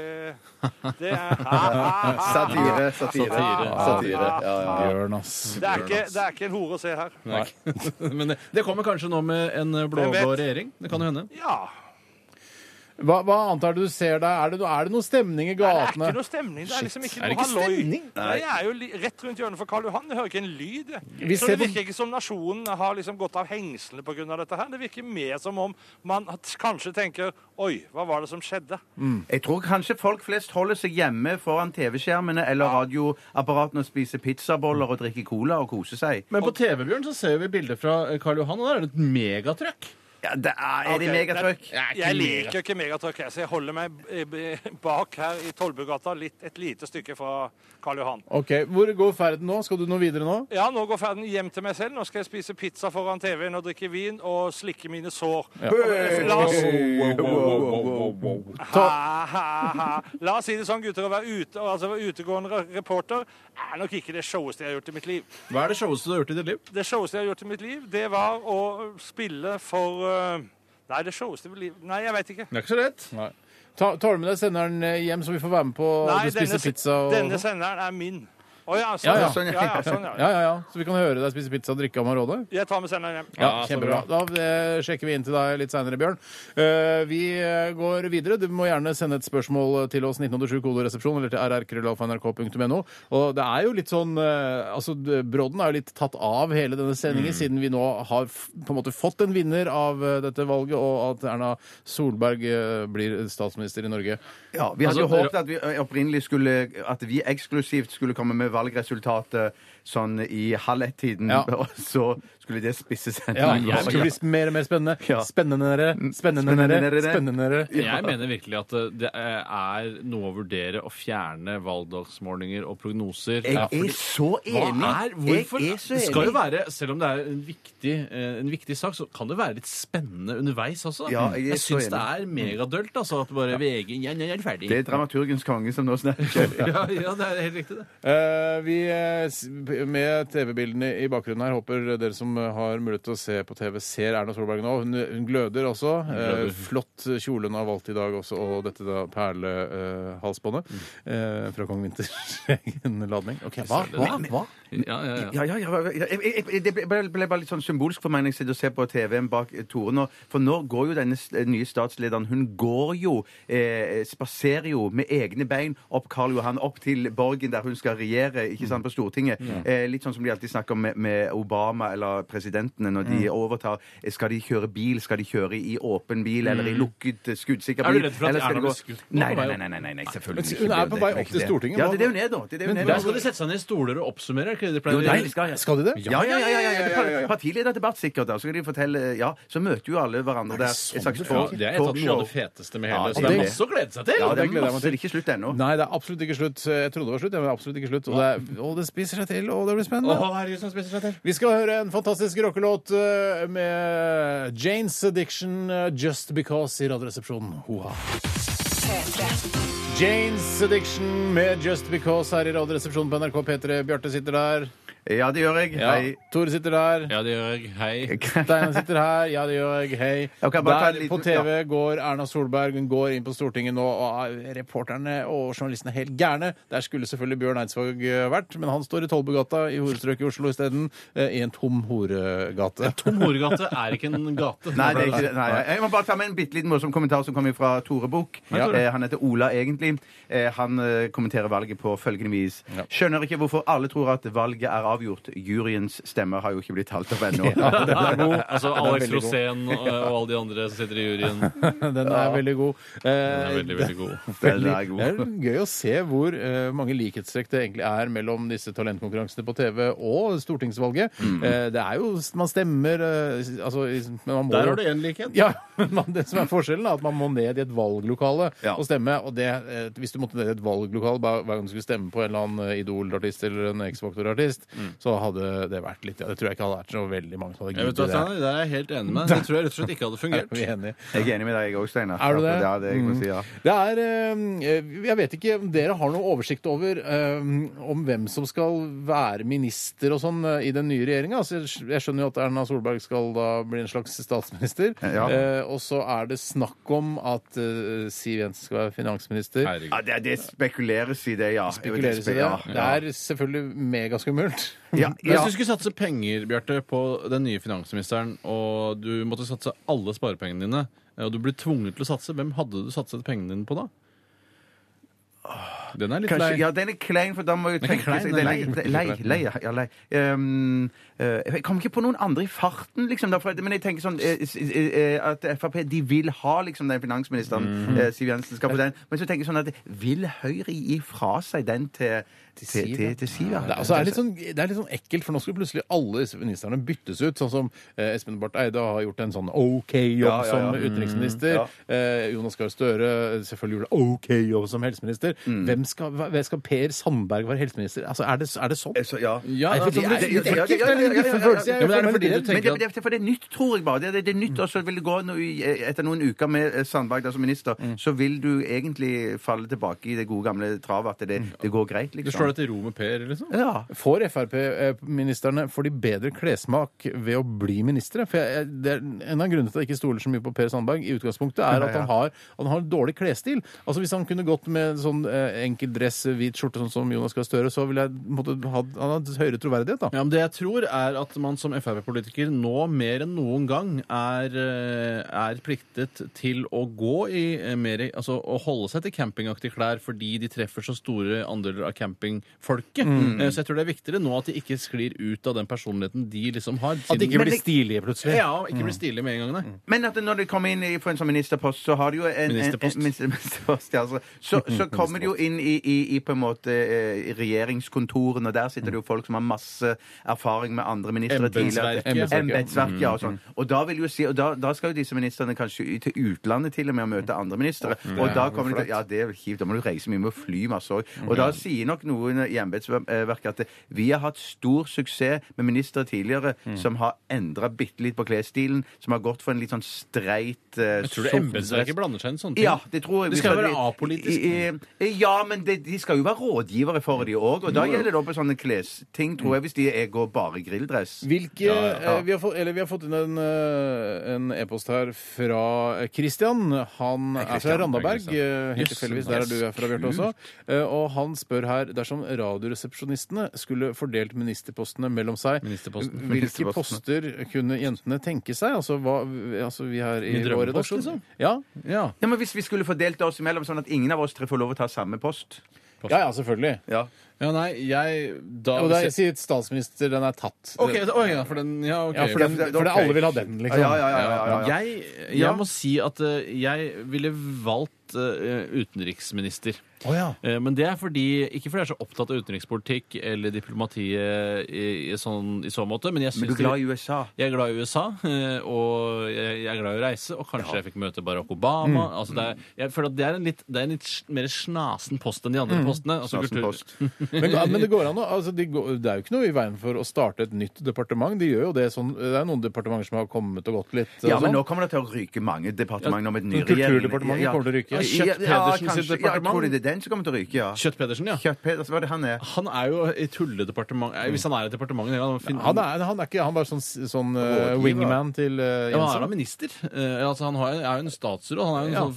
Det er Ah,
Satire, satire, satire. Ja, ja. Bjørn, ass.
Det er, ikke, det er ikke en hore å se her.
Nei. Men det, det kommer kanskje nå med en blå-blå regjering. Det kan jo hende.
Ja.
Hva, hva annet er det du ser der? Er det, no- er det noe stemning i
Det er
gatene?
ikke noe stemning. Det er liksom
Shit.
ikke
Er det
noe
ikke
halloi.
stemning?
Nei, Jeg er jo li rett rundt hjørnet for Karl Johan. Jeg hører ikke en lyd. jeg.
Vi
Så
ser
det
på-
virker ikke som nasjonen har liksom gått av hengslene pga. dette her. Det virker mer som om man at- kanskje tenker Oi, hva var det som skjedde?
Jeg tror kanskje folk flest holder seg hjemme foran TV-skjermene eller radioapparatene og spiser pizzaboller og drikker cola og koser seg.
Men på TV-Bjørn så ser vi bilder fra eh, Karl Johan, og der er det et megatrøkk.
Ja, det er, er det
Ok,
megatrykk?
det- Jeg liker jo ikke megatrykk, jeg, så jeg holder meg eh, b- bak her i Tollbugata, litt- et lite stykke fra Karl Johan.
OK, hvor går ferden nå? Skal du noe videre nå?
Ja, nå går ferden hjem til meg selv. Nå skal jeg spise pizza foran TV-en og drikke vin og slikke mine sår.
Ja.
Og La oss
Ta,
Ha, ha, ha. La oss si det sånn, gutter. Å være ute, altså, være utegående re- reporter er nok ikke det showeste jeg har gjort i mitt liv.
Hva er det showeste du har gjort i ditt liv?
Det showeste jeg har gjort i mitt liv, det var å spille for eh, Nei, det showeste i mitt liv Nei, jeg veit ikke.
Det er ikke så lett.
Nei. ta, tar du med deg senderen eh, hjem, så vi får være med på å
Nei,
spise
denne,
pizza? Og...
denne senderen er min. Å ja,
Ja,
sånn,
ja.
ja, ja. ja, sånn, ja.
Ja, ja, ja. Så vi kan høre deg spise pizza og drikke Amarone?
Jeg tar med senderen hjem.
Ja, kjempebra. Da eh, sjekker vi inn til deg litt seinere, Bjørn. Eh, Vi eh, går videre. Du må gjerne sende et spørsmål til oss 1987 kodoresepsjon eller til rrkrøllalfa.nrk.no. Og det er jo litt sånn eh, Altså, d- Brodden er jo litt tatt av hele denne sendingen, siden vi nå har f- på en måte fått en vinner av eh, dette valget, og at Erna Solberg eh, blir statsminister i Norge.
Ja, vi hadde jo
Altså,
håpet at vi ø, opprinnelig skulle At vi eksklusivt skulle komme med valgresultatet sånn i halv ett-tiden,
Ja.
og så skulle det spisse seg.
Ja, Mm. det skulle bli mer og mer spennende.
Ja.
Spennendere, spennendere, spennendere.
Jeg mener virkelig at eh, det er noe å vurdere å fjerne valgdagsmålinger og prognoser.
Jeg
Ja, fordi-
er så
Hva
enig!
er, hvorfor?
Jeg er så
Det skal jo
enig.
være, selv om det er en viktig, eh, en viktig sak, så kan det være litt spennende underveis også.
Ja, jeg er
jeg
så
syns det
enig.
er megadølt, altså. At bare VG ja, ja, ja, er ferdig.
Det er dramaturgens konge som nå snakker.
ja, ja, det er helt riktig, det.
Eh, vi, eh, s- med TV-bildene i bakgrunnen her, håper dere som eh, har mulighet til å se på TV, ser Erna Solberg nå. Hun, hun gløder også. Eh,
gløder.
flott kjole hun har valgt i dag også, og dette da perlehalsbåndet eh, fra kong Winters egen ladning. Ok, hva? hva? hva?
Ja, ja, ja.
Ja, ja, ja, ja. Jeg, jeg, det ble, ble bare litt sånn symbolsk for meg når jeg sitter og ser på TV-en bak eh, Tore nå. For nå går jo denne s- eh, nye statslederen Hun går jo, eh, spaserer jo med egne bein opp Karl Johan, opp til borgen der hun skal regjere, ikke sant, på Stortinget.
Mm.
Eh, litt sånn som de alltid snakker om med, med Obama eller presidentene når
Mm.
de overtar. Eh, Skal de kjøre bil? Skal de kjøre i åpen bil eller i lukket, eh, skuddsikker
Mm. Er du
bil?
redd for at
Eller skal
Erna
de gå-
blir skutt nå på
Nei,
vei
nei,
opp?
nei, nei, nei, nei,
Men
selvfølgelig
hun
ikke.
er
Det
på vei
ikke
opp til
det.
Stortinget.
Ja,
Hva-
det er det hun er, da. Det er det hun
Men
er, da.
Der skal de sette seg ned i stoler og oppsummere. er ikke det de
Jo,
pleier å
nei,
gjøre?
de skal, ja.
Skal de det?
Ja, ja, ja, ja, ja, ja, ja, ja. Partilederdebatt sikkert. Da. Så, kan de fortelle, ja, så møter jo alle hverandre der.
sånn
Et slags
det
Ja,
talk-
det er et av noe av
talkshow.
det feteste med
Ja,
hele.
det
Så
er
det er
det.
masse å glede seg
Det
Ja, det
til.
gleder jeg
er
meg
masse.
til.
Det er ikke slutt ennå.
Nei, det er absolutt ikke slutt. Jeg trodde det var slutt, men det er absolutt ikke slutt. Og det, er, og det spiser seg til, og det blir spennende.
Å, herregud, som spiser seg til.
Vi skal høre en fantastisk rockelåt eh, med Janes Addiction, eh, Just Because, i Radioresepsjonen. Hoa. Janes Addiction med Just Because her i Radioresepsjonen på NRK P3. Bjarte sitter der.
Ja, det gjør jeg. Hei.
Tore sitter der.
Ja, det gjør jeg. Hei.
Steinar sitter her. Ja, det gjør jeg. Hei.
Jeg kan bare ta en
Der
liten-
på TV går Erna Solberg. Hun går inn på Stortinget nå, og eh, reporterne og journalistene er helt gærne. Der skulle selvfølgelig Bjørn Eidsvåg eh, vært, men han står i Tollbugata i horestrøket i Oslo isteden, eh, i en tom horegate.
Tom Horegate er ikke en gate.
Nei, det er ikke det. Nei, jeg- jeg må bare ta med en bitte liten morsom kommentar som kommer fra Tore Bukk.
Ja.
Eh, han heter Ola, egentlig. Eh, han eh, kommenterer valget på følgende vis. Skjønner ikke hvorfor alle tror at valget er avgjort. Juryens stemmer har jo ikke blitt talt opp ennå.
Altså Alex Rosén og, og alle de andre som sitter i juryen. Den
Den er veldig god.
er
Eh,
veldig, veldig god.
Den
veldig-
er god.
Det er gøy å se hvor eh, mange likhetstrekk det egentlig er mellom disse talentkonkurransene på TV og stortingsvalget. Eh, det er jo Man stemmer eh, altså, i- men man må jo-
én likhet.
ja, men det som er forskjellen er at man må ned i et valglokale
Ja.
og stemme. og det, eh, Hvis du måtte ned i et valglokale hver hver gang du skulle stemme på en eller annen eh, Idol-artist eller en X-Factor-artist, så hadde det vært litt ja, Det tror jeg ikke hadde vært så veldig mange som hadde
Jeg vet
giddet
hva,
det.
Steinar, Der er jeg helt enig med deg. Det tror jeg rett og slett ikke hadde fungert.
Er vi enige?
Jeg er enig med deg, jeg òg, Steinar.
Er du det?
Ja, det er jeg må
Mm.
si, ja.
Det er eh, Jeg vet ikke om dere har noe oversikt over eh, om hvem som skal være minister og sånn eh, i den nye regjeringa. Altså, jeg skj- jeg skjønner jo at Erna Solberg skal da bli en slags statsminister.
Ja.
Eh, og så er det snakk om at eh, Siv Jensen skal være finansminister.
ja det, det spekuleres i det, ja.
Spekuleres i det.
Ja,
Det er selvfølgelig megaskummelt.
Ja,
Men Hvis du skulle satse penger Bjarte, på den nye finansministeren, og du måtte satse alle sparepengene dine, og du ble tvunget til å satse, hvem hadde du satset pengene dine på da? Den er litt
Kanskje,
lei.
ja, den er klein, for da må jeg
Den er
tenke
ikke klein, den
er
er
lei,
lei.
lei, lei, ja, ja, lei. Ehm, eh, jeg kom ikke på noen andre i farten, liksom. Derfor, men jeg tenker sånn eh, s- eh, at Frp de vil ha liksom, den finansministeren. eh, Siv Jensen skal få den. Men så tenker jeg sånn at vil Høyre gi fra seg den til, til, til, til, Siv? Ja.
Det er, altså, det, er litt sånn, det er litt sånn ekkelt, for nå skulle plutselig alle disse ministrene byttes ut. Sånn som eh, Espen Barth Eide har gjort en sånn OK-jobb
Ja, ja, ja.
som
Mm,
utenriksminister.
ja.
Eh, Jonas Gahr Støre eh, selvfølgelig gjorde en OK-jobb som helseminister.
Mm.
Hvem skal, hva- hvem skal Per Sandberg være helseminister? Altså, Er det, er det sånn?
Så, ja.
Ja,
Nei, for det
altså, for
er
det-
litt ekkelt. Det er litt guffen følelse.
Ja, men er det
Jeg føler
fordi du
meg litt redd.
Men
tenker
det,
at
det, er- for det er nytt, tror jeg bare. Det, det, det er nytt, og så vil det gå noe, i- Etter noen uker med eh, Sandberg der som minister,
Mm.
så vil du egentlig falle tilbake i det gode gamle travet at det, det går greit,
Mm. Du
liksom.
slår deg til ro med Per, liksom?
Ja.
Får Frp-ministerne eh, får de bedre klessmak ved å bli ministre? For jeg, jeg, det er En av grunnene til at jeg ikke stoler så mye på Per Sandberg, i utgangspunktet, er at han har, han har dårlig klesstil. Altså Hvis han kunne gått med sånn eh, enkel dress, hvit skjorte, sånn som Jonas Gahr Støre, så ville jeg måtte ha han hadde høyere troverdighet, da.
Ja, men Det jeg tror, er at man som Frp-politiker nå mer enn noen gang er, eh, er pliktet til å gå i eh, mer Altså å holde seg til campingaktige klær fordi de treffer så store andeler av campingfolket. Eh, Så jeg tror det er viktigere nå at de ikke sklir ut av den personligheten de liksom har.
At de
siden-
ikke blir stilige plutselig.
ja, og ikke blir stilige med en gang, nei.
Men at når du kommer inn i- for en sånn ministerpost, så har du jo en
Ministerpost.
en- en- minister- ministerpost ja, altså. så, så kommer du jo inn i, i, i på en måte eh, i regjeringskontorene, og der sitter det jo folk som har masse erfaring med andre ministre tidligere.
Embetsverket.
Embetsverket,
Mhm.
ja. Og sånn. Og da vil jo si, og da, da skal jo disse ministrene kanskje ut til utlandet til og med og møte andre ministre. Og da kommer det til Ja, det er kjipt. Da må du reise mye med fly masse òg. Og
Mhm.
da sier nok noen i embetsverket at vi har hatt stor suksess med ministre tidligere
Mhm.
som har endra bitte litt på klesstilen, som har gått for en litt sånn streit eh,
Jeg tror det
sort-
embetsverket blander seg inn i sånne ting.
ja, det tror jeg.
Det skal jo
Så
være apolitisk.
I- i- Ja, men det, de skal jo være rådgivere for de òg, og da gjelder det opp på sånne klesting, tror jeg, hvis de er, går bare i grilldress.
Hvilke, eh, Vi, har fått, eller vi har fått inn en eh, en e-post her fra Christian. Han er fra
Christian.
Randaberg.
Hei, Christian.
eh, Helt
Jøss,
tilfeldigvis.
nice.
Der er du er fra, Bjarte, også. Eh, Og han spør her dersom Radioresepsjonistene skulle fordelt ministerpostene mellom seg,
Ministerposten.
hvilke poster kunne jentene tenke seg? Altså, hva, altså vi her i
Min
vår
drømmepost,
redaksjon.
liksom?
Ja.
Ja.
Ja, men Hvis vi skulle fordelt oss imellom, sånn at ingen av oss tre får lov å ta samme post
ja, ja, selvfølgelig.
Ja.
ja, nei, jeg da,
Og det er, sier statsminister, den er tatt.
OK, å ja, for den Ja, OK.
ja, for, den,
Ja, for det-
for det,
ok.
alle vil ha den,
Ja,
liksom.
ja, ja, ja, ja, ja.
Jeg, jeg
Ja.
må si at eh, jeg ville valgt eh, utenriksminister.
Å, ja.
Eh, Men det er fordi, ikke fordi jeg er så opptatt av utenrikspolitikk eller diplomatiet i, i, sånn, i så måte, men jeg
Men du
synes
er glad i USA?
jeg er glad i USA, eh, og jeg jeg er glad i å reise. Og kanskje jeg fikk møte Barack Obama.
Mm.
Altså det er, jeg føler at det er en litt, det er en litt sj- mer snasen post enn de andre postene. Altså
Mm. Snasen
kultur-
post.
Men, men det går an å altså, de går, Det er jo ikke noe i veien for å starte et nytt departement. De gjør jo det sånn Det er noen departementer som har kommet og gått litt. og
Ja, men
sånn.
nå kommer det til å ryke mange departementer med den nye
men
regjeringen.
Kulturdepartementet
Ja.
kommer til å ryke.
Ja, ja,
Kjøtt-Pedersen sitt
kanskje. Ja, jeg
departement.
tror det er den som kommer til å ryke, ja.
Kjøtt-Pedersen, ja.
Kjøtt-Pedersen, hva er det han er?
Han er jo i tulledepartement
Mm.
eh, Hvis han er i departementet en gang han finner-
Han er, han er ikke Han er bare sånn, sånn eh,
Rådgiver.
wingman til eh,
Ja, men han er da
Jensen.
minister. Eh, altså, han har, er jo en statsråd. Han er jo en
Ja.
sånn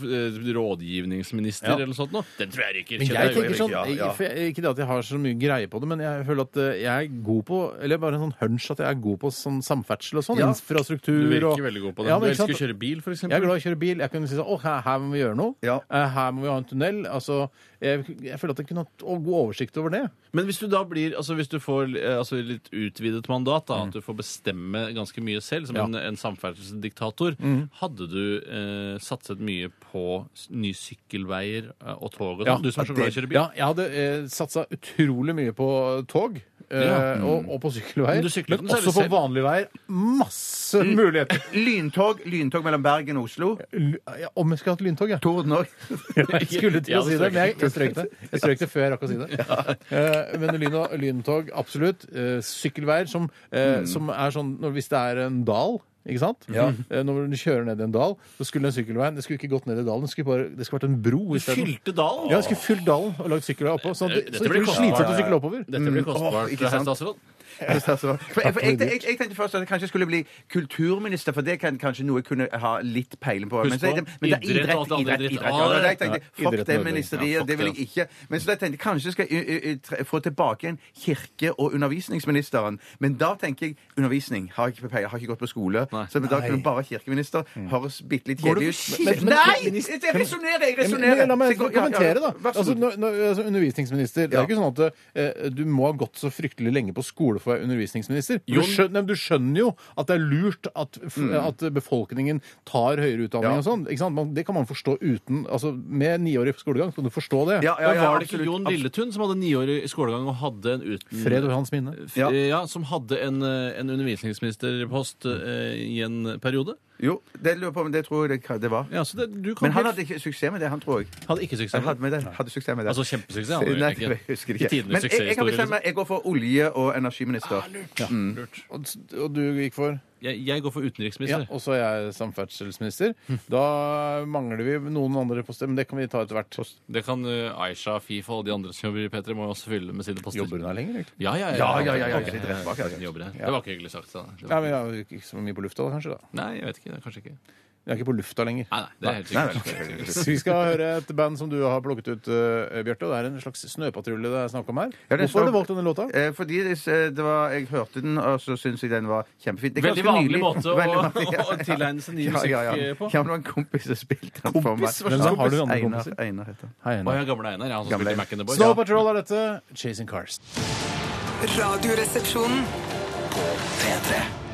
eh, rådgivningsminister
Ja.
eller noe sånt. Nå. Den tror jeg ryker.
Men
Kjøtt
jeg
er jo-
tenker sånn
Ja, ja.
for jeg, Ikke det at jeg har så mye greie på det, men jeg føler at eh, jeg er god på Eller bare en sånn hunch at jeg er god på sånn samferdsel og sånn.
Ja.
Infrastruktur
Du
og
virker veldig god på det.
Ja, men
du
ikke sant?
elsker å kjøre bil, for eksempel.
Jeg er glad i å kjøre bil. Jeg kunne si sånn Å, her, her må vi gjøre noe.
Ja.
Eh, Her må vi ha en tunnel. Altså, jeg, jeg føler at jeg kunne hatt god oversikt over det.
Men hvis du da blir, altså hvis du får eh, altså litt utvidet mandat, da, at du får bestemme ganske mye selv som
Ja.
en, en samferdselsdiktator, hadde du eh, satset mye på s- nye sykkelveier eh, og tog og sånn?
Ja,
du som er så glad i å kjøre bil.
Ja, jeg hadde eh, satsa utrolig mye på tog. eh,
Ja. Mm.
og, og på sykkelveier.
Men du sykler
Men
den selv
også på
selv.
vanlige veier. Masse
Mm.
muligheter.
Lyntog, lyntog mellom Bergen og Oslo.
Ja, om jeg skulle hatt lyntog, ja.
Torden òg.
Jeg skulle til å si det, men jeg, jeg strøk det. Jeg strøk det før jeg rakk å si det. Eh, Men lyn og, lyntog, absolutt. Eh, Sykkelveier som, eh, som er sånn når, Hvis det er en dal ikke sant?
Mm. Ja.
Eh, Når du kjører ned i en dal, så skulle den sykkelveien Det skulle ikke gått ned i dalen, det skulle, bare, det skulle vært en bro. i stedet.
fylte dalen?
Ja, jeg skulle fylt dalen og lagd sykkelvei oppå. Sånn at det- så det ikke blir slitsomt å sykle oppover.
Dette blir
Åh,
kostbart,
ikke
herr
sant?
statsråd.
Ja, statsråd. For jeg, for jeg, jeg, jeg tenkte først at jeg kanskje skulle bli kulturminister, for det kan kanskje noe jeg kunne ha litt peiling på.
Husk
Men, så,
på,
men det er
idrett
idrett,
og alt det andre
idrett, idrett.
dritt.
Ja,
Ah,
det, jeg tenkte,
ja,
fuck
idrett
det
og
ministeriet,
ødelegge. Ja, fuck
det vil
det,
jeg ikke. Men så da tenkte jeg kanskje skal jeg ø- ø- ø- få tilbake igjen kirke- og undervisningsministeren. Men da tenker jeg undervisning. Har ikke peiling, har ikke gått på skole. Så men da kan du bare være kirkeminister. Høres bitte litt
Mm. Går du
kjedelig ut.
for
Men-
kirkeminister?
Nei! Jeg resonnerer, jeg
Men- men
resonnerer.
La meg
Så jeg går- ja, ja,
kommentere, da.
vær så
Altså,
god.
når, når, altså, undervisningsminister, det er ikke sånn at eh, du må ha gått så fryktelig lenge på skole for å være undervisningsminister. Du
Jo.
skjønner, nei, men du skjønner jo at det er lurt at, f- at befolkningen tar høyere utdanning
Mm. Ja.
og sånn. Ikke sant? Man, det kan man forstå uten altså Med niårig skolegang kan du forstå det.
Ja, ja,
Men
ja,
var det ikke
absolutt,
Jon
absolutt.
Lilletun som hadde niårig skolegang og hadde en uten...
Fred over hans minne.
Ja. eh, ja, som hadde en, eh, en undervisningsministerpost eh, i en periode.
Jo, det lurer jeg på om det tror jeg det, det var.
Ja, så det, du kom
Men han
helt-
hadde ikke suksess med det, han tror jeg.
hadde ikke suksess.
Jeg hadde, med det. hadde suksess med det.
Altså kjempesuksess hadde han
Nei,
jo
jeg
ikke.
husker
I
ikke.
tidenes
Men jeg, jeg kan
suksesshistorie, liksom.
bestemme meg. Jeg går for olje- og energiminister.
Lurt.
Og, og du gikk for
Jeg, jeg går for
ja,
utenriksminister.
Og så er jeg samferdselsminister.
Hm.
Da mangler vi noen andre poster, men det kan vi ta etter hvert.
Det kan eh, Aisha, Fifa og de andre som jobber i P3 må jo også fylle med sine poster.
Jobber hun her lenger, egentlig?
Ja, ja,
Ja, ja, ja, ja,
Ok,
litt rett bak, ja.
hun jobber her. Det var ikke hyggelig sagt. Da.
Ja,
Det var...
men jeg er ikke så mye på lufta, da, kanskje. da.
Nei, jeg vet ikke. Det er kanskje ikke. Nei,
Jeg er ikke på lufta lenger.
nei, det er helt
Nei,
sikkert.
nei, nei.
Så Vi skal høre et band som du har plukket ut, eh, Bjarte. og Det er en slags snøpatrulje det er snakk om her.
Ja, det er
Hvorfor har
snø-
du valgt denne låta?
Eh, fordi det, det var, jeg hørte den, og så syntes jeg den var kjempefin. Det er
Veldig
ganske
vanlig
nylig.
måte å-
Veldig vanlig, ja,
å
ja.
tilegne seg ny
Ja, ja, ja.
musikk, eh, på.
Ja, men det var en kompis som spilte den for meg.
Kompis? Hva slags
Ja,
kompis? Har du andre
Einar,
kompiser?
Einar heter han.
Hei,
Å
Einar.
ja, gamle Einar. ja, Han som
Gamle
spilte i
Einar.
Mac and the Boys.
Snow Patrol er dette. Chasing Cars.
Radioresepsjonen.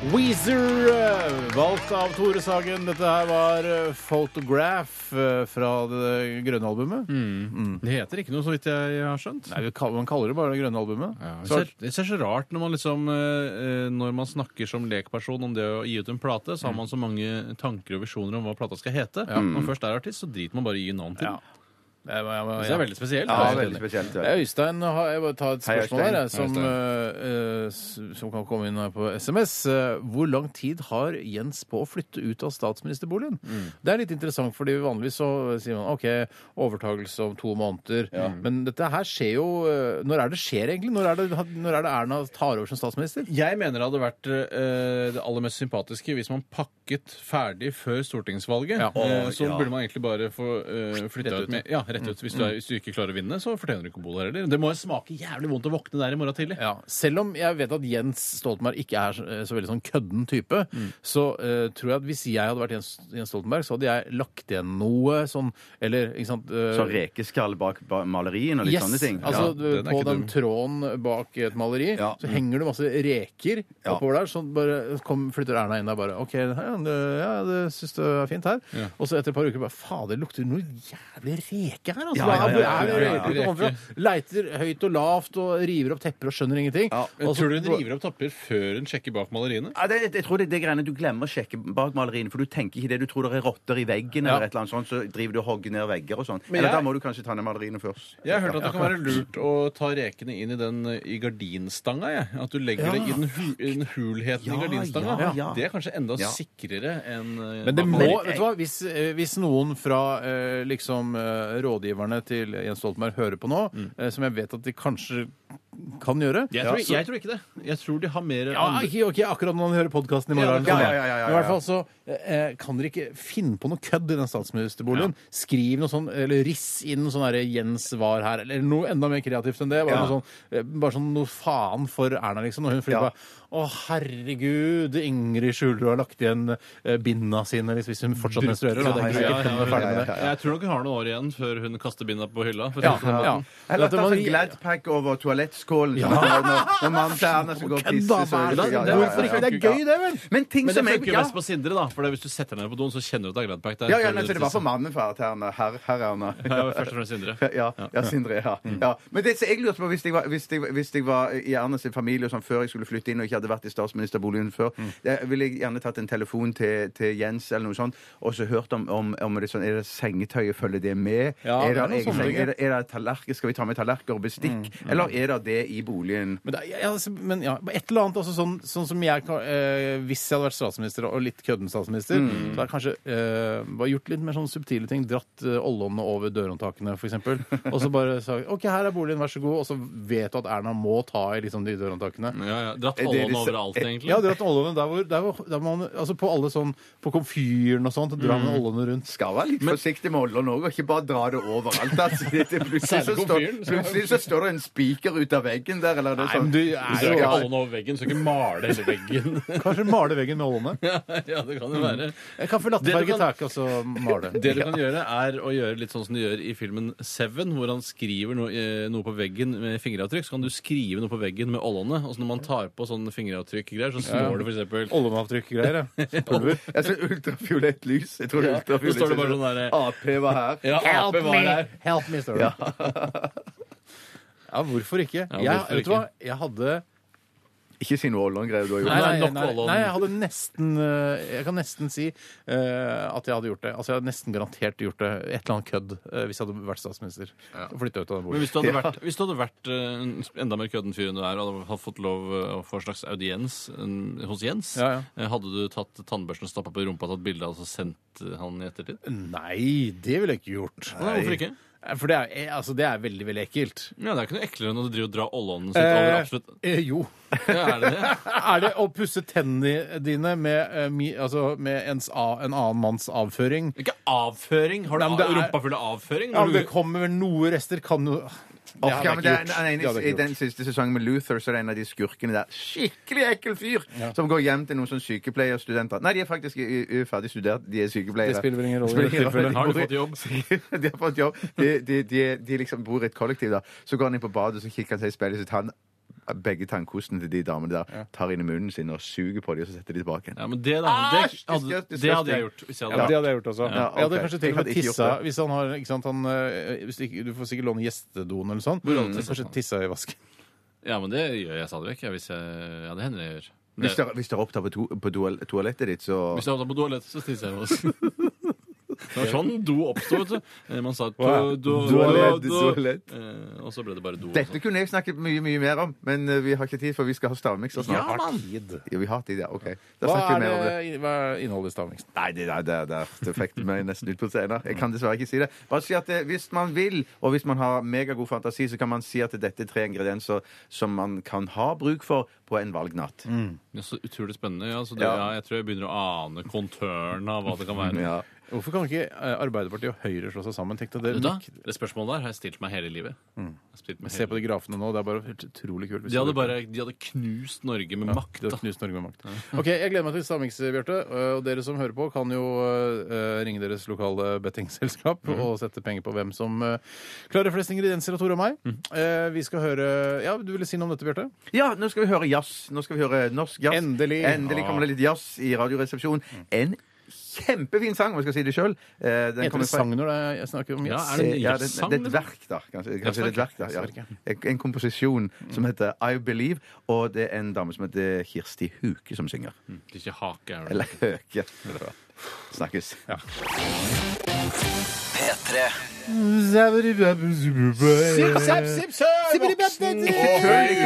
Weezer, eh, valgt av Tore Sagen. Dette her var eh, Photograph eh, fra det grønne albumet.
Det heter ikke noe, så vidt jeg har skjønt.
Nei, vi kall- Man kaller det bare det grønne albumet.
Ja,
Så-
jeg ser- jeg ser så rart når man liksom eh, eh, Når man snakker som lekperson om det å gi ut en plate,
Mm.
så har man så mange tanker og visjoner om hva plata skal hete. Når man først er artist, så driter man bare i å gi navn til
Ja.
den.
Jeg må- jeg må-
Så Det er veldig spesielt.
Ja,
Jeg er helt
veldig
enig.
spesielt.
Det
Ja.
er Eh, Øystein har- jeg bare tar et
Hei,
spørsmål
Øystein.
her, jeg, som,
Hei,
eh, eh, s- som kan komme inn her på SMS. Eh, Hvor lang tid har Jens på å flytte ut av statsministerboligen? Det er litt interessant, fordi vanligvis så sier man OK, overtakelse om to måneder. Men dette her skjer jo eh, Når er det skjer, egentlig? Når er det, når er det Erna tar over som statsminister?
Jeg mener det hadde vært eh, det aller mest sympatiske hvis man pakket ferdig før stortingsvalget.
Ja.
Eh, så
Å, ja.
burde man egentlig bare få eh, flytta
Rett Mm.
ut med Ja, rett ut. Hvis du, er, hvis du ikke klarer å vinne, så fortjener du ikke å bo der heller. Det må jo smake jævlig vondt å våkne der i morgen tidlig.
Ja, Selv om jeg vet at Jens Stoltenberg ikke er så, så veldig sånn kødden type, så eh, tror jeg at hvis jeg hadde vært Jens, Jens Stoltenberg, så hadde jeg lagt igjen noe sånn Eller ikke sant eh,
Så rekeskall bak ba- malerien og litt
Yes!
sånne ting.
Altså,
Ja.
du,
den er
på
ikke
den
dum.
tråden bak et maleri
Ja.
så henger det masse reker
Ja.
oppover der. Så bare kom, flytter Erna inn der bare OK, ja, det, ja, det syns du er fint her.
Ja.
Og så etter et par uker bare Fader, det lukter noe jævlig reke her, altså!
Ja, ja, ja,
Det
ja,
er
ja, ja,
reker som kommer fra. Leiter høyt og lavt og river opp tepper og skjønner ingenting. Og så-
Eh, Tror du hun river opp tapper før hun sjekker bak maleriene?
Ja, det, jeg tror det er det greiene du glemmer å sjekke bak maleriene. For du tenker ikke det. Du tror det er rotter i veggen, eller et eller annet sånt, så driver du og hogger ned vegger og sånn.
Men
Eller
jeg-
da må du kanskje ta ned maleriene først.
Jeg har hørt at det kan være lurt å ta rekene inn i den eh, i gardinstanga. Jeg. At du legger det i den, hu i den hulheten
Ja,
i gardinstanga.
ja, ja.
Det er kanskje enda
Ja.
sikrere enn eh,
Men det
bak
må,
maleriet.
vet du hva, hvis, eh, hvis noen fra eh, liksom, eh, rådgiverne til Jens Stoltenberg hører på nå, eh, som jeg vet at de kanskje kan gjøre
Mm. jeg tror,
ja, så-
jeg tror ikke det. Jeg tror de har mer
ja,
andre-
ikke, ok, akkurat når han hører podkasten i
Ja,
morgen.
ja, ja, ja, ja, ja.
Men I hvert fall så eh, kan dere ikke finne på noe kødd i den statsministerboligen. Skriv noe sånn, eller riss inn noe sånn derre 'Jens var her', eller noe enda mer kreativt enn det. Bare,
Ja.
noe, sånn, eh, bare sånn noe faen for Erna, liksom. Når hun flyr
Ja.
bare 'Å, herregud, Ingrid Skjulerud har lagt igjen eh, binda sine', hvis, hvis hun fortsatt menstruerer. og det er
Ja,
ikke
ja,
sikkert
ja,
hun er ferdig med det.
Jeg tror nok hun har noen år igjen før hun kaster binda på hylla. For å
Ja,
si det sånn.
ja.
Eller
Dette
ta
må
sånn
vi-
Gladpack over pisskålen. som
Ja.
man har Når, når mannen til Erna skal gå og
Kødda,
pisse. så-
hva er det?
ja, ja, ja, ja.
Hvorfor ikke? Det er gøy, det, vel?
Men ting
Men det
som jeg-
funker jo
ja.
mest på Sindre, da. For det er hvis du setter deg ned på doen, så kjenner du at det er sånn- Gladpack der.
Ja, ja,
før
nei, så
du
det var
tisser.
for mannen far til Erna. Herr her, Erna.
Ja, det var først og fremst Sindre. Mm.
Ja, ja Sindre, ja. ja. Men det som jeg lurte på, hvis jeg var, hvis jeg, hvis jeg var i Erna sin familie og sånn før jeg skulle flytte inn og ikke hadde vært i statsministerboligen før,
Mm.
da ville jeg gjerne tatt en telefon til, til Jens eller noe sånt, og så hørt om, om, om det er sånn, er det sengetøyet, følger det med?
Ja,
er
det er
det,
noe
egen
sånne
seng?
ting.
Er det, er det tallerken? Skal vi ta med tallerkener og bestikk?
Mm,
Eller er det det i boligen?
Men, det, er- ja, altså, men ja, et eller annet også sånn, sånn som jeg kan- eh, Hvis jeg hadde vært statsminister, og litt kødden statsminister, så
Mm.
hadde jeg kanskje eh, bare gjort litt mer sånn subtile ting. Dratt eh, ollåndene over dørhåndtakene, f.eks. Og så bare sagt OK, her er boligen, vær så god. Og så vet du at Erna må ta i liksom, de dørhåndtakene.
Ja, ja. Dratt ollene overalt, egentlig.
Ja, dratt ollåndene der hvor, der hvor der man, altså På alle sånn På komfyren og sånt. Drar man
Mm.
ollåndene rundt.
Skal være litt forsiktig med oljen òg, og ikke bare dra det overalt. Altså. Det- det- Plutselig, så
Særlig
står,
komfyren.
plutselig så står det en spiker ut av veggen der, eller det er
Nei, men
sånn.
du er jo ikke ollene over veggen, så ikke male hele veggen.
Kanskje male veggen med ollene.
ja, ja, det kan jo være.
Jeg kan få
Det du
latterfarge
kan-
taket og så male.
Mm. Det du kan gjøre, er å gjøre litt sånn som de gjør i filmen Seven, hvor han skriver noe, eh, noe på veggen med fingeravtrykk. Så kan du skrive noe på veggen med ollene. Og så når man tar på sånne fingeravtrykk-greier, så
Ja.
står det for eksempel
Oljeavtrykk-greier, ja. Som Pulver.
Jeg ser ultrafiolett lys. Jeg tror det er
Ja,
ultrafiolett.
så står det bare sånn der-
Ap var her.
Ja, Ap var der.
Help me, står det.
Ja.
Ja, hvorfor ikke?
Ja,
jeg,
hvorfor
vet du hva? Jeg hadde
Ikke si noe Ålland-greier du har
nei, nei,
gjort.
nok
nei,
Ålån.
nei, jeg hadde nesten eh, Jeg kan nesten si eh, at jeg hadde gjort det. Altså, jeg hadde nesten garantert gjort det. Et eller annet kødd eh, hvis jeg hadde vært statsminister.
Ja.
Og flytta ut av den
Men
boligen.
hvis du hadde vært, hvis du hadde vært eh, en enda mer kødden fyr enn du er, og hadde fått lov eh, å få en slags audiens eh, hos Jens,
Ja, ja.
eh, hadde du tatt tannbørsten og stappa på rumpa, tatt bilde av og så sendt eh, han i ettertid?
Nei, det ville jeg ikke gjort.
Nei, hvorfor ikke?
Eh, For det er, eh, altså, det er veldig, veldig ekkelt.
Ja, Det er ikke noe eklere enn å drive og dra ollånden sitt over absolutt
Eh, jo.
ja, Er det det?
Er det å pusse tennene dine med, eh, mi, altså, med ens, a- en annen manns avføring?
Ikke avføring? Har du
Nei, men det
av-
er-
rumpa full av avføring?
Ja,
Når
men
du-
det kommer vel noe rester kan jo Det
Ork, ja, men det er, nei,
Det hadde
nei,
jeg
I
ikke
den
gjort.
siste sesongen med Luther så er det en av de skurkene der. Skikkelig ekkel fyr! Som går hjem til noen sånn sykepleierstudenter. Nei, de er faktisk i- i- ferdig studert, de er sykepleiere.
Det spiller vel ingen rolle i
Spiller
dette tilfellet.
Har du fått jobb?
de har fått jobb. De, de, de, de liksom bor i et kollektiv, da. Så går han inn på badet, så kikker han seg i speilet, så tar han begge tannkostene til de damene der, tar inn i munnen sin og suger på dem, og så setter de tilbake igjen.
Ja, men det, da, det,
Æsj,
hadde,
disgusting.
det hadde jeg gjort. Hvis jeg
Ja,
hadde
men Det hadde jeg gjort også.
Ja, ok.
Jeg hadde kanskje til og med
Jeg hadde ikke gjort
tissa
det.
hvis han har ikke sant, han, eh, hvis du, ikke, du får sikkert låne gjestedoen eller sånn.
hadde du tisset
Kanskje
han?
tissa i vasken.
Ja, men det gjør jeg stadig vekk. Ja, hvis jeg, ja, det hender jeg gjør.
Hvis dere, hvis dere opptar på, to, på toal- toalettet ditt, så
Hvis jeg havna på toalettet, så tisser jeg i vasken. Det var sånn do oppsto, vet du. Eh, Man sa do,
Wow.
do, do,
Toalett,
do.
toalett.
Eh, Og så ble det bare do. og
Dette
sånn.
kunne jeg snakket mye mye mer om, men eh, vi har ikke tid, for vi skal ha stavmikser snart.
Tid.
Ja, vi har tid, ja. OK. Da
Hva
snakker
er,
vi mer om det.
det- hva er innholdet i stavmiksen?
Nei, det der, der, der. Det fikk du meg nesten ut på scenen. Jeg kan dessverre ikke si det. Bare si at eh, hvis man vil, og hvis man har megagod fantasi, så kan man si at dette er tre ingredienser som man kan ha bruk for på en valgnatt.
Mm.
Ja, så utrolig spennende. Ja, så det,
Ja.
ja, jeg tror jeg begynner å ane kontørene av hva det kan
Mm,
være.
Ja.
Hvorfor kan ikke eh, Arbeiderpartiet og Høyre slå seg sammen? Tenk deg
Vet
det
du hva? det spørsmålet der har jeg stilt meg hele livet. Jeg har stilt meg
Mm. Se på
hele
de grafene nå. Det er bare helt utrolig kult. hvis
de
du-
hadde, bare, de hadde knust Norge med
Ja,
makt.
det
Da.
hadde knust Norge med makt. Ok, Jeg gleder meg til Stavmiks, Bjarte. eh, Og dere som hører på, kan jo eh, ringe deres lokale bettingselskap og sette penger på hvem som eh, klarer flest ingredienser av Tore og meg. Eh, Vi skal høre Ja, du ville si noe om dette, Bjarte?
Ja, nå skal vi høre jazz. Nå skal vi høre norsk jazz.
Endelig.
Endelig kommer det litt jazz i Radioresepsjonen. En kjempefin sang, om jeg skal si det Eh, sjøl.
Heter det sang når det er- jeg snakker om
Ja,
jazz?
er det en
ja, det,
jazzsang?
det er et
liksom?
verk, da. Kanskje, kanskje det er et verk, da.
Jazzverk,
Ja. En, en komposisjon som heter I Believe, og det er en dame som heter Kirsti Huke som synger.
Det er Ikke hake, er det.
Eller Høke. Snakkes.
P3
Ikke tull,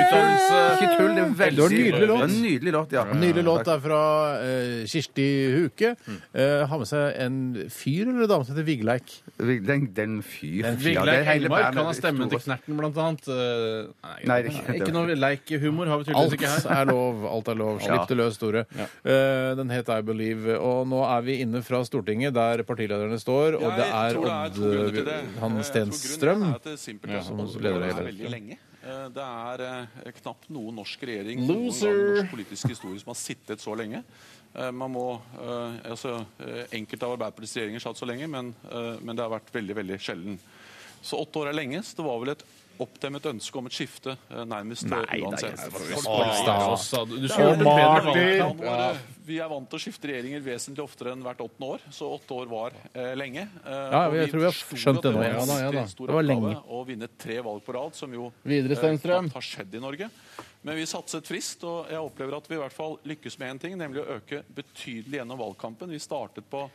Ikke tull, det er veldig
Det var en nydelig låt.
Det var en nydelig låt, ja.
Nylig låt er fra eh, Kirsti Huke. Eh, har med seg en fyr eller en dame som heter Vigleik.
Den, den fyr.
Vigleik
Ja, det er hele
Engmark
bandet.
kan ha stemmen til Knerten, blant annet. Eh,
Nei, det er ikke-
ikke noe leikhumor har vi tydeligvis
Alt
ikke her.
er lov. Alt er lov. Slipp det løs, Tore. Eh, den het I Believe. Og nå er vi inne fra Stortinget, der partilederne står, og det er Odd eh, Han
Eh,
Stenstrøm. som leder det hele.
lenge. Eh, Det er eh, knapt noen norsk regjering
Loser.
noen gang i norsk politisk historie som har sittet så lenge. Eh, Man må, eh, altså, eh, Enkelte av Arbeiderpartiets regjeringer satt så lenge, men, eh, men det har vært veldig veldig sjelden. Så åtte år er lenge, så det var vel et oppdemmet ønske om et skifte eh, nærmest eh,
Nei, det er
uansett.
ikke-
Folk-
Stas.
Folk-
Stas. Du
Det er
skjønner
jo bedre
bedre valg.
valg.
Ja.
Eh, Vi er vant til å skifte regjeringer vesentlig oftere enn hvert åttende år, så åtte år var eh, lenge. Eh,
Ja,
og
jeg tror vi har
forsto
skjønt
at
det nå.
var en
Ja da, ja da.
stor- stor
Det var
oppgave
lenge.
Å vinne tre valg på rad, som jo
Videre,
eh,
Stenstrøm.
knapt har skjedd i Norge. Men vi satset frist, og jeg opplever at vi i hvert fall lykkes med én ting, nemlig å øke betydelig gjennom valgkampen. Vi startet på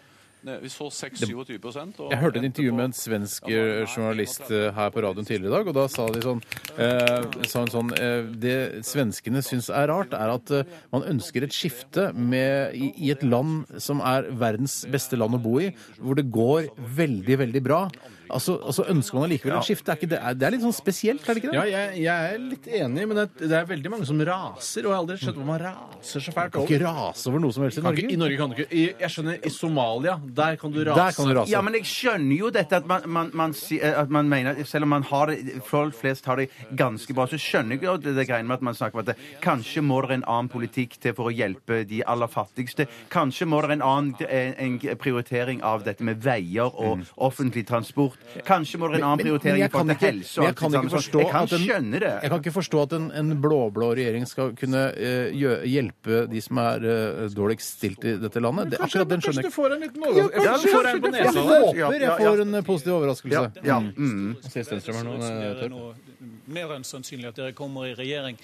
ne, vi så 6-27 prosent, og
Jeg hørte et intervju med en svensk eh, journalist eh, her på radioen tidligere i dag, og da sa de sånn, eh, sa hun sånn eh, Det svenskene syns er rart, er at eh, man ønsker et skifte med, i, i et land som er verdens beste land å bo i, hvor det går veldig, veldig bra. Altså, altså ønsker man allikevel et skifte? Er ikke det, er, det er litt sånn spesielt, er det ikke det?
Ja, jeg, jeg er litt enig, men det, det er veldig mange som raser. Og jeg har aldri skjønt hvor man raser så fælt
Kan
over.
ikke rase over noe som helst i
Kan ikke-
Norge.
I Norge kan du ikke. I, jeg skjønner, i Somalia, der kan du rase.
Der kan du rase.
Ja, men jeg skjønner jo dette at man, man, man, si- eh, at man mener at Selv om man har det, folk flest har det ganske bra, så skjønner jeg jo det, det greiene med at man snakker om at det, kanskje må det en annen politikk til for å hjelpe de aller fattigste. Kanskje må det en annen en, en prioritering av dette med veier og offentlig transport. Kanskje må det en annen prioritering i forhold til helse
men
og
jeg
alt
kan
det
ikke
samme.
forstå
Sånn. Jeg kan
at en-
skjønne det.
Jeg kan ikke forstå at en, en blå-blå regjering skal kunne eh, gjø- hjelpe de som er eh, dårligst stilt i dette landet. Det, akkurat den skjønner jeg ikke.
får en liten
Ja, kanskje
Jeg får en på
jeg
nesa der.
håper jeg får en eh, positiv overraskelse.
Ja, ja.
Mm.
Se Stenstrøm her nå,
Så
eh,
er det
Tor.
nå mer enn sannsynlig at dere kommer i regjering.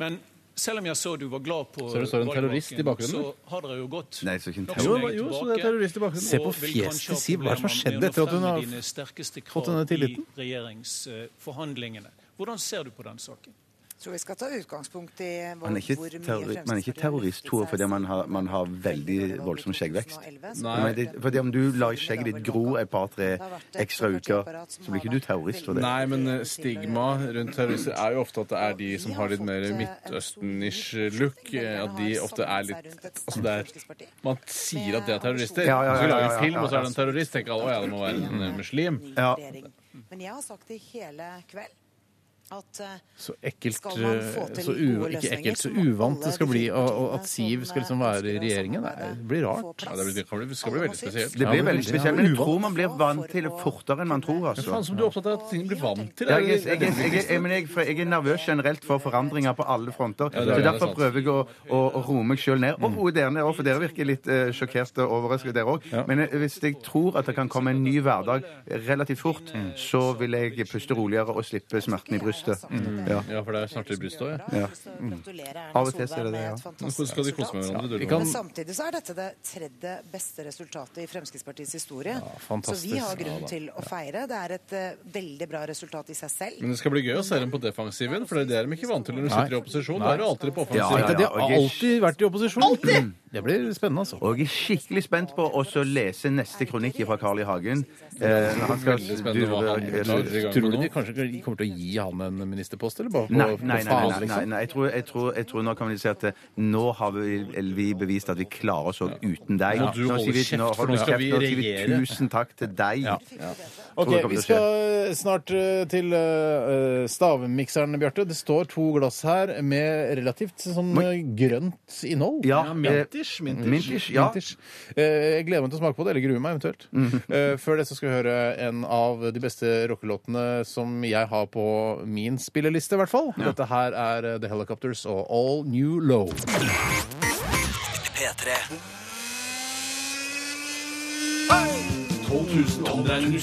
Men selv om jeg så du var glad på
Så det står en terrorist i bakgrunnen,
valgvaken, Så har dere jo gått
Nei, så ikke en
nokså
terrorist.
lenge
Jo, jo, så
tilbake,
det er terrorist i bakgrunnen. Se på
og vil
fjeset
kanskje ha
til Siv, hva er det som har
problemer
skjedd
med å
etter at hun
fremme
har
dine sterkeste
fått
krav
denne tilliten?
I regjeringsforhandlingene. Hvordan ser du på den saken?
Jeg tror vi skal ta utgangspunkt i hvor,
Man er ikke,
hvor mye
terrori- man er ikke
Fremskrittspartiet
terrorist, Tore, fordi man har, man har veldig voldsom skjeggvekst. Men det- Fordi om du lar skjegget ditt gro et par-tre ekstra uker, så blir ikke du terrorist for det.
Nei, men eh, stigma rundt terrorister er jo ofte at det er de som har eh, litt mer Midtøsten-ish look. eh, At de ofte er litt Altså, det er Man sier at det er terrorister.
Ja, ja, ja,
Så vi lager
ja, ja,
en film, og så
ja,
er det en terrorist. Tenker alle å ja, det må være en eh, muslim.
regjering. Men jeg har sagt i hele kveld at eh,
Så ekkelt,
skal man
eh,
få til
så u
gode
ikke
løsninger,
ekkelt, så
så må
uvant det
alle
skal
de
bli og,
fire partiene eh,
og at Siv skal liksom være i regjeringen. Nei, det blir rart.
Ja, det, blir, det, kan bli, det skal bli veldig spesielt.
Det blir veldig spesielt. Men jeg tror man blir vant til det fortere enn man tror,
Men faen
altså.
som du er opptatt av at ting blir vant til.
Ja,
er
jeg,
det-
jeg, jeg, jeg, jeg, men jeg, for jeg er nervøs generelt for forandringer på alle fronter.
Ja, det er
så
det, det er
Derfor
sant. Mm.
prøver jeg å, å, å roe meg sjøl ned. Og roe dere ned òg, for dere virker litt eh, sjokkerte og overrasket, dere òg. Men eh, hvis jeg tror at det kan komme en ny hverdag relativt fort,
Mm.
så vil jeg puste roligere og slippe smerten i brystet. Ja.
Ja, for det er snart i brystet òg,
Ja. Av og til så er det det, ja.
Men hvordan skal de kose med hverandre? du,
Vi
Men
Roland?
samtidig så er dette det tredje beste resultatet i Fremskrittspartiets historie. så
fantastisk.
vi har
Ja
grunn
da.
til å feire. Det er et eh, veldig bra resultat i seg selv.
Men det skal bli gøy å se dem på defensiven, for det er de ikke vant til når du
Nei.
sitter i opposisjon. Da
Nei.
er du alltid på
Ja, ja, ja.
offensiven.
De har alltid vært i opposisjon. Alltid! Det blir spennende, altså.
Og jeg er skikkelig spent på å så lese neste kronikk fra Carl I. Hagen. Eh, når han skal
Veldig spennende hva han
durve-
kommer til å- Tror du de kanskje de kommer til å gi han en ministerpost, eller bare på,
Nei,
på
nei, nei,
faen,
nei, nei,
liksom?
nei. Jeg, tror, jeg, tror, jeg tror nå kan vi si at eh, nå har vi, eller vi bevist at vi klarer oss også uten deg.
Må du
Nå
holde
sier vi-
kjeft,
nå
for
holder
nå skal vi
nå sier vi
regjere.
Tusen takk til deg.
Ok,
Tror
vi
det kommer til å skje.
skal eh, snart eh, til eh, stavmikseren, Bjarte. Det står to glass her med relativt sånn eh, grønt innhold.
Ja, Ja, mintish,
Eh,
mintish. Mintish, ja. Mhm.
Mintish. Eh, Jeg gleder meg til å smake på det, eller gruer meg eventuelt. Eh, Før det så skal vi høre en av de beste rockelåtene som jeg har på min spilleliste, i hvert fall. Dette her er eh, The Helicopters og All New Low.
P3
12 000 omdreininger.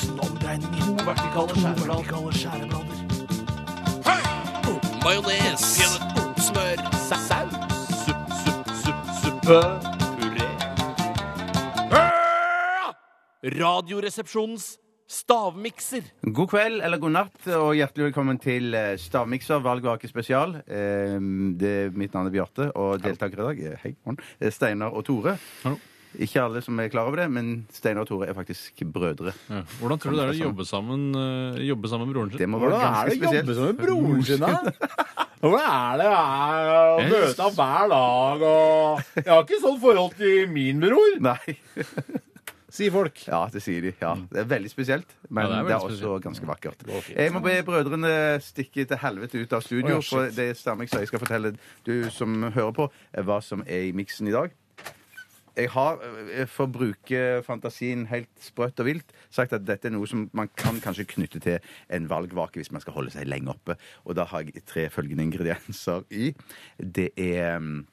To vertikale skjæreblader. Majones. Smør. Saus. Supp, supp, supp, suppe. Puré. Radioresepsjonens stavmikser.
God kveld eller god natt, og hjertelig velkommen til eh, Stavmikser valgvake spesial. Eh, Det, mitt navn er Bjarte, og deltakere i dag er hei, morgen, eh, Steinar og Tore. Ikke alle som er klar over det, men Steinar og Tore er faktisk brødre.
Mm. Hvordan tror du det er å jobbe sammen, eh, jobbe sammen med broren sin?
Det må være Hvordan er ganske det å jobbe spesielt. sammen med
broren sin, da? Hvordan er det her å møte ham hver dag og Jeg har ikke sånn forhold til min bror.
Nei.
Sier folk.
Ja, det sier de. Ja. Det er veldig spesielt, men
Mm. Ja, det
det
er
er,
veldig
også
spesielt. Mm.
ganske vakkert. Jeg må be brødrene stikke til helvete ut av
Å,
studio,
ja, shit.
for det stemmer ikke, så jeg skal fortelle du som hører på, eh, hva som er i miksen i dag. Jeg har, eh, for å bruke fantasien helt sprøtt og vilt, sagt at dette er noe som man kan kanskje knytte til en valgvake hvis man skal holde seg lenge oppe. Og da har jeg tre følgende ingredienser i. Det er mm,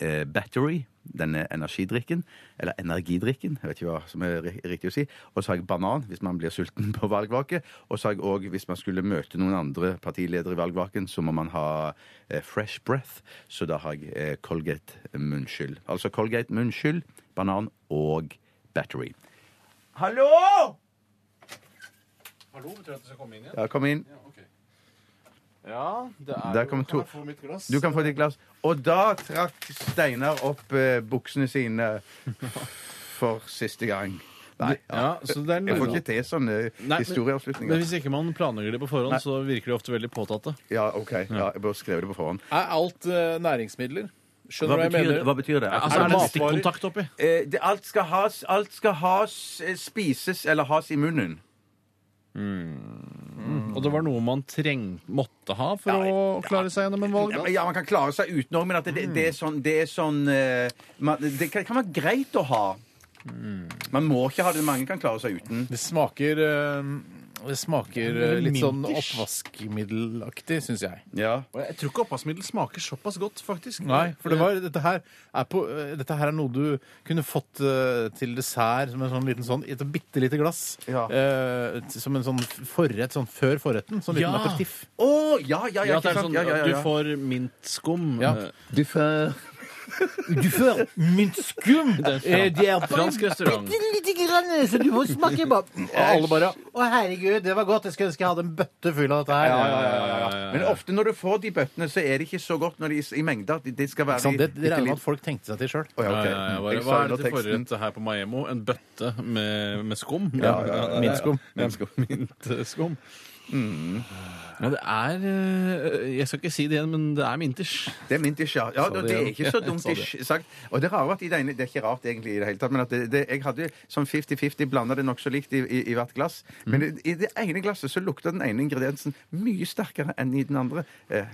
eh, battery, denne energidrikken, eller energidrikken, jeg vet ikke hva som er ri- riktig å si, og så har jeg banan hvis man blir sulten på valgvake, og så har jeg òg, hvis man skulle møte noen andre partiledere i valgvaken, så må man ha eh, fresh breath, så da har jeg eh, Colgate munnskyld. Altså Colgate munnskyld, banan og battery. Hallo!
Hallo, betyr at du skal komme inn igjen?
Ja, kom inn.
Ja, det
Der kommer to. Du kan få ditt glass. Og da trakk Steinar opp eh, buksene sine for siste gang. Nei,
Ja, så det er
jeg får
noe-
ikke til sånne
Nei, men-
historieavslutninger.
Men hvis ikke man planlegger det på forhånd,
Nei.
så virker de ofte veldig påtatte.
Ja, OK. Ja, jeg bør skrive det på forhånd.
Er alt eh, næringsmidler? Skjønner du hva jeg
betyr,
mener?
hva betyr det?
Altså,
Eh,
er det matvarer?
oppi?
det, alt skal, has, alt skal has, eh, spises eller has i munnen.
Og det var noe man treng, måtte ha for å klare seg gjennom en
Ja,
valgdag.
men- ja, man kan klare seg utenom, men at det, det er sånn, det, er sånn eh, man, det kan, kan være greit å ha. Man må ikke ha det. Mange kan klare seg uten.
Det smaker, eh, det smaker eh, litt sånn
Minkers.
oppvaskmiddelaktig, syns jeg.
Ja.
Og Jeg tror ikke oppvaskmiddel smaker såpass godt, faktisk. Eh,
Nei, for det var, dette, her er på, eh, dette her er noe du kunne fått eh, til dessert som en sånn liten sånn, i et bitte lite glass. Eh, t- som en sånn forrett, sånn før forretten. Sånn liten
Ja.
aperitiff.
Å, ja, ja, ja,
Ja, at
ikke
det er
sant?
sånn,
Ja, ja, ja,
Du
ja.
får mintskum.
Ja.
eh,
Du får Du får myntskum!
Det er fra-
Eh, det er bare
fransk restaurant.
bitte lite grann, så du må smake bare Og alle bare Å, herregud, det var godt. Jeg skulle ønske jeg hadde en bøtte full av dette her.
Ja, ja, ja, ja, ja. Men ofte når du får de bøttene, så er det ikke så godt når de i mengder. Det det skal være
Ikke sant? Sånn, Det,
bitte
det regner med
litt-
at folk tenkte seg til sjøl.
Å, ja, ok.
Ja, ja, ja, bare,
Jeg
hva
sa
er
jo
det til
teksten.
forrett her på Maiemo? En bøtte med, med skum?
Ja, ja, ja, ja, ja.
Mintskum. Mm.
Mintskum. eh, Ja, det er eh, Jeg skal ikke si det igjen, men det er minters.
Det er mintish, ja. ja
Sa
det,
det
det er
igjen.
ikke så
Jeg
dumt
sa det.
ish sagt. Og det rare var at i det ene Det er ikke rart egentlig i det hele tatt, men at det, det, jeg hadde sånn 50-50 blanda det nokså likt i, i, i hvert glass.
Mm.
Men i, i det ene glasset så lukta den ene ingrediensen mye sterkere enn i den andre. Eh,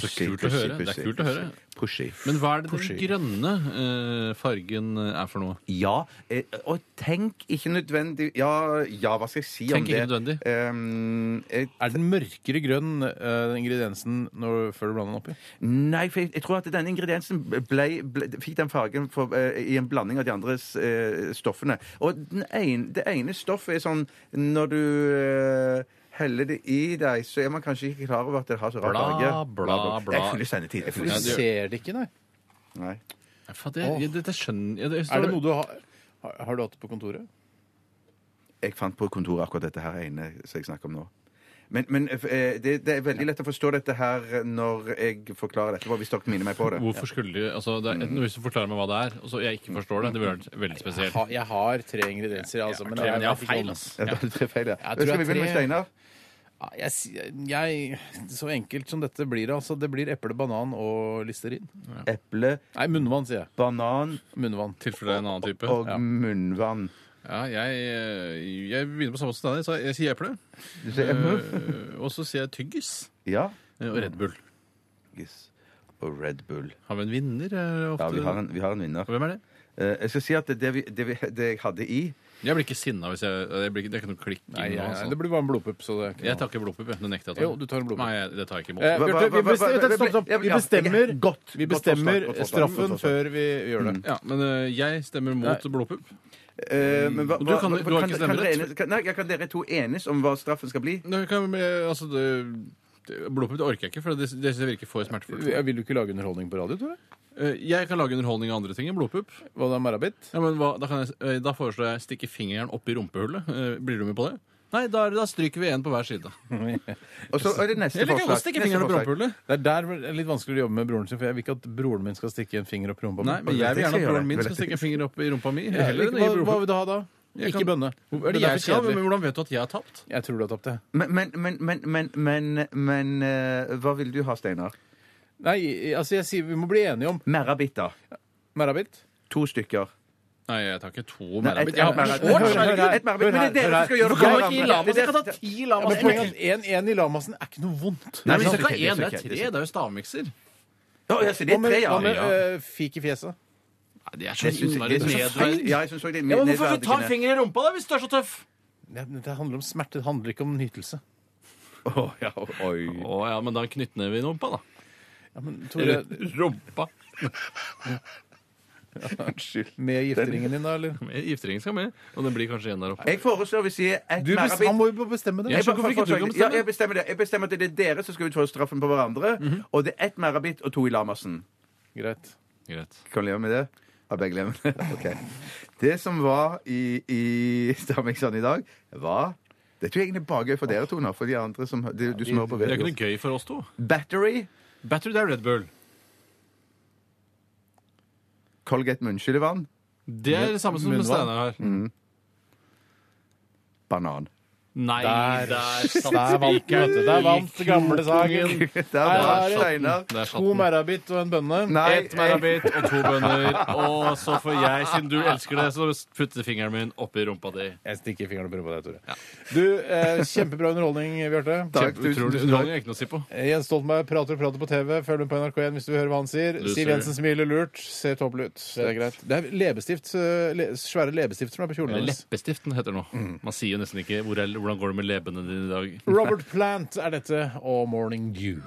så kult å høre. Det er kult å høre.
Pushy.
Men hva er det den
Pushy.
grønne eh, fargen er for noe?
Ja, eh, og tenk ikke nødvendig Ja, ja hva skal jeg si om
Tenk
det?
ikke nødvendig.
Er den mørkere grønn, eh, den ingrediensen, når, før du blander den oppi?
Nei, for jeg, jeg tror at denne ingrediensen ble, ble, fikk den fargen for, eh, i en blanding av de andre eh, stoffene. Og den ene, det ene stoffet er sånn Når du eh, heller det i deg, så er man kanskje ikke klar over at det har så rar
Bla,
farge.
bla, bla.
Jeg fyller sendetid. Jeg
Du
fyller sendetid.
ser det ikke, nei.
Nei.
Ja, faen, det,
Åh.
jeg, dette skjønner jeg
Er det noe du har, har, har du hatt det på kontoret?
Jeg fant på kontoret akkurat dette her ene som jeg snakker om nå. Men, men eh, det, det er veldig lett å forstå dette her eh, når jeg forklarer dette, hvis dere minner meg på det.
Hvorfor skulle du altså, det er, Hvis du forklarer meg hva det er, og så jeg ikke forstår det, det ville vært veldig
Mm. Jeg
spesielt.
har, jeg har tre ingredienser, altså, men
tre, men jeg har
vet ikke
feil,
om-
ass.
Ja, da er det tre feil, ja.
Jeg tror
Skal
jeg
vi begynne med
tre-
Steinar?
Ja, Ah, Jeg, si- jeg, så enkelt som dette blir, det, altså. Det blir eple, banan og listerin.
Eple,
Nei, munnvann, sier jeg.
banan
Munnvann.
Tilfeller en annen type.
og munnvann.
Ja, jeg, eh, jeg begynner på samme sted. som deg. Så Jeg sier eple.
Du sier eple?
Eh, og så sier jeg tyggis.
Ja.
eh, Og Red Bull.
Yes. Og Red Bull.
Har vi en vinner? eh, Ofte?
Ja, vi har en, vi har en vinner.
Hvem er det?
Eh, Jeg skal si at det, vi, det, vi, det jeg hadde i eh,
Jeg blir ikke sinna hvis jeg Det, blir, ikke- det er ikke noe klikk.
Nei,
nå,
nei,
altså.
nei, det blir bare en blodpupp. Så det er ikke
Jeg
noe.
tar ikke blodpupp. jeg. Det nekter jeg å ta.
Jo, du tar en blodpupp.
Nei, jeg- det tar jeg ikke
Eh,
imot.
hva-
Bjarte, vi
hva- hva-
bestemmer,
hva-
stopp, stopp.
ja,
Vi
ja,
bestemmer,
ja, godt.
vi
Godt
bestemmer
forslag, godt forslag,
straffen
godt forslag.
før vi gjør det.
Ja, men eh, jeg stemmer mot blodpupp.
eh, men hva-
Og du kan-
hva-
du har
kan-
ikke
kan
stemmerett?
dere enes- kan- Nei, kan dere to enes om hva straffen skal bli?
Nå kan vi- eh, Altså, det, det- blodpupp det orker jeg ikke, for det, det virker for smertefullt.
Jeg vil du ikke lage underholdning på radio, Tore?
Eh, Jeg kan lage underholdning av andre ting enn blodpupp.
Hva da, Marabit?
Ja, men hva, da, kan jeg, eh, da foreslår jeg stikke fingeren opp i rumpehullet. Eh, Blir du med på det? Nei, da, er det- da stryker vi én på hver side.
Og så er det neste
Eller kan jeg
forslag.
godt stikke
Neste
fingeren opp i
forslag.
rumpehullet.
Det er der hvor det er litt vanskeligere å jobbe med broren sin, for jeg vil ikke at broren min skal stikke en finger opp i rumpa mi.
Nei, men
Vel,
jeg vil
det
gjerne
skal
at
jeg
broren
gjøre.
min
Vel,
skal
det-
stikke en finger opp i rumpa mi.
Heller
Heller enn
ikke-
i
Hva, hva
blodpupp.
vil du ha da? Ikke
Jeg kan-
bønne.
Hvor- Er det
Det er
jeg
for
skal, ha,
kjedelig.
men hvordan vet du at jeg har tapt?
Jeg tror du har tapt det.
Men, men, men, men, men, men, men eh, hva vil du ha, Steinar?
Nei, altså jeg sier vi må bli enige om
Merabit, da.
Merabit.
To stykker.
Nei, jeg tar ikke to
Nei, et-
merabit. Jeg har
et merabit.
Hør
merabit.
her, hør her.
Et merabit. Men det er
Hør her.
dere som skal
Hvorfor
gjøre det.
kan
for
vi ikke
hverandre.
Lamasen
Det er
kan
dere-
ta ti
Ja, men
lamaser.
poenget er at 1-1 i Lamassen er ikke noe vondt.
Nei,
Men
men
hvis ikke
det er så
én, det er
kjedelig,
tre. Det er jo stavmikser.
Ja, ja, så det er
Hva med,
tre,
hva
ja.
med eh, fik i fjeset?
Nei, det er
Det
så
synes jeg-
innmari
det synes jeg-
nedverdigende.
Ja, jeg synes også det er
Ja, men hvorfor
nedverdigende.
ta en finger i rumpa, da, hvis du er så tøff?
Det, det handler om smerte, det handler ikke om nytelse.
Å ja, men da er knyttneve i rumpa, da.
Ja, men Tore,
Rumpa.
Unnskyld.
Med gifteringen din, da, eller?
Gifteringen skal med. Og den blir kanskje igjen der oppe.
Jeg foreslår vi sier et
Du bes-
merarbeid-
han må jo bestemme det. Jeg skjønner hvorfor ikke du kan bestemme.
Ja, jeg bestemmer det. Jeg bestemmer at det er dere som skal utføre straffen på hverandre. Og det er ett merabit og to i Lamersen.
Greit.
Kan du leve med det? Har begge levd med det? Ok. Det som var i, i Stamikson i dag, var Det tror jeg egentlig bare er gøy for dere to nå, for de andre som, du, du som hører på
Det er
radio.
ikke noe gøy for oss to.
Battery,
Battery, det er Red Bull.
Colgate munnskyllevann,
Det er det samme som
Munnvann.
Steinar har.
mm. banan.
Nei,
Der-
der satt
der vant den, vet du. Der vant den gamle saken.
Der
Her
var
er
Steinar.
det to merabit og en bønne.
Ett merabit og to bønner. Og så får jeg, siden du elsker det, så putter fingeren min oppi rumpa di.
Jeg stikker fingeren oppi rumpa di, Tore. Du, eh, kjempebra underholdning, Bjarte.
Takk, tusen Kjempeutrolig. takk. Underholdning er ikke noe å si på.
Eh, Jens Stoltenberg prater og prater på TV. Følg med på NRK1 hvis du vil høre hva han sier.
Loser.
Siv Jensen smiler lurt. Ser tåpelig ut. Det er greit. Det er leppestift, eh, le svære leppestifter som er på kjolen
Eller
hennes.
Leppestiften heter det nå.
Mm.
Man sier jo nesten ikke hvor er, 'hvordan går det med leppene dine i dag'.
Robert Plant er dette, og Morning Dew.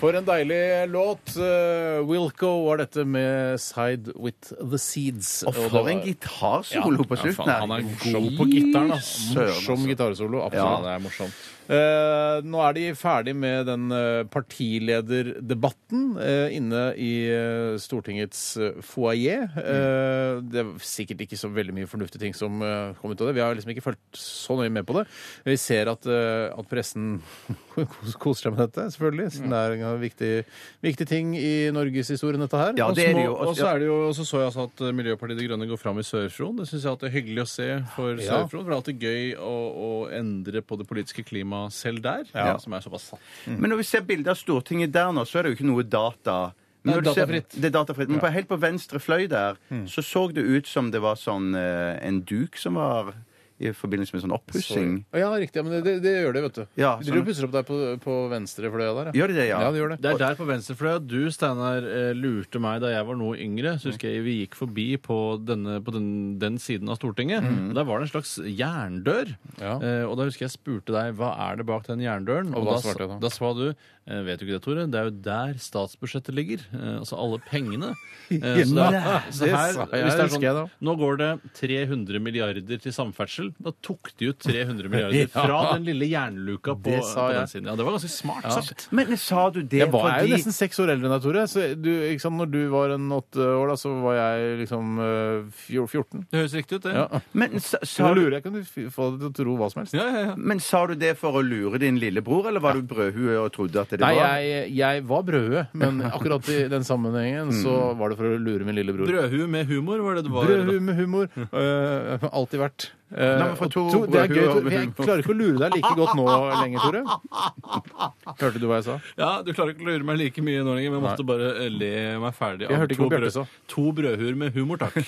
For en deilig låt. Eh, Wilco var dette med Side With The Seeds.
Og
det
for
var-
en gitarsolo på
ja,
slutten
faen,
her.
Han er god på gitaren. da.
Søren, altså.
Morsom gitarsolo.
Ja,
Absolutt.
det er
morsomt.
Eh, nå er de ferdig med den eh, partilederdebatten eh, inne i eh, Stortingets eh, foyer. Eh,
Mm.
det er sikkert ikke så veldig mye fornuftige ting som eh, kom ut av det. Vi har liksom ikke fulgt så nøye med på det. Vi ser at, eh, at pressen kos- koser seg med dette, selvfølgelig.
Mm.
siden Det er en viktig, viktig ting i norgeshistorien, dette her.
Ja,
Og
det er det
små-
jo.
Og så er det jo, og så så jeg altså at eh, Miljøpartiet De Grønne går fram i Sør-Fron. Det syns jeg at det er hyggelig å se for
Ja.
Sør-Fron. For det er alltid gøy å, å endre på det politiske klimaet selv der,
Ja.
som er såpass satt.
Men når vi ser bilder av Stortinget der nå, så er det jo ikke noe data. Men
Nei,
når du ser-
datafritt.
Det er datafritt. Men på, helt på venstre fløy der,
Mm.
så så det ut som det var sånn eh, en duk som var i forbindelse med sånn oppussing.
Å Ja, riktig. Ja, men det, det, det gjør det, vet du.
Ja,
du
sånn.
driver og pusser opp deg på, på venstre fløya der,
Gjør de det, ja?
ja det gjør det.
Det er der på venstrefløya du, Steinar, eh, lurte meg da jeg var noe yngre. Så husker jeg vi gikk forbi på, denne, på den, den siden av Stortinget.
Mhm.
Der var det en slags jerndør. Eh, og da husker jeg spurte deg hva er det bak den jerndøren.
Og hva
da,
svarte jeg da?
da sa du eh, vet du ikke det, Tore? Det er jo der statsbudsjettet ligger. Eh, altså alle pengene. Eh, så
Ja,
det, er-
det
så her,
sa jeg,
hvis det er
husker jeg da.
sånn, nå går det 300 milliarder til samferdsel. Da tok de ut 300
Ja.
milliarder fra den lille jernluka på,
Det sa
på den
jeg.
siden. Ja, det var ganske smart
Ja.
sagt.
Men sa du det
Jeg var jeg er jo
fordi
nesten seks år eldre enn deg, Tore. Så du, ikke sant, når du var en åtte år, da, så var jeg liksom eh, fjor- 14.
Det høres riktig ut, det.
Ja.
Men sa,
Nå
sa,
lurer
du,
jeg kan du f- få deg til å tro hva som helst.
men sa du det for å lure din lillebror, eller var du brødhue og trodde at det
Nei,
var
jeg, jeg var brødhue, men akkurat i den sammenhengen så var det for å lure min lillebror.
Brødhue med humor var det det var.
Brødhue med humor. Uh, alltid vært. Eh,
Nei, men for
og
to
det er
brødhue
gøy,
og
Tore, for
med
jeg
humor.
klarer ikke å lure deg like godt nå lenger, Tore. Hørte du hva jeg sa?
Ja, Du klarer ikke å lure meg like mye nå lenger, men jeg måtte bare eh, le meg ferdig.
Jeg
av
hørte ikke
to
hva Bjarte
brød-
sa.
To brødhuer med humor, takk.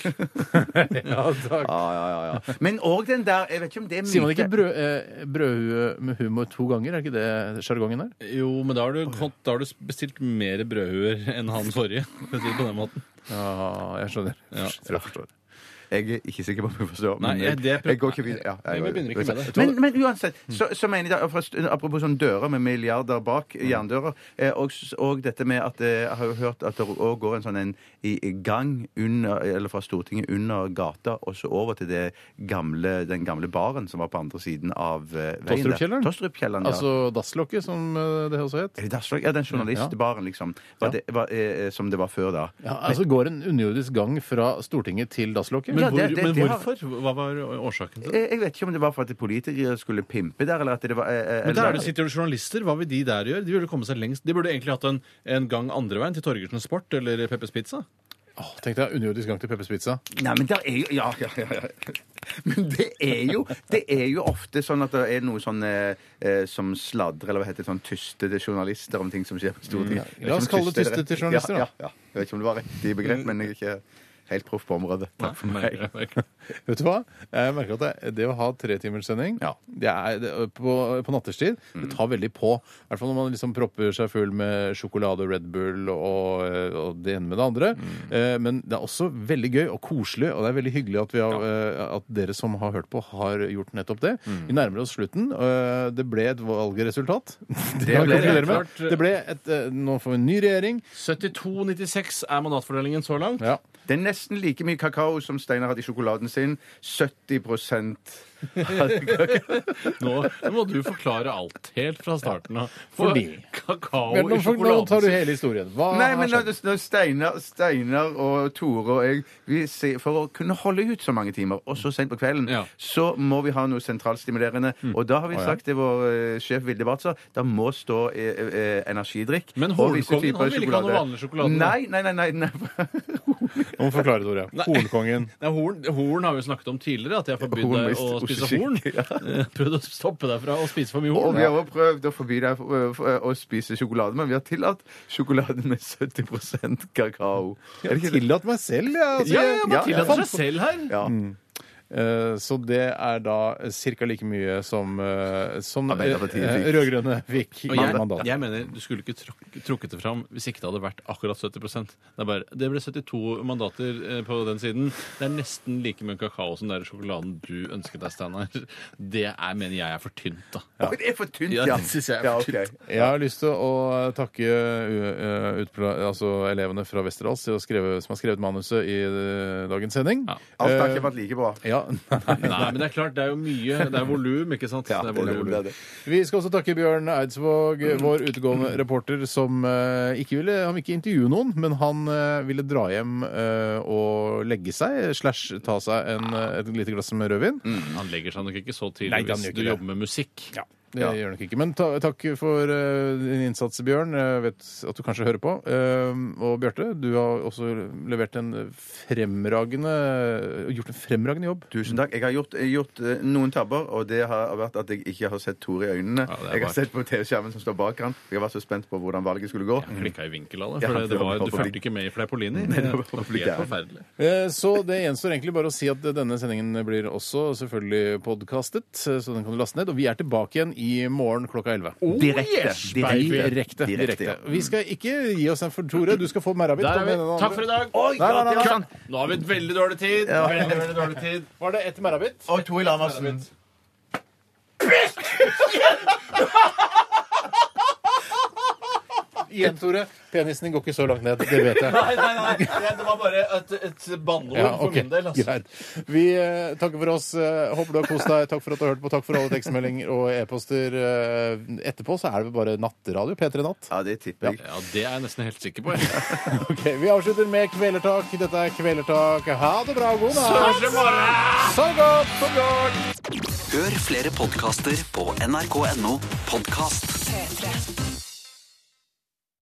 Ja, takk.
Ja, ja, ja, ja. Men òg den der Jeg vet ikke om det er
Sier man ikke
myte.
brød, eh, brødhue med humor to ganger? Er ikke det sjargongen der?
Jo, men da har du, fått- da har du bestilt mer brødhuer enn han forrige. for å si det på den måten.
Ja, jeg skjønner.
Ja.
Jeg tror jeg forstår.
Jeg er ikke sikker på om jeg forstår.
Nei,
men
jeg- det prøv-
jeg går ikke videre. Ja,
Nei, vi begynner ikke med det.
Men, men uansett, så, så mener jeg da, for, apropos sånn dører med milliarder bak, jerndører, eh, og, s- og dette med at eh, jeg har jo hørt at det også går en sånn en i, i gang under, eller fra Stortinget under gata, og så over til det gamle, den gamle baren som var på andre siden av eh, veien. der.
Tosterupkjelleren?
Tosterupkjelleren, ja.
Altså dasslokket, som eh, det også het.
Er det Dasslag? Ja, den journalistbaren, liksom. Var det, var, eh, som det var før da.
Ja, altså Går en underjordisk gang fra Stortinget til dasslokket?
Men,
Ja, det-
hvor,
det-
men
det har-
hvorfor? Hva var årsaken til det?
Eh, Jeg jeg vet ikke om det var for at politikere skulle pimpe der, eller at det var eh, eh,
Men der
eller-
er det sitter jo journalister. Hva vil de der gjøre? De burde komme seg lengst. De burde egentlig hatt en, en gang andre veien til Torgersen Sport eller Peppers Pizza.
Åh, Tenk deg underjordisk gang til Peppers Pizza.
Nei, men der er jo Ja, ja, ja. ja. Men det er, jo, det er jo ofte sånn at det er noe sånn eh, eh, som sladrer, eller hva heter det, sånn tystede journalister
Mm,
om ting som skjer på Stortinget. Liksom
La oss kalle det tystete journalister, da.
Ja, ja, ja. Jeg vet ikke om det var riktig begrep, men jeg er ikke helt proff på området. Takk for meg.
Vet du hva? Jeg merker at det, det å ha tretimerssending det er, det, på, på nattestid det tar veldig på. I hvert fall når man liksom propper seg full med sjokolade og Red Bull og, eh, og det ene med det andre. Eh, Men det er også veldig gøy og koselig, og det er veldig hyggelig at, vi har, eh, at dere som har hørt på, har gjort nettopp det.
Mm.
Vi nærmer oss slutten. Eh, Det ble et valgresultat. Det,
Det
kan vi
ble det.
konkludere med. det ble et, eh, Nå får vi en ny regjering.
72-96 er mandatfordelingen så langt.
Det er nesten like mye kakao som Steinar hadde i sjokoladen sin. 70
Nå må du forklare alt helt fra starten av. For
Fordi-
kakao
Men
i
nå, får- nå tar du
sjokoladen
hele historien. Hva
Nei,
har
men
skjedd?
når, når Steinar, Steinar og Tore og jeg vi ser, For å kunne holde ut så mange timer, og så sent på kvelden, så må vi ha noe sentralstimulerende.
Mm.
Og da har vi
Å, ja.
sagt til vår eh, sjef Vilde Bartzer da må stå eh, eh, energidrikk.
Men
og visse
Holmkongen,
typer
han ville ikke ha noe vanlig sjokolade, da.
Nei, nei, nei. nei, nei.
Nå må du forklare, Tore. Hornkongen.
Nei, horn, horn har vi jo snakket om tidligere, at jeg har forbydd
Horn
deg
hvis-
å spise
osteskinke,
horn.
ja.
Eh, Prøvd å stoppe deg fra å spise for mye
Og
horn.
vi har også prøvd å forby deg eh, f- eh, å spise sjokolade, men vi har tillatt sjokolade med 70 kakao. Er det ikke det?
Tillatt meg selv, jeg. altså,
Ja, ja,
jeg-
man tillater
fant
seg
på-
selv her. Ja.
Mm. Eh, Så det er da ca. like mye som, eh, som eh,
Arbeiderpartiet fikk.
rød-grønne fikk i
Og jeg,
mandat.
jeg mener du skulle ikke truk- trukket det fram hvis ikke det hadde vært akkurat 70 Det, er bare, det ble 72 mandater eh, på den siden. Det er nesten like mye kakao som det er i sjokoladen du ønsket deg, Steinar. Det er, mener jeg er for tynt, da.
Det er for tynt,
Ja, det synes jeg er for tynt.
Jeg har lyst til å takke uh, utpla- altså elevene fra Westerdals til å skrive, som har skrevet manuset i uh, dagens sending. Eh,
Alt har
Eh,
ikke vært like bra.
Ja,
Nei, men det er klart, det er jo mye. Det er volum, ikke sant? det er volum.
Vi skal også takke Bjørn Eidsvåg, vår utegående reporter, som eh, ikke ville Han ville ikke intervjue noen, men han eh, ville dra hjem eh, og legge seg, slash ta seg en, eh, et lite glass med rødvin.
Han legger seg nok ikke så
Nei,
tidlig
han gjør
hvis
ikke
du
det.
jobber med musikk.
Det gjør nok ikke. Men ta, takk for eh, din innsats, Bjørn. Jeg vet at du kanskje hører på. Eh, og Bjarte, du har også levert en fremragende Gjort en fremragende jobb.
Tusen takk. Jeg har gjort, gjort eh, noen tabber, og det har vært at jeg ikke har sett Tore i øynene.
det er
jeg har
rart.
sett på TV-skjermen som står bak han. Jeg var så spent på hvordan valget skulle gå.
Jeg klikka i vinkel av det,
Ja,
for
det
det
var
var, du
bare-
fulgte ikke med i Fleipolini.
Nei, det
Det
var
var
bare-
helt forferdelig.
Eh, Så det gjenstår egentlig bare å si at denne sendingen blir også selvfølgelig podkastet, så den kan du laste ned. Og vi er tilbake igjen i morgen klokka 11.
Oh,
Direkte.
Direkte. Direkte.
Direkte. Direkte, ja.
Vi skal ikke gi oss en for Tore. Du skal få Merabit.
Der er vi. Takk for i dag.
Oi, nei, nei, nei, nei.
Nå har vi et veldig dårlig tid.
Ja.
Veldig, veldig dårlig tid.
Var det ett Merabit?
Og to i Lamarsen.
Igjen, Tore. Penisen din går ikke så langt ned. Det vet jeg.
Nei, nei, nei. Det- Det var bare et, et banneord
Ja,
for
ok.
min del. Altså.
Greit. Vi eh, takker for oss. Eh, håper du har kost deg. Takk for at du har hørt på. Takk for alle tekstmeldinger og e-poster. Eh, etterpå så er det vel bare nattradio. P3 Natt.
Ja, det tipper jeg.
Ja, det er jeg nesten helt sikker på. jeg.
Ok, Vi avslutter med Kvelertak. Dette er Kvelertak. Ha det bra. God natt.
Søren morgen!
Så godt! Så godt!
Hør flere podkaster på nrk.no podkast.
3